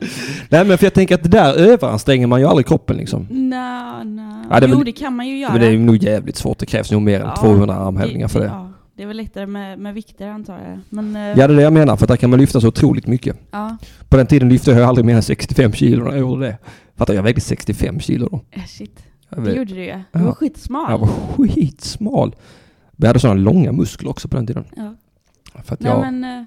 [SPEAKER 1] nej men för jag tänker att det där överanstränger man ju aldrig kroppen liksom.
[SPEAKER 2] Nå, nå.
[SPEAKER 1] Ja, det är
[SPEAKER 2] jo,
[SPEAKER 1] väl-
[SPEAKER 2] det kan man ju göra.
[SPEAKER 1] Men det är ju nog jävligt svårt. Det krävs nog mer än
[SPEAKER 2] Ja,
[SPEAKER 1] 200 armhävningar för det.
[SPEAKER 2] Ja, det är väl lättare med, med vikter antar jag. Men eh,
[SPEAKER 1] Ja det är det jag menar för där kan man lyfta så otroligt mycket.
[SPEAKER 2] ja,
[SPEAKER 1] På den tiden lyfte jag aldrig mer än 65 kilo när jag gjorde det. Fattar du? jag vägde 65 kilo då.
[SPEAKER 2] eh, shit.
[SPEAKER 1] Jag,
[SPEAKER 2] Det
[SPEAKER 1] vägde,
[SPEAKER 2] gjorde du ju. Du
[SPEAKER 1] Ja.
[SPEAKER 2] var
[SPEAKER 1] jag
[SPEAKER 2] skitsmal.
[SPEAKER 1] var skitsmal. Men Jag hade sådana långa muskler också på den tiden.
[SPEAKER 2] Ja.
[SPEAKER 1] För att
[SPEAKER 2] Nej,
[SPEAKER 1] jag,
[SPEAKER 2] men, eh,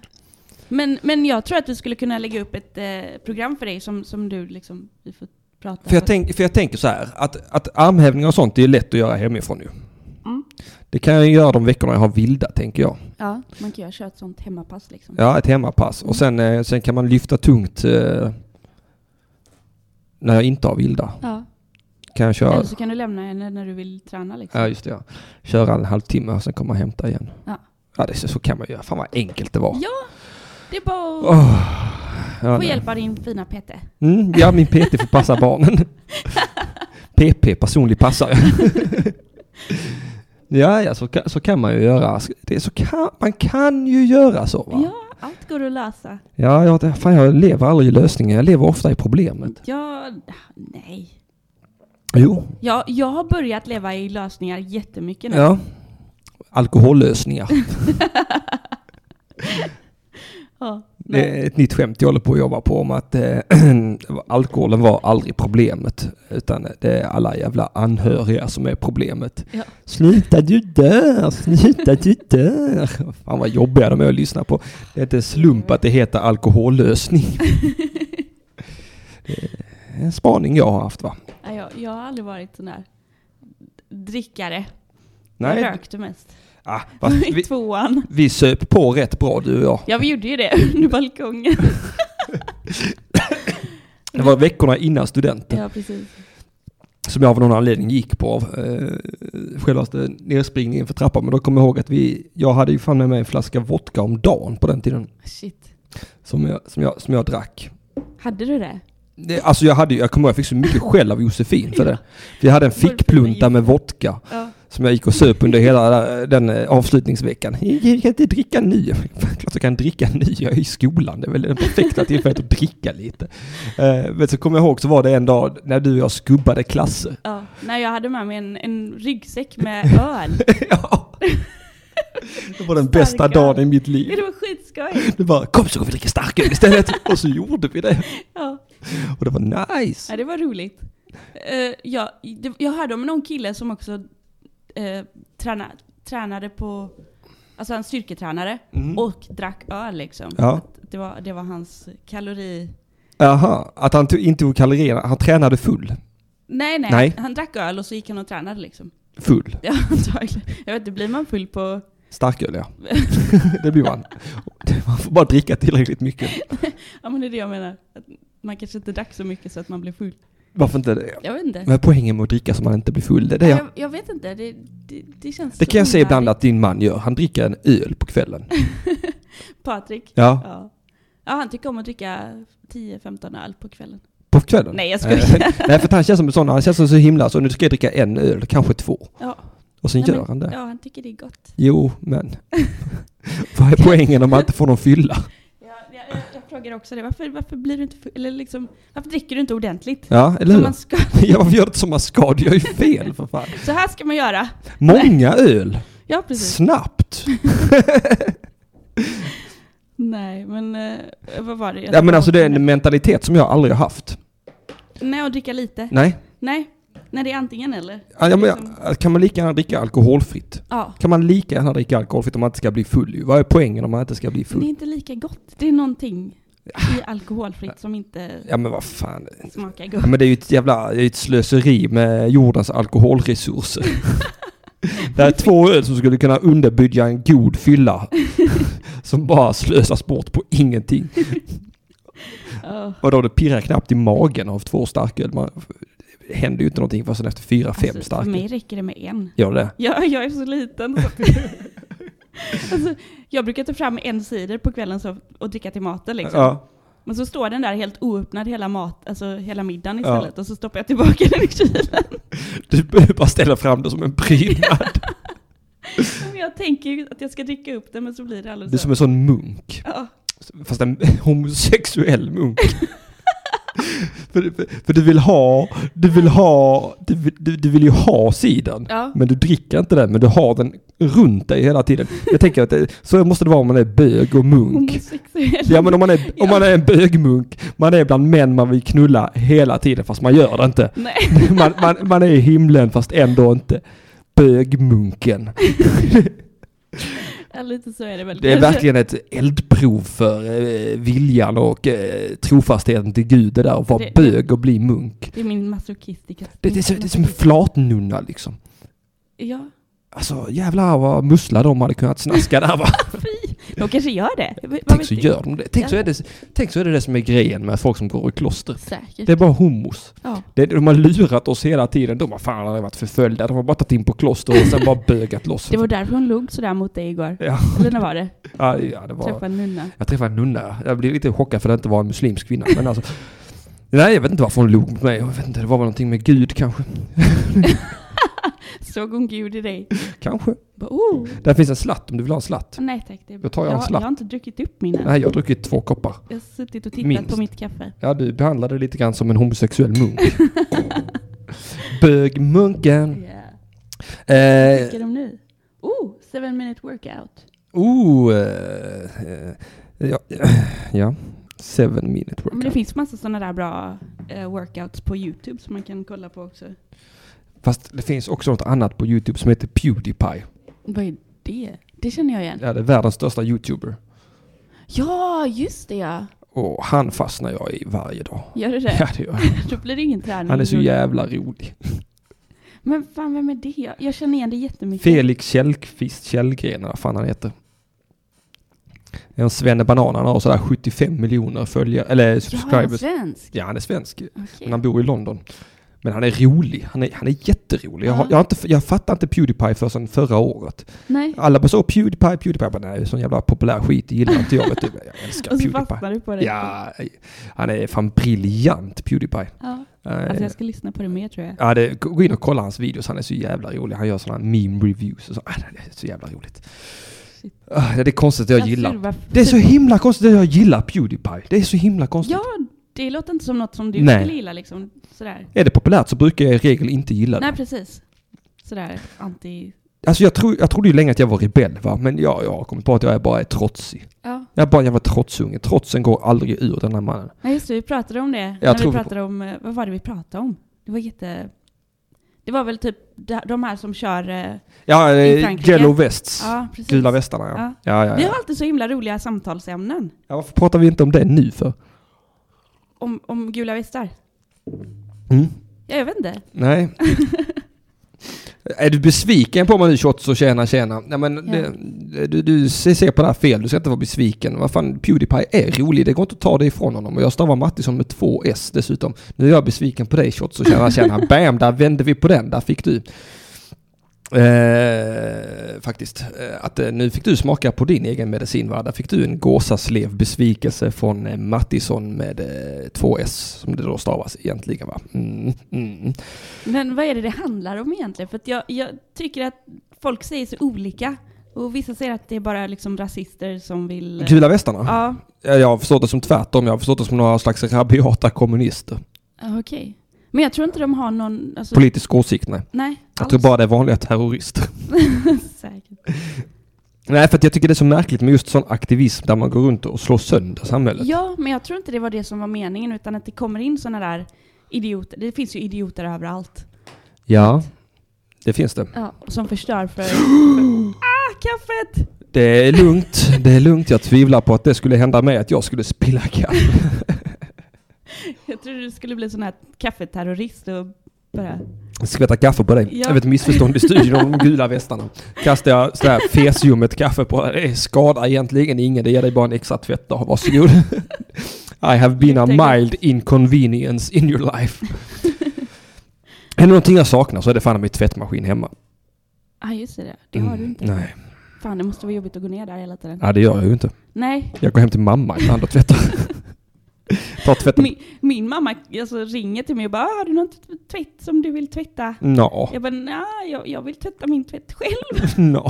[SPEAKER 2] men, men jag tror att du skulle kunna lägga upp ett eh, program för dig som, som du liksom, vi får prata
[SPEAKER 1] För jag,
[SPEAKER 2] om.
[SPEAKER 1] tänk, för jag tänker så här, att, att armhävningar och sånt är ju lätt att göra hemifrån ju.
[SPEAKER 2] Mm.
[SPEAKER 1] Det kan jag ju göra de veckorna jag har vilda, tänker jag.
[SPEAKER 2] Ja, man kan göra köra ett sånt hemmapass liksom.
[SPEAKER 1] Ja, ett hemmapass. Och sen, eh, sen kan man lyfta tungt eh, när jag inte har vilda.
[SPEAKER 2] Ja.
[SPEAKER 1] Kan jag köra,
[SPEAKER 2] Eller så kan du lämna henne när du vill träna liksom.
[SPEAKER 1] ja, just det, ja. köra en halvtimme och sen komma och hämta igen.
[SPEAKER 2] Ja.
[SPEAKER 1] Ja, det, så så kan man göra. Fan vad enkelt det var.
[SPEAKER 2] Ja, det är bara att
[SPEAKER 1] Åh, ja,
[SPEAKER 2] få
[SPEAKER 1] nej.
[SPEAKER 2] hjälp av din fina Petter.
[SPEAKER 1] Mm, ja, min PT får passa barnen. PP, personlig passare. ja, ja så, kan, så kan man ju göra. Det, så kan, man kan ju göra så va?
[SPEAKER 2] Ja, allt går att lösa.
[SPEAKER 1] Ja, jag, fan, jag lever aldrig i lösningen. Jag lever ofta i problemet.
[SPEAKER 2] Ja, nej.
[SPEAKER 1] Jo,
[SPEAKER 2] Ja, jag har börjat leva i lösningar jättemycket nu.
[SPEAKER 1] ja. Alkohollösningar.
[SPEAKER 2] Ja, nej.
[SPEAKER 1] Det är ett nytt skämt jag håller på att jobba på om att eh, alkoholen var aldrig problemet. Utan det är alla jävla anhöriga som är problemet.
[SPEAKER 2] Ja.
[SPEAKER 1] Sluta du dör, sluta du dör. Fan vad jobbiga de är att lyssna på. Det är inte en slump att det heter alkohollösning. Det är en spaning jag har haft va?
[SPEAKER 2] Nej, jag, jag har aldrig varit sån där drickare. Jag
[SPEAKER 1] Nej,
[SPEAKER 2] rökte mest.
[SPEAKER 1] ah, va?
[SPEAKER 2] I
[SPEAKER 1] Vi,
[SPEAKER 2] tvåan.
[SPEAKER 1] vi söp på rätt bra du och jag.
[SPEAKER 2] Ja, vi gjorde ju det under balkongen.
[SPEAKER 1] Det var veckorna innan studenten.
[SPEAKER 2] ja, precis.
[SPEAKER 1] som jag av någon anledning gick på eh, självaste nerspringningen för trappan. Men då kommer jag ihåg att vi, jag hade ju fan med mig en flaska vodka om dagen på den tiden
[SPEAKER 2] Shit.
[SPEAKER 1] som jag, som jag, som jag drack.
[SPEAKER 2] Hade du det?
[SPEAKER 1] Det, alltså jag hade ju- jag kommer ihåg, jag fick så mycket skäll av Josefin för det. Vi hade en fickplunta med vodka
[SPEAKER 2] Ja.
[SPEAKER 1] som jag gick och söp under hela den eh, avslutningsveckan. Jag kan inte dricka nu. Jag fick, Klart jag kan dricka nu, jag är i skolan. Det är väl det perfekta tillfället att dricka lite. Eh, men så kommer jag ihåg så var det en dag när du och jag skubbade klasser.
[SPEAKER 2] ja. Nej, jag hade med mig en, en ryggsäck med öl.
[SPEAKER 1] Ja. Det var den
[SPEAKER 2] Starka.
[SPEAKER 1] bästa dagen i mitt
[SPEAKER 2] Ja,
[SPEAKER 1] liv.
[SPEAKER 2] det var skitskoj.
[SPEAKER 1] Det var kom så går vi dricka starköl istället. Och så gjorde vi det.
[SPEAKER 2] Ja.
[SPEAKER 1] Och det var nice.
[SPEAKER 2] ja, det var roligt. Eh, ja, det, jag hörde om någon kille som också eh, träna, tränade på, alltså en styrketränare,
[SPEAKER 1] Mm.
[SPEAKER 2] och drack öl liksom.
[SPEAKER 1] Ja.
[SPEAKER 2] Det, var, det var hans kalori...
[SPEAKER 1] Aha, att han tog, inte tog kalorierna. Han tränade full.
[SPEAKER 2] Nej, nej,
[SPEAKER 1] Nej.
[SPEAKER 2] Han drack öl och så gick han och tränade liksom.
[SPEAKER 1] Full.
[SPEAKER 2] Ja, antagligen. Jag vet inte, blir man full på...
[SPEAKER 1] Starköl ja. Det blir man. Man får bara dricka tillräckligt mycket.
[SPEAKER 2] Ja men det är det jag menar. Att man kanske inte drack så mycket så att man blir full.
[SPEAKER 1] Varför inte det?
[SPEAKER 2] Jag vet inte.
[SPEAKER 1] Vad är poängen med att dricka så man inte blir full? Det, är det, jag,
[SPEAKER 2] jag, jag vet inte, det, det, det känns
[SPEAKER 1] det
[SPEAKER 2] så
[SPEAKER 1] kan jag säga ibland
[SPEAKER 2] onödigt.
[SPEAKER 1] att din man gör. Han dricker en öl på kvällen.
[SPEAKER 2] Patrik?
[SPEAKER 1] Ja,
[SPEAKER 2] Ja. Ja, han tycker om att dricka 10-15 öl på kvällen.
[SPEAKER 1] på kvällen.
[SPEAKER 2] Nej, jag
[SPEAKER 1] Eh,
[SPEAKER 2] skojar.
[SPEAKER 1] Nej, för att han känns som en sån. Han känns som så himla så. Nu ska jag dricka en öl, kanske två.
[SPEAKER 2] Ja.
[SPEAKER 1] Och sen
[SPEAKER 2] Nej,
[SPEAKER 1] gör han det.
[SPEAKER 2] Ja, han tycker det är gott.
[SPEAKER 1] Jo, men vad är poängen om man inte får någon fylla?
[SPEAKER 2] Ja, jag, jag, jag frågar också det, varför, varför blir du inte full? Eller liksom, varför dricker du inte ordentligt?
[SPEAKER 1] Ja, eller
[SPEAKER 2] Som
[SPEAKER 1] hur?
[SPEAKER 2] man ska,
[SPEAKER 1] Ja, varför gör du inte som man ska? Du gör ju fel för fan.
[SPEAKER 2] så här ska man göra.
[SPEAKER 1] Många öl,
[SPEAKER 2] Ja, precis.
[SPEAKER 1] snabbt.
[SPEAKER 2] Nej, men eh, vad var det? Jag
[SPEAKER 1] Ja, men
[SPEAKER 2] tappade
[SPEAKER 1] alltså
[SPEAKER 2] bort
[SPEAKER 1] det är
[SPEAKER 2] det.
[SPEAKER 1] en mentalitet som jag aldrig har haft.
[SPEAKER 2] Nej, och dricka lite.
[SPEAKER 1] Nej,
[SPEAKER 2] Nej. Nej, det är antingen eller.
[SPEAKER 1] ja, men,
[SPEAKER 2] Liksom,
[SPEAKER 1] jag- kan man lika gärna dricka alkoholfritt?
[SPEAKER 2] ja.
[SPEAKER 1] Kan man lika gärna dricka alkoholfritt om man inte ska bli full? ju? Vad är poängen om man inte ska bli
[SPEAKER 2] Men det är
[SPEAKER 1] full?
[SPEAKER 2] inte lika gott. Det är någonting i alkoholfritt som inte
[SPEAKER 1] Ja men vad fan.
[SPEAKER 2] smakar
[SPEAKER 1] Ja,
[SPEAKER 2] gott.
[SPEAKER 1] men det är ju ett jävla det är ju ett slöseri med jordens alkoholresurser. Det är två öl som skulle kunna underbygga en god fylla som bara slösas bort på ingenting.
[SPEAKER 2] Ja.
[SPEAKER 1] Och då det pirrar knappt i magen av två starköl. Man, det händer ju inte någonting förrän efter fyra, fem
[SPEAKER 2] Alltså, för
[SPEAKER 1] starköl.
[SPEAKER 2] mig räcker det med en.
[SPEAKER 1] Gör det?
[SPEAKER 2] Ja, jag är så liten. Så. alltså, jag brukar ta fram en cider på kvällen så, och dricka till maten liksom.
[SPEAKER 1] Ja.
[SPEAKER 2] Men så står den där helt oöppnad hela, mat, alltså, hela middagen
[SPEAKER 1] Ja.
[SPEAKER 2] istället och så stoppar jag tillbaka den i kylen.
[SPEAKER 1] Du behöver bara ställa fram det som en prydnad.
[SPEAKER 2] Alltså. Men jag tänker ju att jag ska dricka upp den men så blir det
[SPEAKER 1] Det är
[SPEAKER 2] alldeles
[SPEAKER 1] som en sån munk.
[SPEAKER 2] Ja,
[SPEAKER 1] Fast en homosexuell munk. för, för, för du vill ha, du vill ha, du, vill- du, du vill ju ha sidan.
[SPEAKER 2] ja.
[SPEAKER 1] Men du dricker inte den, men du har den runt dig hela tiden. Jag tänker att det, så måste det vara om man är bög och munk.
[SPEAKER 2] homosexuell.
[SPEAKER 1] Ja men om man är, om man är en bögmunk, man är bland män man vill knulla hela tiden fast man gör det inte.
[SPEAKER 2] Nej,
[SPEAKER 1] Man, man, man är i himlen fast ändå inte. Bögmunken.
[SPEAKER 2] Ja, lite så är det väl.
[SPEAKER 1] Det är
[SPEAKER 2] Kanske-
[SPEAKER 1] verkligen ett eldprov för eh, viljan och eh, trofastheten till Gud det där att vara
[SPEAKER 2] Det-
[SPEAKER 1] bög och bli munk.
[SPEAKER 2] Det är min masochistiska...
[SPEAKER 1] Det, det, är, så, det är som en flatnunna liksom.
[SPEAKER 2] Ja,
[SPEAKER 1] Alltså jävlar vad mussla de hade kunnat snaska där va.
[SPEAKER 2] fy! De kanske gör det. Vad
[SPEAKER 1] Tänk
[SPEAKER 2] vet
[SPEAKER 1] så
[SPEAKER 2] jag?
[SPEAKER 1] gör de det. Tänk så,
[SPEAKER 2] Ja. Mm.
[SPEAKER 1] är det. tänk så är det det som är grejen med folk som går i kloster.
[SPEAKER 2] Säkert.
[SPEAKER 1] Det är bara homos.
[SPEAKER 2] Ja.
[SPEAKER 1] Det, de har lurat oss hela tiden. De har fan aldrig varit förföljda. De har bara tagit in på kloster och sen bara bögat loss.
[SPEAKER 2] Det var därför hon log sådär mot dig igår.
[SPEAKER 1] Ja.
[SPEAKER 2] Eller när var det?
[SPEAKER 1] Ja, ja, det var...
[SPEAKER 2] Träffade en nunna.
[SPEAKER 1] Jag träffade en nunna. Jag blev lite chockad för att det inte var en muslimsk kvinna. Men alltså, nej, jag vet inte varför hon log mot mig. Jag vet inte, det var väl någonting med Gud kanske.
[SPEAKER 2] Såg hon Gud i dig?
[SPEAKER 1] Kanske.
[SPEAKER 2] Bara, oh.
[SPEAKER 1] Där finns en slatt om du vill ha en slatt.
[SPEAKER 2] Nej tack, det är
[SPEAKER 1] Jag tar jag en
[SPEAKER 2] jag, har-
[SPEAKER 1] slapp.
[SPEAKER 2] jag har inte druckit upp min än.
[SPEAKER 1] Nej, jag har druckit två koppar.
[SPEAKER 2] Jag har suttit och tittat
[SPEAKER 1] Minst.
[SPEAKER 2] på mitt kaffe.
[SPEAKER 1] Ja, du behandlade det lite grann som en homosexuell munk. Bögmunken.
[SPEAKER 2] Yeah. Vad
[SPEAKER 1] Eh,
[SPEAKER 2] tycker de nu? Oh, seven minute workout.
[SPEAKER 1] oh, eh, eh, ja, ja, seven minute
[SPEAKER 2] Men det
[SPEAKER 1] workout.
[SPEAKER 2] finns massa sådana där bra eh, workouts på Youtube som man kan kolla på också.
[SPEAKER 1] Fast det finns också något annat på YouTube som heter Pewdiepie.
[SPEAKER 2] Vad är det? Det känner jag igen.
[SPEAKER 1] Ja, det är världens största YouTuber.
[SPEAKER 2] Ja, just det ja.
[SPEAKER 1] Och han fastnar jag i varje dag.
[SPEAKER 2] Gör du det?
[SPEAKER 1] Ja, det gör jag.
[SPEAKER 2] Då blir det ingen träning.
[SPEAKER 1] Han är så jävla rolig.
[SPEAKER 2] Men fan, vem är det? Jag, jag känner igen det jättemycket.
[SPEAKER 1] Felix Källqvist Källgren, eller vad fan han heter. Det är en svenne banan, han har sådär 75 miljoner följare, eller
[SPEAKER 2] Ja, han är
[SPEAKER 1] subscribers.
[SPEAKER 2] svensk.
[SPEAKER 1] Ja, han är svensk,
[SPEAKER 2] Okej.
[SPEAKER 1] men han bor i London. Men han är rolig, han är, han är jätterolig. Jag, har,
[SPEAKER 2] Ja.
[SPEAKER 1] jag, har inte, jag fattar inte Pewdiepie förrän förra året.
[SPEAKER 2] Nej.
[SPEAKER 1] Alla bara så Pewdiepie, Pewdiepie. Jag bara, nej, sån jävla populär skit det gillar inte jag. Vet du. Jag älskar
[SPEAKER 2] Och så
[SPEAKER 1] Pewdiepie.
[SPEAKER 2] fastnar du på det.
[SPEAKER 1] Ja, han är fan briljant Pewdiepie.
[SPEAKER 2] ja.
[SPEAKER 1] Eh,
[SPEAKER 2] Alltså jag ska lyssna på det mer tror jag.
[SPEAKER 1] Ja, det, gå in och kolla hans videos. Han är så jävla rolig. Han gör sådana meme reviews och så. Ah, det är så jävla roligt.
[SPEAKER 2] Shit.
[SPEAKER 1] Ah, det är konstigt
[SPEAKER 2] Alltså,
[SPEAKER 1] jag gillar.
[SPEAKER 2] Surva,
[SPEAKER 1] Det är så himla konstigt att jag gillar Pewdiepie. Det är så himla konstigt.
[SPEAKER 2] Ja, det låter inte som något som du
[SPEAKER 1] Nej.
[SPEAKER 2] skulle gilla liksom. Sådär.
[SPEAKER 1] Är det populärt så brukar jag i regel inte gilla det.
[SPEAKER 2] Nej, precis. Sådär anti...
[SPEAKER 1] Alltså jag, tro, jag trodde ju länge att jag var rebell va, men jag, jag har kommit på att jag är bara är trotsig.
[SPEAKER 2] Ja.
[SPEAKER 1] Jag är bara en jävla trotsunge. Trotsen går aldrig ur den här mannen.
[SPEAKER 2] Nej, just det. Vi pratade om det.
[SPEAKER 1] Jag
[SPEAKER 2] när
[SPEAKER 1] tror vi-
[SPEAKER 2] vi pratade om... eh, Vad var det vi pratade om? Det var jätte... Det var väl typ de de här som kör... eh,
[SPEAKER 1] Ja,
[SPEAKER 2] I
[SPEAKER 1] eh,
[SPEAKER 2] Frankrike.
[SPEAKER 1] yellow vests.
[SPEAKER 2] Ja, precis.
[SPEAKER 1] Gula västarna ja.
[SPEAKER 2] Ja.
[SPEAKER 1] Ja, ja,
[SPEAKER 2] Vi
[SPEAKER 1] ja.
[SPEAKER 2] har alltid så himla roliga samtalsämnen.
[SPEAKER 1] ja. Varför pratar vi inte om det nu för?
[SPEAKER 2] Om, om gula västar.
[SPEAKER 1] Mm.
[SPEAKER 2] Ja, jag vet inte.
[SPEAKER 1] Nej. är du besviken på mig nu 28 så tjäna tjäna? Nej men
[SPEAKER 2] Ja.
[SPEAKER 1] det, du, du ser ser på det här fel, du ska inte vara besviken. Vad fan, Pewdiepie är rolig, det går inte att ta det ifrån honom. Och jag stavar Mattisson med två S dessutom. Nu är jag besviken på dig 28 så tjäna tjäna. Bam, där vände vi på den, där fick du. Eh, faktiskt. Eh, Att eh, nu fick du smaka på din egen medicin va? Där fick du en gåsaslev besvikelse från eh, Mattisson med eh, två S som det då stavas egentligen va? Mm, mm.
[SPEAKER 2] Men vad är det det handlar om egentligen? För att jag, jag tycker att folk säger så olika. Och vissa säger att det är bara liksom rasister som vill... eh,
[SPEAKER 1] Gula västarna?
[SPEAKER 2] Ja,
[SPEAKER 1] Ja, Jag har förstått det som tvärtom. Jag har förstått det som några slags rabiata kommunister.
[SPEAKER 2] okej. Men jag tror inte de har någon... Alltså,
[SPEAKER 1] Politisk åsikt, nej.
[SPEAKER 2] nej,
[SPEAKER 1] Jag tror bara det är vanliga terrorister.
[SPEAKER 2] Säkert.
[SPEAKER 1] Nej, för att jag tycker det är så märkligt med just sån aktivism där man går runt och slår sönder samhället.
[SPEAKER 2] Ja, men jag tror inte det var det som var meningen utan att det kommer in sådana där idioter. Det finns ju idioter överallt.
[SPEAKER 1] Ja, det finns det.
[SPEAKER 2] Ja. Som förstör för... för ah, kaffet!
[SPEAKER 1] Det är lugnt, det är lugnt. Jag tvivlar på att det skulle hända mig att jag skulle spilla kaffe.
[SPEAKER 2] Jag trodde du skulle bli sån här kaffeterrorist och bara...
[SPEAKER 1] Skvätta kaffe på dig.
[SPEAKER 2] Ja.
[SPEAKER 1] Jag vet missförstånd i studion om de gula västarna. Kastar jag sådär fesljummet kaffe på dig. Det skadar egentligen ingen. Det ger dig bara en extra tvättdag. Varsågod. I have been a mild inconvenience in your life. Är det någonting jag saknar så är det fan min tvättmaskin hemma.
[SPEAKER 2] Ja, ah, just det. Det har du inte.
[SPEAKER 1] Nej,
[SPEAKER 2] Fan, det måste vara jobbigt att gå ner där hela tiden.
[SPEAKER 1] Nej det gör jag ju inte.
[SPEAKER 2] Nej,
[SPEAKER 1] Jag går hem till mamma ibland och tvättar. Tar tvätten.
[SPEAKER 2] min, min mamma alltså, ringer till mig och bara ah, ”Har du någon t- tvätt som du vill tvätta?”
[SPEAKER 1] Nå,
[SPEAKER 2] Jag bara nej, jag, jag vill tvätta min tvätt själv”.
[SPEAKER 1] nå.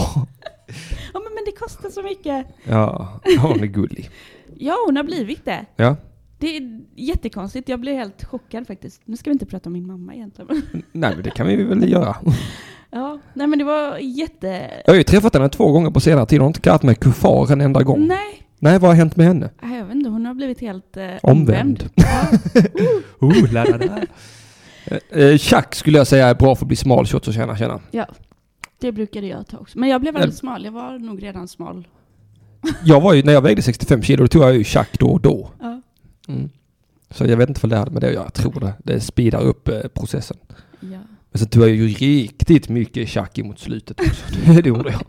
[SPEAKER 2] ja, men, men det kostar så mycket.
[SPEAKER 1] Ja, hon är gullig.
[SPEAKER 2] Ja, hon har blivit det.
[SPEAKER 1] Ja.
[SPEAKER 2] Det är jättekonstigt. Jag blev helt chockad faktiskt. Nu ska vi inte prata om min mamma egentligen.
[SPEAKER 1] Nej men det kan vi väl göra.
[SPEAKER 2] ja, nej men det var jätte...
[SPEAKER 1] Jag har ju träffat henne två gånger på senare tid och har inte kallat mig kuffar en enda gång. Nej.
[SPEAKER 2] Nej,
[SPEAKER 1] vad har hänt med henne?
[SPEAKER 2] nej, jag vet inte. Hon har blivit helt eh,
[SPEAKER 1] Omvänd. Oh, la, la, la. Eh, eh, Tjack skulle jag säga är bra för att bli smal, tjott och tjäna, tjäna.
[SPEAKER 2] Ja. Det brukade jag ta också. Men jag blev väldigt smal. Jag var nog redan smal.
[SPEAKER 1] Jag var ju, när jag vägde 65 kilo, då tog jag ju tjack då och då.
[SPEAKER 2] Ja.
[SPEAKER 1] Mm. Så jag vet inte vad det hade med det att göra. Jag tror det. Det speedar upp eh, processen.
[SPEAKER 2] Ja.
[SPEAKER 1] Men så tog jag Alltså, ju riktigt mycket tjack mot slutet också. Det gjorde jag.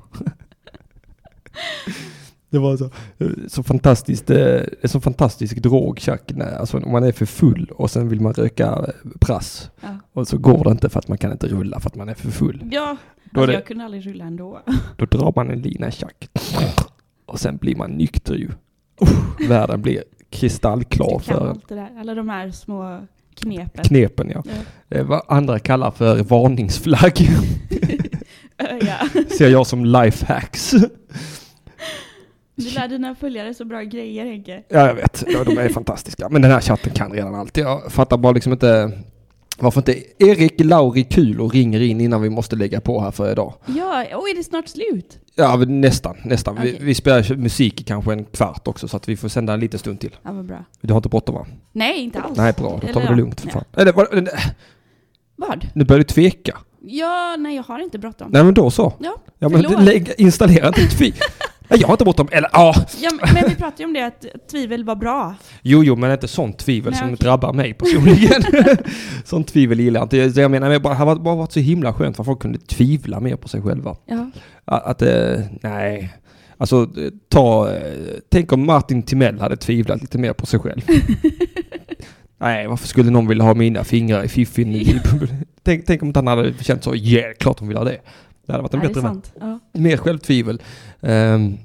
[SPEAKER 1] Det var så, så fantastiskt, eh, det är så fantastisk drog tjack. när- Alltså om man är för full och sen vill man röka eh, prass.
[SPEAKER 2] Ja.
[SPEAKER 1] Och så går det inte för att man kan inte rulla för att man är för full.
[SPEAKER 2] ja.
[SPEAKER 1] Då, är
[SPEAKER 2] Alltså,
[SPEAKER 1] det,
[SPEAKER 2] jag kunde aldrig rulla ändå.
[SPEAKER 1] då drar man en lina tjack. Och sen blir man nykter ju. Uff, världen blir kristallklar
[SPEAKER 2] Du kan
[SPEAKER 1] för en.
[SPEAKER 2] Typ allt det där. Alla de här små knepen.
[SPEAKER 1] Knepen ja.
[SPEAKER 2] Ja.
[SPEAKER 1] Det är vad andra kallar för varningsflagg.
[SPEAKER 2] Ö, ja.
[SPEAKER 1] Ser jag som lifehacks.
[SPEAKER 2] Du lär dina följare så bra grejer Henke.
[SPEAKER 1] Ja, jag vet. Ja, de är fantastiska. Men den här chatten kan redan allt. Jag fattar bara liksom inte varför inte Erik Lauri Kulo ringer in innan vi måste lägga på här för idag.
[SPEAKER 2] Ja, oj är det snart slut?
[SPEAKER 1] Ja, men nästan. nästan.
[SPEAKER 2] Okej.
[SPEAKER 1] Vi, vi spelar musik i kanske en kvart också så att vi får sända en liten stund till.
[SPEAKER 2] Ja vad bra.
[SPEAKER 1] Du har inte bråttom va?
[SPEAKER 2] Nej inte alls.
[SPEAKER 1] Nej, bra. Då tar vi
[SPEAKER 2] Eller,
[SPEAKER 1] det lugnt för
[SPEAKER 2] ja.
[SPEAKER 1] fan. Eller, vad- nej,
[SPEAKER 2] Vad?
[SPEAKER 1] nu börjar du tveka.
[SPEAKER 2] Ja, nej jag har inte bråttom.
[SPEAKER 1] Nej, men då så.
[SPEAKER 2] Ja,
[SPEAKER 1] Ja, men
[SPEAKER 2] förlåt.
[SPEAKER 1] lägg, installera inte ett fi- Nej, jag har inte bråttom. Eller ja,
[SPEAKER 2] ja, men vi pratade ju om det att tvivel var bra.
[SPEAKER 1] Jo, jo, men inte sånt tvivel
[SPEAKER 2] Nej,
[SPEAKER 1] som
[SPEAKER 2] okej.
[SPEAKER 1] drabbar mig personligen. sånt tvivel gillar jag inte. Jag- Jag menar, men det bara- det har bara varit så himla skönt för folk kunde tvivla mer på sig själva.
[SPEAKER 2] Ja.
[SPEAKER 1] Att, att eh, nej. Alltså, eh, ta, eh, tänk om Martin Timell hade tvivlat lite mer på sig själv. nej, varför skulle någon vilja ha mina fingrar i fiffin? i- tänk, tänk om inte han hade känt så, ja, yeah, klart hon vill ha det. Det hade varit en
[SPEAKER 2] ja, det är
[SPEAKER 1] bättre vän.
[SPEAKER 2] sant. Ja.
[SPEAKER 1] Mer självtvivel. Um,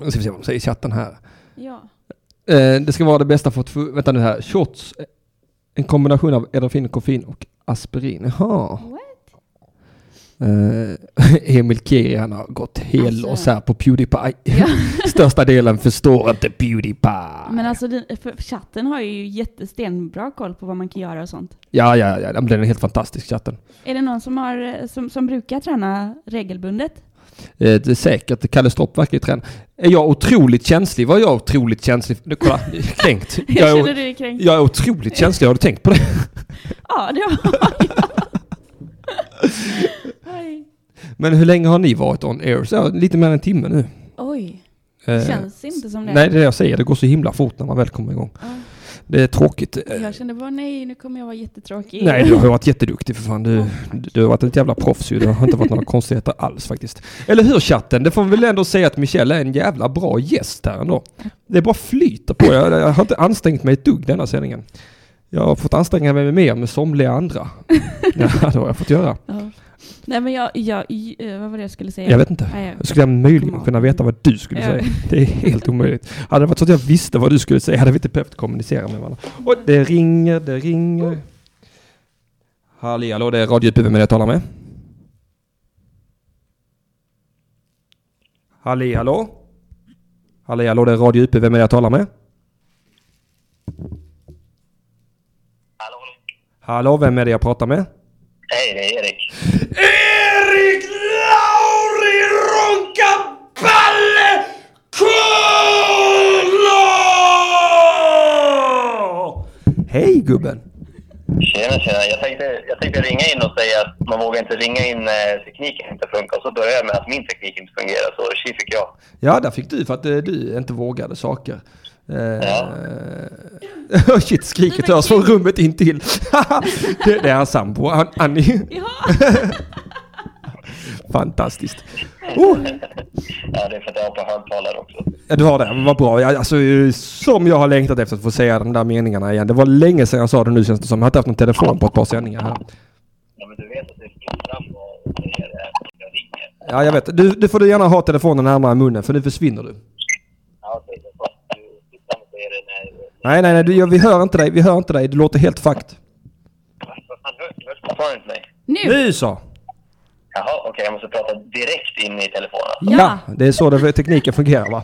[SPEAKER 1] nu ska vi se vad de säger i chatten här.
[SPEAKER 2] ja.
[SPEAKER 1] Eh, det ska vara det bästa för att få, vänta nu här, shots. eh, En kombination av Edafin, koffein och aspirin. Jaha.
[SPEAKER 2] What?
[SPEAKER 1] Eh, Emil Kiri han har gått hel
[SPEAKER 2] Alltså.
[SPEAKER 1] och sär på Pewdiepie.
[SPEAKER 2] Ja.
[SPEAKER 1] Största delen förstår inte Pewdiepie.
[SPEAKER 2] Men alltså den- för- för chatten har ju jättestenbra koll på vad man kan göra och sånt.
[SPEAKER 1] Ja, ja, ja, men den är helt fantastisk chatten.
[SPEAKER 2] Är det någon som, har, eh, som, som brukar träna regelbundet?
[SPEAKER 1] Eh, det är säkert, Kalle Stropp verkar ju träna. Är jag otroligt känslig? Var jag otroligt känslig? Nu, kolla, kränkt.
[SPEAKER 2] Jag
[SPEAKER 1] Jag
[SPEAKER 2] känner
[SPEAKER 1] är,
[SPEAKER 2] dig kränkt.
[SPEAKER 1] jag är otroligt känslig, har du tänkt på det?
[SPEAKER 2] Ja, det har jag. Oj.
[SPEAKER 1] Men hur länge har ni varit on air? Så, ja, lite mer än en timme nu.
[SPEAKER 2] Oj,
[SPEAKER 1] Eh,
[SPEAKER 2] känns inte som det.
[SPEAKER 1] Nej, det är det jag säger. Det går så himla fort när man väl kommer igång.
[SPEAKER 2] Ja.
[SPEAKER 1] Det är tråkigt. Eh,
[SPEAKER 2] Jag kände bara nej, nu kommer jag vara jättetråkig.
[SPEAKER 1] Nej, du har ju varit jätteduktig för fan. Du, du har varit ett jävla proffs ju. Det har inte varit några konstigheter alls faktiskt. Eller hur chatten? Det får vi väl ändå säga att Michelle är en jävla bra gäst här ändå. Det bara flyter på. Jag, jag har inte ansträngt mig ett dugg denna sändningen. Jag har fått anstränga mig mer med somliga andra. Ja, det har jag fått göra.
[SPEAKER 2] Ja. Nej, men jag, jag, eh, vad var det jag skulle säga?
[SPEAKER 1] Jag vet inte.
[SPEAKER 2] Nej, jag-
[SPEAKER 1] Jag skulle möjligen kunna veta vad du skulle
[SPEAKER 2] Ja.
[SPEAKER 1] säga. Det är helt omöjligt. Hade det varit så att jag visste vad du skulle säga hade vi inte behövt kommunicera med varandra. Och det ringer, det ringer. Halli hallå, det är Radio Utbudet med det jag talar med. Halli hallå? Halli hallå, det är Radio Utbudet med det jag talar med.
[SPEAKER 6] Hallå, hallå.
[SPEAKER 1] Hallå, vem är det jag pratar med?
[SPEAKER 6] Hej, det är Erik.
[SPEAKER 1] Erik Lauri Ronkaballe Kolo! Hej gubben!
[SPEAKER 6] Tjena, tjena. Jag tänkte, jag tänkte ringa in och säga att man vågar inte ringa in när tekniken inte funkar. Så började jag med att min teknik inte fungerar, så tji fick jag.
[SPEAKER 1] Ja, där fick du för att eh, du inte vågade saker. Eh,
[SPEAKER 6] Ja.
[SPEAKER 1] oh shit, skriket hörs från rummet intill. det, det är hans sambo, An- Annie.
[SPEAKER 2] Ja,
[SPEAKER 1] Fantastiskt. Oh,
[SPEAKER 6] Ja, det är för att jag har på högtalare också.
[SPEAKER 1] Ja, du har det. Vad bra. Jag, alltså, eh, som jag har längtat efter att få säga de där meningarna igen. Det var länge sedan jag sa det nu känns det som. Jag har inte haft någon telefon på ett par sändningar här.
[SPEAKER 6] Ja, men du vet att det är fram och säger det här när jag
[SPEAKER 1] Ja,
[SPEAKER 6] ringer.
[SPEAKER 1] jag vet. Du, du får du gärna ha telefonen närmare munnen för nu försvinner du.
[SPEAKER 6] Ja, okej. Det är så att du sitter fram och säger det när...
[SPEAKER 1] Nej, nej, nej. Du, jag- vi hör inte dig. Vi hör inte dig. Du låter helt fakt.
[SPEAKER 6] Vad fan, hörs hörs fortfarande inte mig?
[SPEAKER 2] nu!
[SPEAKER 1] Nu så!
[SPEAKER 6] Jaha, okej. jag måste prata direkt in i telefonen.
[SPEAKER 2] Ja.
[SPEAKER 1] det är så det, tekniken fungerar va?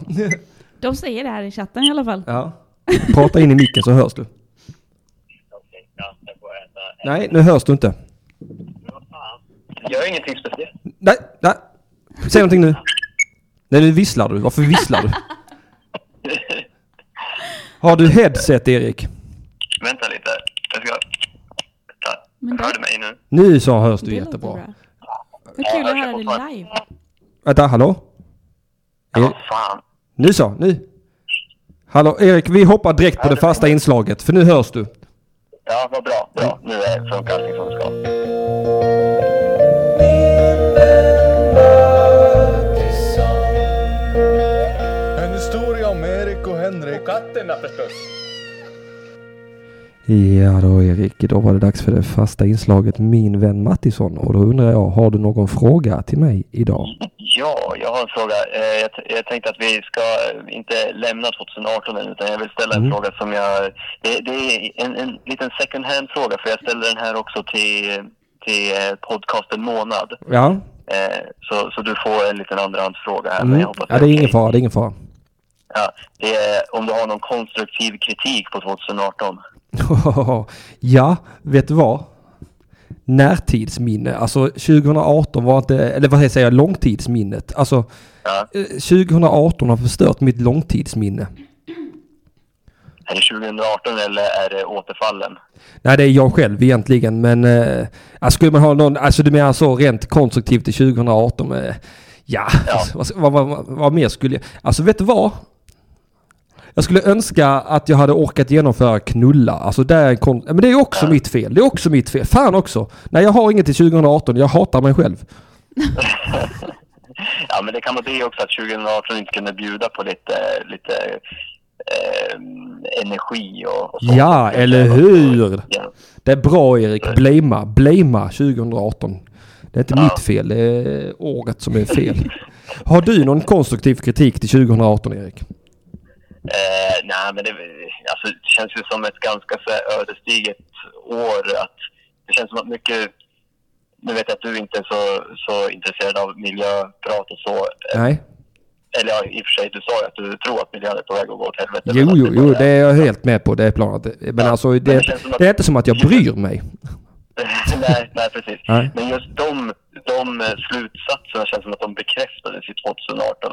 [SPEAKER 2] De säger det här i chatten i alla fall.
[SPEAKER 1] Ja. Prata in i micken så hörs du.
[SPEAKER 6] Okej, ja. Jag får äta.
[SPEAKER 1] Nej, nu hörs du inte.
[SPEAKER 6] Men vad fan? Jag gör ingenting speciellt.
[SPEAKER 1] Nej, nej. Säg någonting nu. Nej, nu visslar du. Varför visslar du? Har du headset, Erik?
[SPEAKER 6] Vänta lite. Jag ska... Vänta.
[SPEAKER 2] Men det-
[SPEAKER 6] Hör du mig nu?
[SPEAKER 1] Nu så hörs du
[SPEAKER 2] Det låter
[SPEAKER 1] jättebra.
[SPEAKER 2] bra. Vad kul
[SPEAKER 6] jag
[SPEAKER 2] att höra
[SPEAKER 6] kör
[SPEAKER 2] det
[SPEAKER 6] fortfarande.
[SPEAKER 2] live.
[SPEAKER 1] Vänta, hallå?
[SPEAKER 6] Ja, fan.
[SPEAKER 1] Nu så, nu. Hallå Erik, vi hoppar direkt på det fasta inslaget för nu hörs du.
[SPEAKER 6] Ja, vad bra. Bra. Nu är- funkar allting som det ska.
[SPEAKER 7] En historia om Erik och Henrik.
[SPEAKER 8] Katterna förstås.
[SPEAKER 1] Ja då Erik, idag var det dags för det fasta inslaget Min vän Mattisson och då undrar jag, har du någon fråga till mig idag?
[SPEAKER 6] Ja, jag har en fråga. Eh, Jag, t- jag tänkte att vi ska eh, inte lämna 2018 än, utan jag vill ställa
[SPEAKER 1] Mm.
[SPEAKER 6] en fråga som jag... Det, det är en, en liten second hand-fråga, för jag ställde den här också till, till eh, podcasten Månad.
[SPEAKER 1] Ja,
[SPEAKER 6] Eh, Så, så du får en liten andrahandsfråga här. Men
[SPEAKER 1] mm.
[SPEAKER 6] jag hoppas
[SPEAKER 1] ja det är
[SPEAKER 6] okej.
[SPEAKER 1] ingen fara, det är ingen fara.
[SPEAKER 6] Ja, det är om du har någon konstruktiv kritik på 2018.
[SPEAKER 1] ja, vet du vad? Närtidsminne, alltså 2018 var inte, eller vad säger jag, långtidsminnet. Alltså
[SPEAKER 6] Ja.
[SPEAKER 1] eh, 2018 har förstört mitt långtidsminne.
[SPEAKER 6] Är det 2018 eller är det återfallen?
[SPEAKER 1] Nej, det är jag själv egentligen, men eh, alltså, skulle man ha någon, alltså du menar så rent konstruktivt till 2018? Eh, ja, alltså, vad, vad, vad, vad mer skulle jag, alltså vet du vad? Jag skulle önska att jag hade orkat genomföra knulla. Alltså det är en kon- men det är också mitt fel. Det är också mitt fel. Fan också! Nej, jag har inget till 2018. Jag hatar mig själv.
[SPEAKER 6] Ja, men det kan vara det också att 2018 inte kunde bjuda på lite, lite eh, energi och, och sånt.
[SPEAKER 1] Ja, eller hur?
[SPEAKER 6] Ja.
[SPEAKER 1] Det är bra Erik. Blamea. Blamea 2018. Det är inte mitt fel. Det är året som är fel. Har du någon konstruktiv kritik till 2018 Erik?
[SPEAKER 6] Eh, nej, men det, alltså, det känns ju som ett ganska så här, ödesdigert år. Att, det känns som att mycket... Nu vet jag att du inte är så, så intresserad av miljöprat och så.
[SPEAKER 1] Nej.
[SPEAKER 6] Eller ja, i och för sig, du sa ju att du tror att miljön är på väg att gå åt helvete.
[SPEAKER 1] Jo,
[SPEAKER 6] men att
[SPEAKER 1] jo, jo,
[SPEAKER 6] bara-
[SPEAKER 1] det är jag helt med på. Det är planet. Men alltså, det, det är inte som att jag bryr mig.
[SPEAKER 6] Eh, nej, nej, precis.
[SPEAKER 1] Nej.
[SPEAKER 6] Men just de, de eh, slutsatserna känns som att de bekräftades i 2018. Att,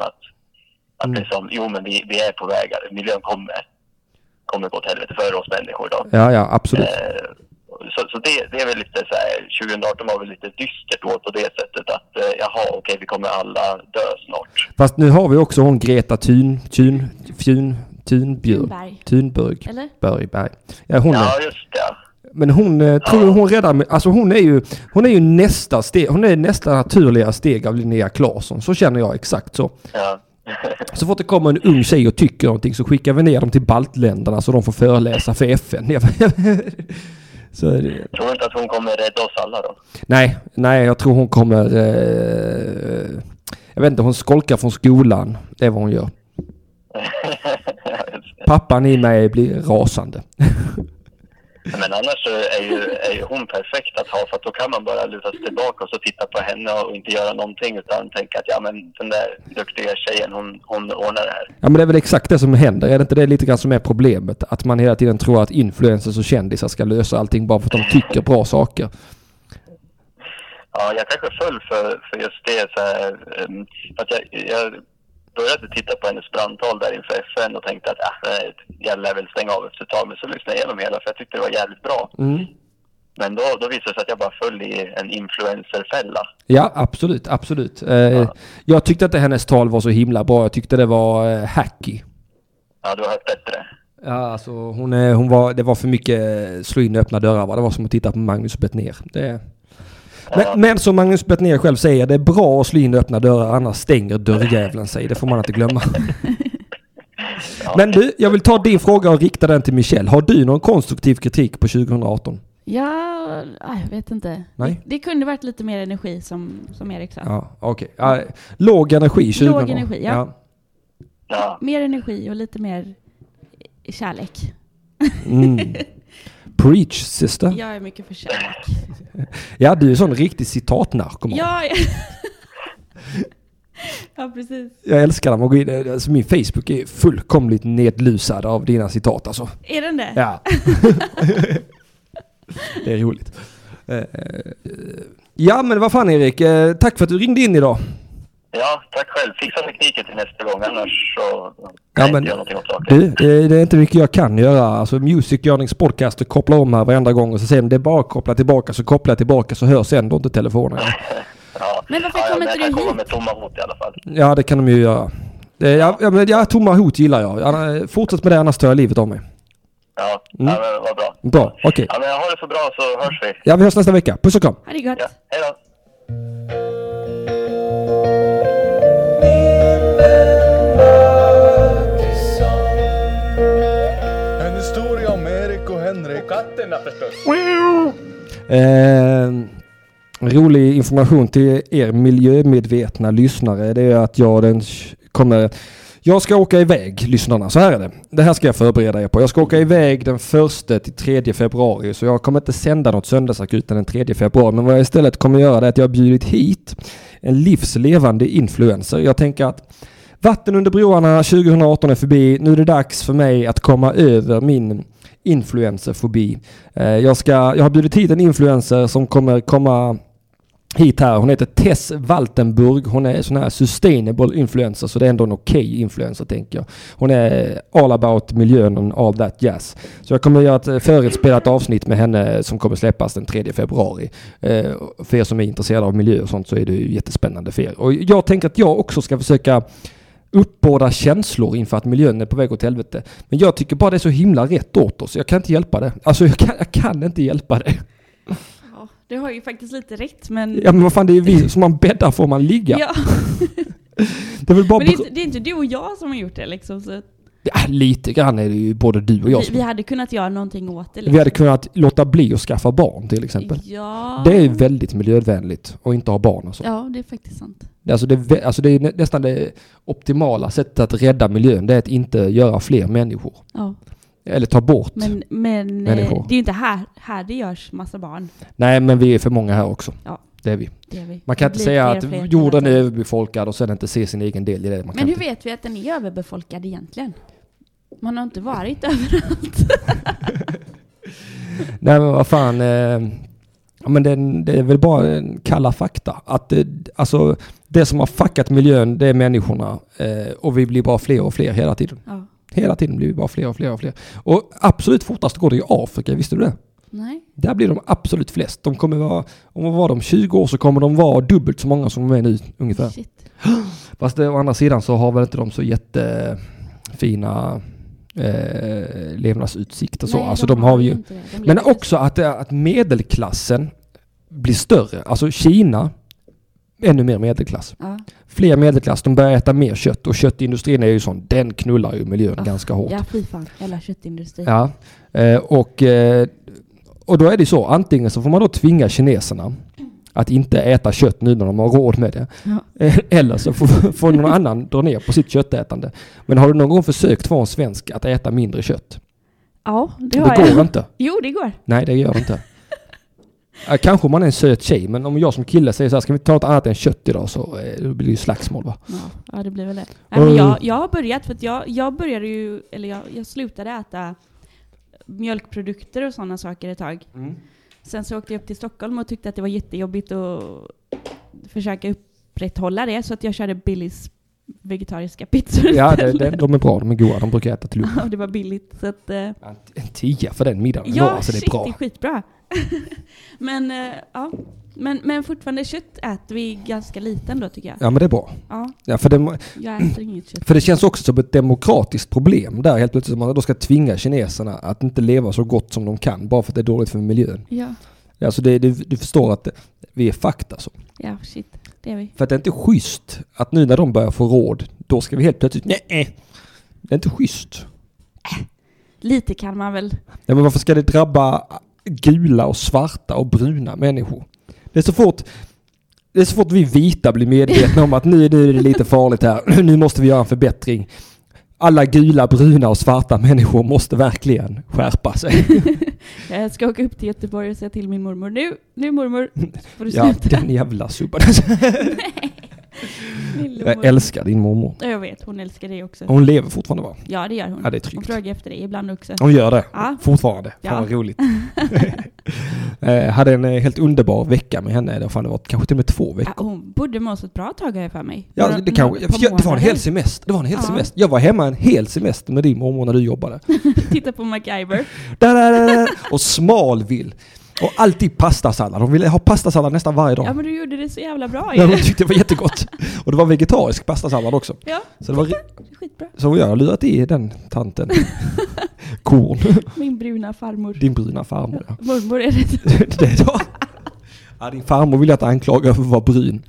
[SPEAKER 6] att
[SPEAKER 1] Mm.
[SPEAKER 6] liksom, jo men vi, vi är på väg, att miljön kommer, kommer gå åt helvete för oss människor. Då.
[SPEAKER 1] Ja, ja, absolut.
[SPEAKER 6] Eh, Så, så det, det är väl lite så här, 2018 var väl lite dystert då på det sättet att eh, jaha, okej, vi kommer alla dö snart.
[SPEAKER 1] Fast nu har vi också hon Greta Thun... Thun... Fjun... Thunbjörg.
[SPEAKER 2] Thunberg.
[SPEAKER 1] Thunberg.
[SPEAKER 2] Eller?
[SPEAKER 1] Berg, berg. Ja, hon är,
[SPEAKER 6] Ja, just det.
[SPEAKER 1] men hon eh, tror jag hon räddar mig. Alltså hon är ju, hon är ju nästa steg, hon är nästa naturliga steg av Linnea Claesson. Så känner jag exakt så.
[SPEAKER 6] Ja.
[SPEAKER 1] Så fort det kommer en ung tjej och tycker någonting så skickar vi ner dem till baltländerna så de får föreläsa för FN. så är det,
[SPEAKER 6] Tror inte att hon kommer rädda oss alla då?
[SPEAKER 1] Nej, nej, jag tror hon kommer... Eh, jag vet inte, hon skolkar från skolan. Det är vad hon gör. Pappan i mig blir rasande.
[SPEAKER 6] Men annars så är ju, är ju hon perfekt att ha för att då kan man bara luta sig tillbaka och så titta på henne och inte göra någonting utan tänka att ja men den där duktiga tjejen hon, hon ordnar det här.
[SPEAKER 1] Ja men det är väl exakt det som händer. Är det inte det lite grann som är problemet? Att man hela tiden tror att influencers och kändisar ska lösa allting bara för att de tycker bra saker.
[SPEAKER 6] Ja, jag kanske föll för, för just det så här, ehm, att jag, jag började titta på hennes brandtal där inför FN och tänkte att ah, nej, jag lär väl stänga av efter ett tag men så lyssnade jag igenom hela för jag tyckte det var jävligt bra. Men då, då visade det sig att jag bara föll i en influencerfälla.
[SPEAKER 1] Ja, absolut, absolut. Eh, Jag tyckte inte hennes tal var så himla bra. Jag tyckte det var eh, hacky.
[SPEAKER 6] Ja, du har hört bättre.
[SPEAKER 1] Ja, alltså hon, eh, hon var, det var för mycket eh, slå in öppna dörrar va? Det var som att titta på Magnus Bettner. Det... Men, men som Magnus Bettner själv säger, det är bra att slå in öppna dörrar annars stänger dörrjävlen sig. Det får man inte glömma. Men du, jag vill ta din fråga och rikta den till Michelle. Har du någon konstruktiv kritik på 2018?
[SPEAKER 2] Ja, ah, jag vet inte.
[SPEAKER 1] Nej.
[SPEAKER 2] Det, det kunde varit lite mer energi som, som Erik sa.
[SPEAKER 1] Ja, okej. Ja, låg energi 2018.
[SPEAKER 2] Låg energi, ja.
[SPEAKER 6] Ja.
[SPEAKER 2] Mer energi och lite mer i- kärlek.
[SPEAKER 1] Mm. Preach sister. Ja.
[SPEAKER 2] Jag är mycket för kärlek.
[SPEAKER 1] du är sån riktig citatnarkoman.
[SPEAKER 2] Jag är... ja, precis.
[SPEAKER 1] Jag älskar när man går in. Alltså min Facebook är fullkomligt nedlusad av dina citat alltså.
[SPEAKER 2] Är den det?
[SPEAKER 1] Ja. det är roligt. Eh, eh, Ja men vad fan Erik, Eh, tack för att du ringde in idag.
[SPEAKER 6] Ja, tack själv. Fixa tekniken till nästa gång, annars så
[SPEAKER 1] Ja,
[SPEAKER 6] kan jag
[SPEAKER 1] men-
[SPEAKER 6] inte göra någonting åt saken.
[SPEAKER 1] Du, eh, det är inte mycket jag kan göra. Alltså Music Yearnings podcast kopplar om här varenda gång och så säger de det är bara att koppla tillbaka så kopplar jag tillbaka så hörs ändå inte telefonen.
[SPEAKER 6] Ja.
[SPEAKER 2] Men varför
[SPEAKER 6] ja, ja,
[SPEAKER 2] kommer
[SPEAKER 6] men
[SPEAKER 2] inte
[SPEAKER 6] jag
[SPEAKER 2] du
[SPEAKER 6] kan komma
[SPEAKER 2] hit?
[SPEAKER 6] med tomma hot i alla fall.
[SPEAKER 1] Ja, det kan de ju göra. Det, ja, ja, men, ja, tomma hot gillar jag. Anna- eh, Fortsätt med det, annars tar jag livet av mig.
[SPEAKER 6] Ja,
[SPEAKER 1] Mm.
[SPEAKER 6] ja men vad bra.
[SPEAKER 1] Bra, okej.
[SPEAKER 6] Ja, men ha det så bra så hörs vi.
[SPEAKER 1] Ja, vi hörs nästa vecka. Puss och kram.
[SPEAKER 2] Ha det gott.
[SPEAKER 6] Ja, hej då.
[SPEAKER 9] En historia om Erik och Henrik.
[SPEAKER 10] Katterna förstås.
[SPEAKER 1] Eh, rolig information till er miljömedvetna lyssnare. Det är att jag den tj- kommer... Jag ska åka iväg, lyssnarna. Så här är det. Det här ska jag förbereda er på. Jag ska åka iväg den 1 till 3 februari. Så jag kommer inte sända något söndagsakuten den 3 februari. Men vad jag istället kommer göra det är att jag har bjudit hit en livslevande influencer. Jag tänker att Vatten under broarna 2018 är förbi. Nu är det dags för mig att komma över min influencerfobi. Eh, Jag, ska, jag har bjudit hit en influencer som kommer komma hit här. Hon heter Tess Waltenburg. Hon är sån här sustainable influencer, så det är ändå en okej influencer tänker jag. Hon är all about miljön and all that jazz. Så jag kommer göra ett eh, förinspelat avsnitt med henne som kommer släppas den 3 februari. Eh, För er som är intresserade av miljö och sånt så är det ju jättespännande för er. Och jag tänker att jag också ska försöka uppbåda känslor inför att miljön är på väg åt helvete. Men jag tycker bara det är så himla rätt åt oss. Jag kan inte hjälpa det. Alltså jag kan, jag kan inte hjälpa det.
[SPEAKER 2] Ja, du har ju faktiskt lite rätt men...
[SPEAKER 1] Ja men vad fan det är vi, som man bäddar får man ligga.
[SPEAKER 2] Ja,
[SPEAKER 1] Det är väl bara...
[SPEAKER 2] men det är,
[SPEAKER 1] br-
[SPEAKER 2] inte, det är inte du och jag som har gjort det liksom. Så att
[SPEAKER 1] Ja, lite grann är det ju både du och jag
[SPEAKER 2] vi,
[SPEAKER 1] som...
[SPEAKER 2] vi hade kunnat göra någonting åt det. liksom.
[SPEAKER 1] Vi hade kunnat låta bli att skaffa barn till exempel.
[SPEAKER 2] Ja.
[SPEAKER 1] Det är ju väldigt miljövänligt att inte ha barn och så.
[SPEAKER 2] Ja, det är faktiskt sant.
[SPEAKER 1] Alltså det, är vä- alltså det är nä- nästan det optimala sättet att rädda miljön. Det är att inte göra fler människor.
[SPEAKER 2] Ja.
[SPEAKER 1] Eller ta bort.
[SPEAKER 2] Men, men eh,
[SPEAKER 1] Människor.
[SPEAKER 2] det är ju inte här, här det görs massa barn.
[SPEAKER 1] Nej men vi är för många här också.
[SPEAKER 2] Ja.
[SPEAKER 1] Det är vi.
[SPEAKER 2] Det är vi.
[SPEAKER 1] Man kan
[SPEAKER 2] Det
[SPEAKER 1] inte
[SPEAKER 2] blir
[SPEAKER 1] säga
[SPEAKER 2] fler
[SPEAKER 1] att
[SPEAKER 2] och fler
[SPEAKER 1] jorden är
[SPEAKER 2] hela tiden.
[SPEAKER 1] överbefolkad och sen inte se sin egen del i det. Man
[SPEAKER 2] Men
[SPEAKER 1] kan
[SPEAKER 2] hur
[SPEAKER 1] inte...
[SPEAKER 2] vet vi att den är överbefolkad egentligen? Man har inte varit överallt.
[SPEAKER 1] Nej men vad fan. Eh, ja, men det, det är väl bara en kalla fakta. Att eh, alltså, det som har fuckat miljön det är människorna. Eh, och vi blir bara fler och fler hela tiden.
[SPEAKER 2] Ja.
[SPEAKER 1] Hela tiden blir vi bara fler och fler och fler. Och absolut fortast går det i Afrika, visste du det?
[SPEAKER 2] Nej.
[SPEAKER 1] Där blir de absolut flest. De kommer vara, om vad var de 20 år så kommer de vara dubbelt så många som de är nu ungefär.
[SPEAKER 2] Shit.
[SPEAKER 1] Fast det, å andra sidan så har väl inte de så jättefina eh, levnadsutsikter så.
[SPEAKER 2] Nej,
[SPEAKER 1] Alltså de har ju...
[SPEAKER 2] inte det. De
[SPEAKER 1] Men
[SPEAKER 2] lever-
[SPEAKER 1] också att, det- att medelklassen blir större. Alltså Kina, ännu mer medelklass.
[SPEAKER 2] Ja.
[SPEAKER 1] Fler medelklass, de börjar äta mer kött och köttindustrin är ju sån, den knullar ju miljön
[SPEAKER 2] Ah,
[SPEAKER 1] ganska hårt.
[SPEAKER 2] Ja, fy fan. Jävla köttindustri.
[SPEAKER 1] Ja, eh, och, eh, och då är det så, antingen så får man då tvinga kineserna att inte äta kött nu när de har råd med det.
[SPEAKER 2] Ja.
[SPEAKER 1] Eh, Eller så får, får någon annan dra ner på sitt köttätande. Men har du någon gång försökt få en svensk att äta mindre kött?
[SPEAKER 2] Ja, det
[SPEAKER 1] Det
[SPEAKER 2] har
[SPEAKER 1] går
[SPEAKER 2] jag.
[SPEAKER 1] inte.
[SPEAKER 2] Jo, det går.
[SPEAKER 1] Nej, det gör det inte. Eh, Kanske om man är en söt tjej, men om jag som kille säger så här, ska vi inte ta något annat än kött idag så eh, då blir det ju slagsmål va?
[SPEAKER 2] Ja, ja det blir väl det. Nej,
[SPEAKER 1] Mm.
[SPEAKER 2] men jag, jag har börjat, för att jag, jag började ju, eller jag, jag slutade äta mjölkprodukter och sådana saker ett tag. Sen så åkte jag upp till Stockholm och tyckte att det var jättejobbigt att försöka upprätthålla det, så att jag körde Billys vegetariska pizzor
[SPEAKER 1] Ja, det,
[SPEAKER 2] istället.
[SPEAKER 1] det, de är bra, de är goda, de brukar äta till lunch.
[SPEAKER 2] Och det var billigt, så att... Eh,
[SPEAKER 1] En tia för den middagen
[SPEAKER 2] ja,
[SPEAKER 1] idag, alltså det
[SPEAKER 2] shit,
[SPEAKER 1] är bra.
[SPEAKER 2] det är skitbra. men, eh, ja. men, men fortfarande kött äter vi ganska liten då, tycker jag.
[SPEAKER 1] Ja, men det är bra.
[SPEAKER 2] Ja,
[SPEAKER 1] Ja, för det,
[SPEAKER 2] jag äter inget kött.
[SPEAKER 1] För det känns också som ett demokratiskt problem där helt plötsligt. Man då ska tvinga kineserna att inte leva så gott som de kan bara för att det är dåligt för miljön.
[SPEAKER 2] Ja,
[SPEAKER 1] Alltså det, du, du förstår att det, vi är fakta alltså.
[SPEAKER 2] ja shit. Det är vi.
[SPEAKER 1] För att det är inte schysst att nu när de börjar få råd, då ska vi helt plötsligt nej. Det är inte schysst.
[SPEAKER 2] Lite kan man väl.
[SPEAKER 1] Nej, men varför ska det drabba gula och svarta och bruna människor? Det är så fort, det är så fort vi vita blir medvetna om att nu, nu är det lite farligt här, nu måste vi göra en förbättring. Alla gula, bruna och svarta människor måste verkligen skärpa sig.
[SPEAKER 2] Jag ska åka upp till Göteborg och säga till min mormor nu, nu mormor, så får du
[SPEAKER 1] Ja,
[SPEAKER 2] sluta.
[SPEAKER 1] den jävla subban.
[SPEAKER 2] Lille
[SPEAKER 1] Jag
[SPEAKER 2] mormor.
[SPEAKER 1] älskar din mormor.
[SPEAKER 2] Ja, jag vet, hon älskar dig också.
[SPEAKER 1] Hon lever fortfarande va?
[SPEAKER 2] Ja, det gör hon.
[SPEAKER 1] Ja, det är
[SPEAKER 2] hon
[SPEAKER 1] tryggt.
[SPEAKER 2] frågar efter dig ibland också.
[SPEAKER 1] Hon gör det.
[SPEAKER 2] Ja.
[SPEAKER 1] Fortfarande.
[SPEAKER 2] Ja.
[SPEAKER 1] Fan vad roligt. eh, hade en eh, helt underbar vecka med henne. Det har fan det varit kanske till och med två veckor.
[SPEAKER 2] Ja, Äh, hon bodde med oss ett bra tag har jag för mig.
[SPEAKER 1] Ja,
[SPEAKER 2] Några-
[SPEAKER 1] det, kanske,
[SPEAKER 2] några- ett par
[SPEAKER 1] ja, det var en hel
[SPEAKER 2] månader.
[SPEAKER 1] semester. Det var en hel
[SPEAKER 2] Ja.
[SPEAKER 1] semester. Jag var hemma en hel semester med din mormor när du jobbade.
[SPEAKER 2] Titta på MacGyver.
[SPEAKER 1] Där, där, där, där. Och Smalvill. Och alltid pastasallad. De ville ha pastasallad nästan varje dag.
[SPEAKER 2] Ja men du gjorde det så jävla bra
[SPEAKER 1] Ja,
[SPEAKER 2] ju.
[SPEAKER 1] de tyckte det var jättegott. Och det var vegetarisk pastasallad också.
[SPEAKER 2] Ja,
[SPEAKER 1] Så, det var, ri-
[SPEAKER 2] skitbra.
[SPEAKER 1] så jag har lurat i den tanten. Korn.
[SPEAKER 2] Min bruna farmor.
[SPEAKER 1] Din bruna farmor. ja.
[SPEAKER 2] Mormor är det.
[SPEAKER 1] Det är då. Ja, din farmor vill jag inte anklaga för att vara brun.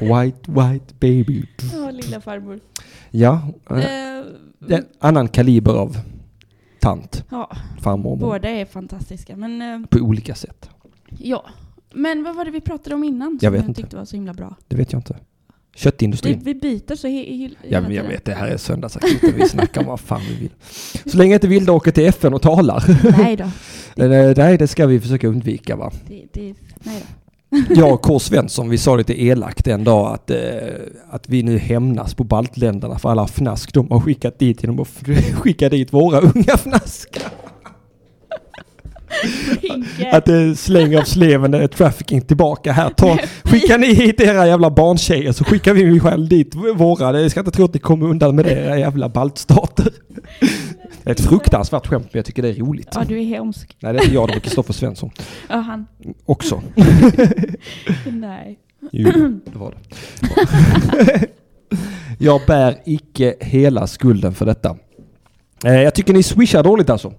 [SPEAKER 1] White, white baby.
[SPEAKER 2] Ja, lilla farmor.
[SPEAKER 1] Ja, eh,
[SPEAKER 2] Eh,
[SPEAKER 1] det är en annan kaliber av tant,
[SPEAKER 2] ja,
[SPEAKER 1] farmor, mor,
[SPEAKER 2] båda är fantastiska. Men eh,
[SPEAKER 1] på olika sätt.
[SPEAKER 2] ja. Men vad var det vi pratade om innan som
[SPEAKER 1] Jag vet inte.
[SPEAKER 2] tyckte var så himla bra?
[SPEAKER 1] Det vet jag inte.
[SPEAKER 2] Vi,
[SPEAKER 1] Köttindustrin.
[SPEAKER 2] vi byter så he- he-
[SPEAKER 1] Ja,
[SPEAKER 2] hela
[SPEAKER 1] men jag
[SPEAKER 2] tiden.
[SPEAKER 1] vet, det här är söndagsakuten. Vi snackar om vad fan vi vill. Så länge inte Vilda åker till FN och talar.
[SPEAKER 2] Nej då.
[SPEAKER 1] Eh, Nej, det ska vi försöka undvika va.
[SPEAKER 2] Det, det, nej då.
[SPEAKER 1] Jag och K. Svensson, vi sa lite elakt en dag att, eh, att vi nu hämnas på baltländerna för alla fnask de har skickat dit genom att f- skicka dit våra unga fnaskar.
[SPEAKER 2] Hinke.
[SPEAKER 1] Att eh, släng av sleven är trafficking tillbaka här. Ta, skickar ni hit era jävla barntjejer så skickar vi själv dit våra. Jag ska inte tro att ni kommer undan med det, era jävla baltstater. Det är ett fruktansvärt skämt men jag tycker det är roligt.
[SPEAKER 2] Ja, du är hemsk.
[SPEAKER 1] Nej det är inte jag, det är Kristoffer Svensson
[SPEAKER 2] Ja, han.
[SPEAKER 1] också.
[SPEAKER 2] Nej.
[SPEAKER 1] Jo, det var det. jag bär icke hela skulden för detta. Eh, Jag tycker ni swishar dåligt alltså.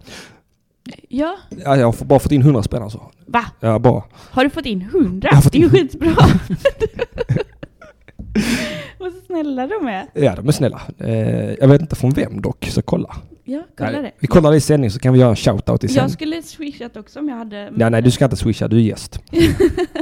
[SPEAKER 2] Ja,
[SPEAKER 1] Ja, Jag har bara fått in 100 spänn alltså.
[SPEAKER 2] va?
[SPEAKER 1] Ja, bara.
[SPEAKER 2] Har du fått in hundra?
[SPEAKER 1] Jag har fått
[SPEAKER 2] Det är ju
[SPEAKER 1] in-
[SPEAKER 2] skitbra. Vad snälla de är.
[SPEAKER 1] Ja, de är snälla. Eh, Jag vet inte från vem dock, så kolla.
[SPEAKER 2] Ja, kolla det.
[SPEAKER 1] Nej, Vi kollar i sändning så kan vi göra en shout-out i
[SPEAKER 2] Jag
[SPEAKER 1] sändning.
[SPEAKER 2] skulle swishat också om jag hade...
[SPEAKER 1] Nej, nej, du ska inte swisha, du är gäst.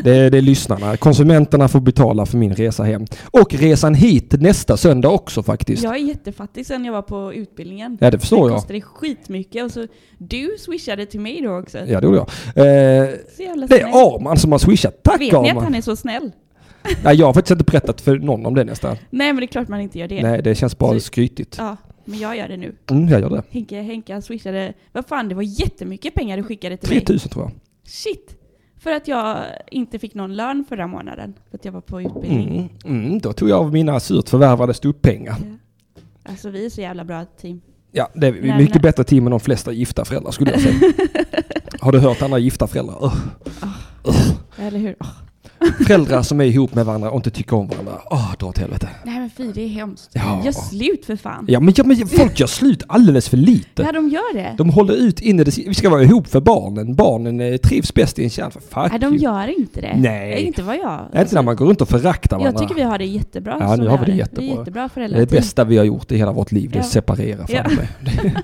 [SPEAKER 1] Det är, det är lyssnarna. Konsumenterna får betala för min resa hem. Och resan hit nästa söndag också faktiskt.
[SPEAKER 2] Jag är jättefattig sen jag var på utbildningen.
[SPEAKER 1] Ja, det förstår
[SPEAKER 2] Det
[SPEAKER 1] jag.
[SPEAKER 2] kostade skitmycket och så du swishade till mig då också.
[SPEAKER 1] Ja, det gjorde jag. Eh,
[SPEAKER 2] Så jävla
[SPEAKER 1] Det
[SPEAKER 2] snäll.
[SPEAKER 1] är Arman som har swishat. Tack
[SPEAKER 2] Alltså, Vet ni att
[SPEAKER 1] Arman!
[SPEAKER 2] han är så snäll?
[SPEAKER 1] Nej, jag har faktiskt inte berättat för någon om det nästan.
[SPEAKER 2] Nej men det är klart man inte gör det.
[SPEAKER 1] Nej, det känns bara
[SPEAKER 2] Så-
[SPEAKER 1] skrytigt.
[SPEAKER 2] Ja, men jag gör det nu.
[SPEAKER 1] Mm, jag gör det.
[SPEAKER 2] Henke, Henke han swishade, vad fan det var jättemycket pengar du skickade till mig.
[SPEAKER 1] 3000 tror jag.
[SPEAKER 2] Shit! För att jag inte fick någon lön förra månaden. För att jag var på utbildning.
[SPEAKER 1] Mm, mm, då tog jag av mina surt förvärvade ståupppengar.
[SPEAKER 2] Mm. Alltså vi är så jävla bra team.
[SPEAKER 1] Ja, det är
[SPEAKER 2] Nej,
[SPEAKER 1] mycket
[SPEAKER 2] nej.
[SPEAKER 1] bättre team än de flesta gifta föräldrar skulle jag säga. Har du hört andra gifta föräldrar? Ugh.
[SPEAKER 2] Eller hur? Åh,
[SPEAKER 1] Föräldrar som är ihop med varandra och inte tycker om varandra. Åh, dra åt helvete.
[SPEAKER 2] nej men fy, det är hemskt.
[SPEAKER 1] Ja.
[SPEAKER 2] Gör slut för fan.
[SPEAKER 1] Ja men, ja, men folk gör slut alldeles för lite.
[SPEAKER 2] Ja, de gör det.
[SPEAKER 1] De håller ut in i det Vi ska vara ihop för barnen. Barnen eh, trivs bäst i en kärn. För fuck
[SPEAKER 2] Nej, de
[SPEAKER 1] you.
[SPEAKER 2] gör inte det.
[SPEAKER 1] Nej.
[SPEAKER 2] Inte vad jag...
[SPEAKER 1] Det är inte när man går runt och föraktar
[SPEAKER 2] Jag
[SPEAKER 1] varandra.
[SPEAKER 2] tycker vi har det jättebra.
[SPEAKER 1] Ja,
[SPEAKER 2] som
[SPEAKER 1] nu har vi det
[SPEAKER 2] Vi är
[SPEAKER 1] jättebra.
[SPEAKER 2] jättebra
[SPEAKER 1] Det är det
[SPEAKER 2] föräldrateam.
[SPEAKER 1] bästa vi har gjort i hela vårt liv, det är att
[SPEAKER 2] Ja.
[SPEAKER 1] separera
[SPEAKER 2] Ja.
[SPEAKER 1] fan mig.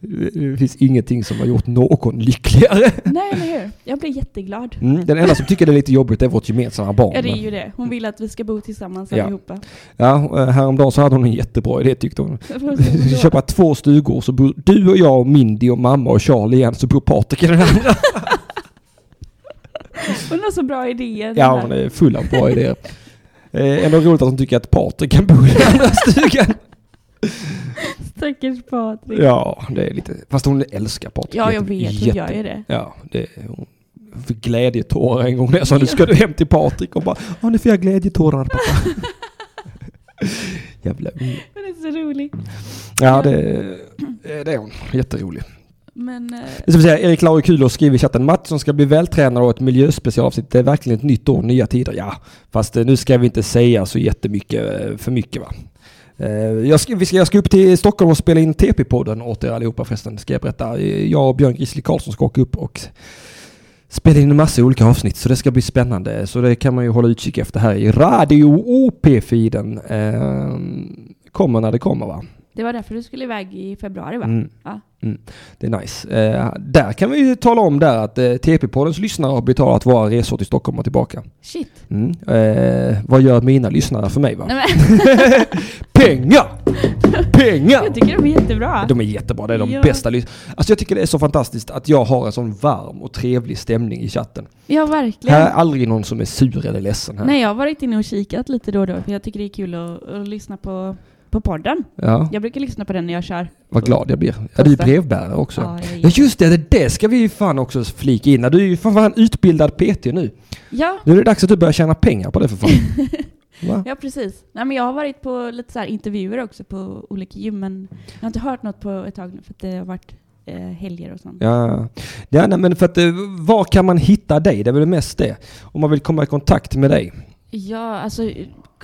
[SPEAKER 1] Det finns ingenting som har gjort någon lyckligare.
[SPEAKER 2] Nej, eller hur? Jag blir jätteglad.
[SPEAKER 1] Mm, den enda som tycker det är lite jobbigt är vårt gemensamma barn.
[SPEAKER 2] Ja, det är ju det. Hon vill att vi ska bo tillsammans
[SPEAKER 1] Ja.
[SPEAKER 2] allihopa.
[SPEAKER 1] Ja, eh, häromdagen så hade hon en jättebra idé tyckte hon.
[SPEAKER 2] Då-
[SPEAKER 1] Vi skulle köpa två stugor så bor du och jag och Mindy och mamma och Charlie igen så bor Patrik i den andra.
[SPEAKER 2] Hon har så bra idéer.
[SPEAKER 1] Ja, hon är full av bra idéer. Eh, Ändå roligt att hon tycker att Patrik kan bo i den andra stugan.
[SPEAKER 2] Stackars Patrik. Ja,
[SPEAKER 1] Ja, det är lite... Fast hon älskar Patrik.
[SPEAKER 2] jag
[SPEAKER 1] jätte-
[SPEAKER 2] vet. Hon gör ju det.
[SPEAKER 1] Ja, det, hon fick glädjetårar en gång när jag sa nu ska du hem till Patrik och bara ja nu får jag glädjetårar pappa. Jävla unge.
[SPEAKER 2] Hon är så rolig.
[SPEAKER 1] Ja det, eh, det är hon, jätterolig.
[SPEAKER 2] Men... eh,
[SPEAKER 1] Det vill säga Erik Laurikulo skriver i chatten Mattsson ska bli vältränad och ett miljöspecialavsnitt. Det är verkligen ett nytt år, nya tider. Ja, fast eh, nu ska vi inte säga så jättemycket eh, för mycket va. Eh, Jag ska, vi ska, jag ska upp till Stockholm och spela in TP-podden åt er allihopa förresten, ska jag berätta. Eh, Jag och Björn Gissle Karlsson ska åka upp och spela in en massa olika avsnitt så det ska bli spännande. Så det kan man ju hålla utkik efter här i Radio OP-feeden. Eh, Kommer när det kommer va.
[SPEAKER 2] Det var därför du skulle iväg i februari va?
[SPEAKER 1] Mm.
[SPEAKER 2] Ja.
[SPEAKER 1] Mm. Det är nice. Eh, där kan vi ju tala om där att eh, TP-poddens lyssnare har betalat våra resor till Stockholm och tillbaka.
[SPEAKER 2] Shit.
[SPEAKER 1] Mm. Eh, vad gör mina lyssnare för mig va?
[SPEAKER 2] Nej, men,
[SPEAKER 1] Pengar!
[SPEAKER 2] jag
[SPEAKER 1] Pengar!
[SPEAKER 2] tycker de är jättebra.
[SPEAKER 1] De är jättebra, det är de
[SPEAKER 2] Ja.
[SPEAKER 1] bästa lyssnarna. Alltså jag tycker det är så fantastiskt att jag har en sån varm och trevlig stämning i chatten.
[SPEAKER 2] Ja, verkligen.
[SPEAKER 1] Här är aldrig någon som är sur eller ledsen här.
[SPEAKER 2] Nej, jag har varit inne och kikat lite då och då, för jag tycker det är kul att, att lyssna på, på podden.
[SPEAKER 1] Ja,
[SPEAKER 2] Jag brukar lyssna på den när jag kör.
[SPEAKER 1] vad glad jag blir. Ja, du är
[SPEAKER 2] Kostar.
[SPEAKER 1] brevbärare också.
[SPEAKER 2] Ja, jag är-
[SPEAKER 1] Ja just det, det det ska vi ju fan också flika in. Du är ju för fan utbildad PT nu.
[SPEAKER 2] Ja,
[SPEAKER 1] Nu är det dags att du börjar tjäna pengar på det för fan. Va?
[SPEAKER 2] ja precis. Nej, men jag har varit på lite så här intervjuer också på olika gym, men jag har inte hört något på ett tag nu för att det har varit eh, helger och sånt.
[SPEAKER 1] Ja, ja nej, men för att eh, var kan man hitta dig? Det är väl mest det. Om man vill komma i kontakt med dig.
[SPEAKER 2] Ja, alltså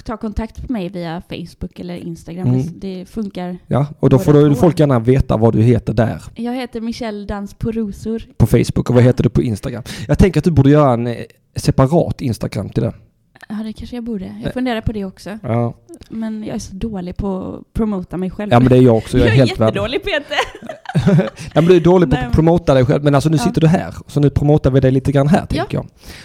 [SPEAKER 2] ta kontakt med mig via Facebook eller Instagram.
[SPEAKER 1] Mm.
[SPEAKER 2] Det- Det funkar.
[SPEAKER 1] Ja, och då
[SPEAKER 2] Båda
[SPEAKER 1] får du,
[SPEAKER 2] två.
[SPEAKER 1] folk gärna veta vad du heter där
[SPEAKER 2] Jag heter Michelle Dans på rosor.
[SPEAKER 1] på Facebook och vad heter du på Instagram. Jag tänker att du borde göra en eh, separat Instagram till det.
[SPEAKER 2] Ja, det kanske jag borde. Jag funderar på det också.
[SPEAKER 1] Ja,
[SPEAKER 2] Men jag är så dålig på att promota mig själv.
[SPEAKER 1] ja men det är jag också. Jag är, helt värd.
[SPEAKER 2] jättedålig Peter.
[SPEAKER 1] Ja, men du är dålig på
[SPEAKER 2] Nej,
[SPEAKER 1] att
[SPEAKER 2] men-
[SPEAKER 1] promota dig själv, men alltså nu
[SPEAKER 2] Ja.
[SPEAKER 1] sitter du här. Så nu promotar vi dig lite grann här,
[SPEAKER 2] Ja.
[SPEAKER 1] tänker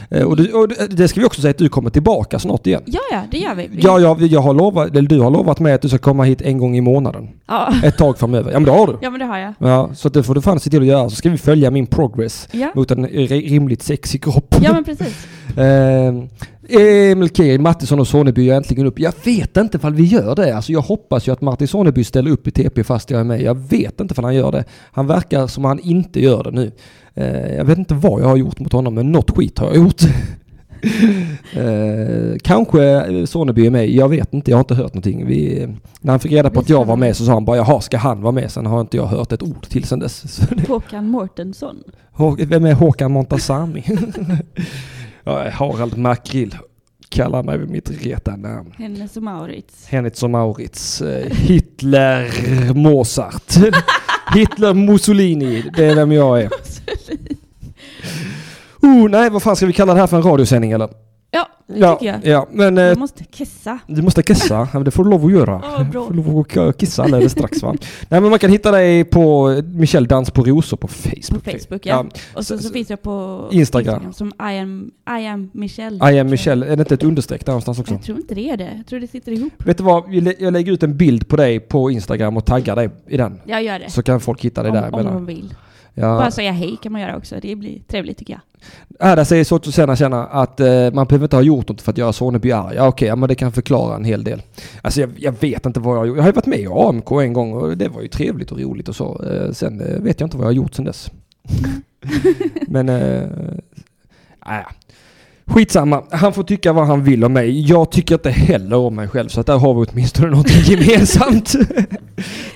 [SPEAKER 1] jag. Eh, Och, du, och du- det ska vi också säga att du kommer tillbaka snart igen.
[SPEAKER 2] Ja, ja, det gör vi. Vi-
[SPEAKER 1] Ja, jag, jag har lovat, eller du har lovat mig att du ska komma hit en gång i månaden.
[SPEAKER 2] ja.
[SPEAKER 1] Ett tag framöver. Ja, men det har du.
[SPEAKER 2] Ja, men det har jag.
[SPEAKER 1] Ja, så det får du fan se till att göra. Så ska vi följa min progress
[SPEAKER 2] Ja,
[SPEAKER 1] mot en ri- rimligt sexig kropp.
[SPEAKER 2] ja men precis.
[SPEAKER 1] Ehm, Emil Kiri, Mattisson och Soneby är äntligen upp. Jag vet inte ifall vi gör det. Alltså jag hoppas ju att Martin Soneby ställer upp i TP fast jag är med. Jag vet inte ifall han gör det. Han verkar som han inte gör det nu. Eh, jag vet inte vad jag har gjort mot honom, men något skit har jag gjort. Eh, kanske Soneby är med, jag vet inte, jag har inte hört någonting. Vi, när han fick reda på att jag var med så sa han bara jaha, ska han vara med? Sen har inte jag hört ett ord till sen dess. Så
[SPEAKER 2] Håkan Mårtensson.
[SPEAKER 1] Hå- Vem är Håkan Montazami? Jag är Harald Makrill. Kallar mig vid mitt rätta namn.
[SPEAKER 2] Hennes och Maurits.
[SPEAKER 1] Hennes och Maurits. eh, Hitler Mozart. Hitler Mussolini. Det är vem jag är. Oh, nej, vad fan ska vi kalla det här för en radiosändning eller?
[SPEAKER 2] Ja, det
[SPEAKER 1] Ja,
[SPEAKER 2] tycker jag.
[SPEAKER 1] ja men eh,
[SPEAKER 2] Jag måste kissa.
[SPEAKER 1] du måste kissa. Ja, men Det får du lov att göra.
[SPEAKER 2] Ja, bra.
[SPEAKER 1] Du får lov att k- kissa alldeles strax va? Nej men man kan hitta dig på Michelle Dans på rosor på
[SPEAKER 2] På
[SPEAKER 1] Facebook.
[SPEAKER 2] Facebook, ja. Och så,
[SPEAKER 1] så-
[SPEAKER 2] så,
[SPEAKER 1] så-
[SPEAKER 2] finns jag på
[SPEAKER 1] Instagram.
[SPEAKER 2] som I am, I am Michelle.
[SPEAKER 1] I am Michelle, är det inte ett understreck där någonstans också?
[SPEAKER 2] Jag tror inte det är det. Jag tror det sitter ihop.
[SPEAKER 1] Vet du vad, Vi lä- jag lägger ut en bild på dig på Instagram och taggar dig i den.
[SPEAKER 2] Jag gör det.
[SPEAKER 1] Så kan folk hitta dig där
[SPEAKER 2] Eh. om, om
[SPEAKER 1] emellan.
[SPEAKER 2] de vill. Bara
[SPEAKER 1] Ja.
[SPEAKER 2] säga hej kan man göra också. Det blir trevligt tycker jag.
[SPEAKER 1] Äh, där säger Sotu Sena Tjena att eh, man behöver inte ha gjort något för att göra Soneby arg. Ja, okej, ja, men det kan förklara en hel del. Alltså jag, jag vet inte vad jag har gjort. Jag har ju varit med i AMK en gång och det var ju trevligt och roligt och så. Eh, sen eh, vet jag inte vad jag har gjort sen dess. men, eh, äh, skitsamma. Han får tycka vad han vill om mig. Jag tycker inte heller om mig själv så att där har vi åtminstone någonting gemensamt.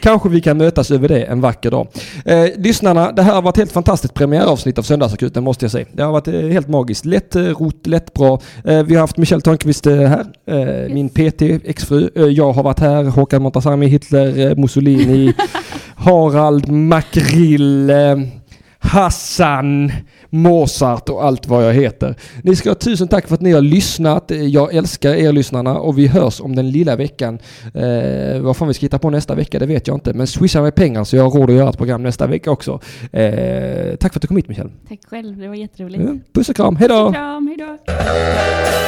[SPEAKER 1] Kanske vi kan mötas över det en vacker dag. Eh, lyssnarna, det här har varit helt fantastiskt premiäravsnitt av Söndagsakuten måste jag säga. Det har varit eh, helt magiskt. Lätt eh, rot, lätt bra. Eh, vi har haft Michelle Törnqvist eh, här, eh, min PT, exfru. Eh, jag har varit här, Håkan Montazami, Hitler, eh, Mussolini, Harald Makrill, eh, Hassan, Mozart och allt vad jag heter. Ni ska ha tusen tack för att ni har lyssnat. Eh, Jag älskar er lyssnarna och vi hörs om den lilla veckan. Eh, vad fan vi ska hitta på nästa vecka, det vet jag inte. Men swisha mig pengar så jag har råd att göra ett program nästa vecka också. Eh, tack för att du kom hit Michel.
[SPEAKER 2] Tack själv, det var jätteroligt.
[SPEAKER 1] Ja, Mm. Puss och kram, hejdå!
[SPEAKER 2] Kram, hejdå!
[SPEAKER 11] Söndagsakuten.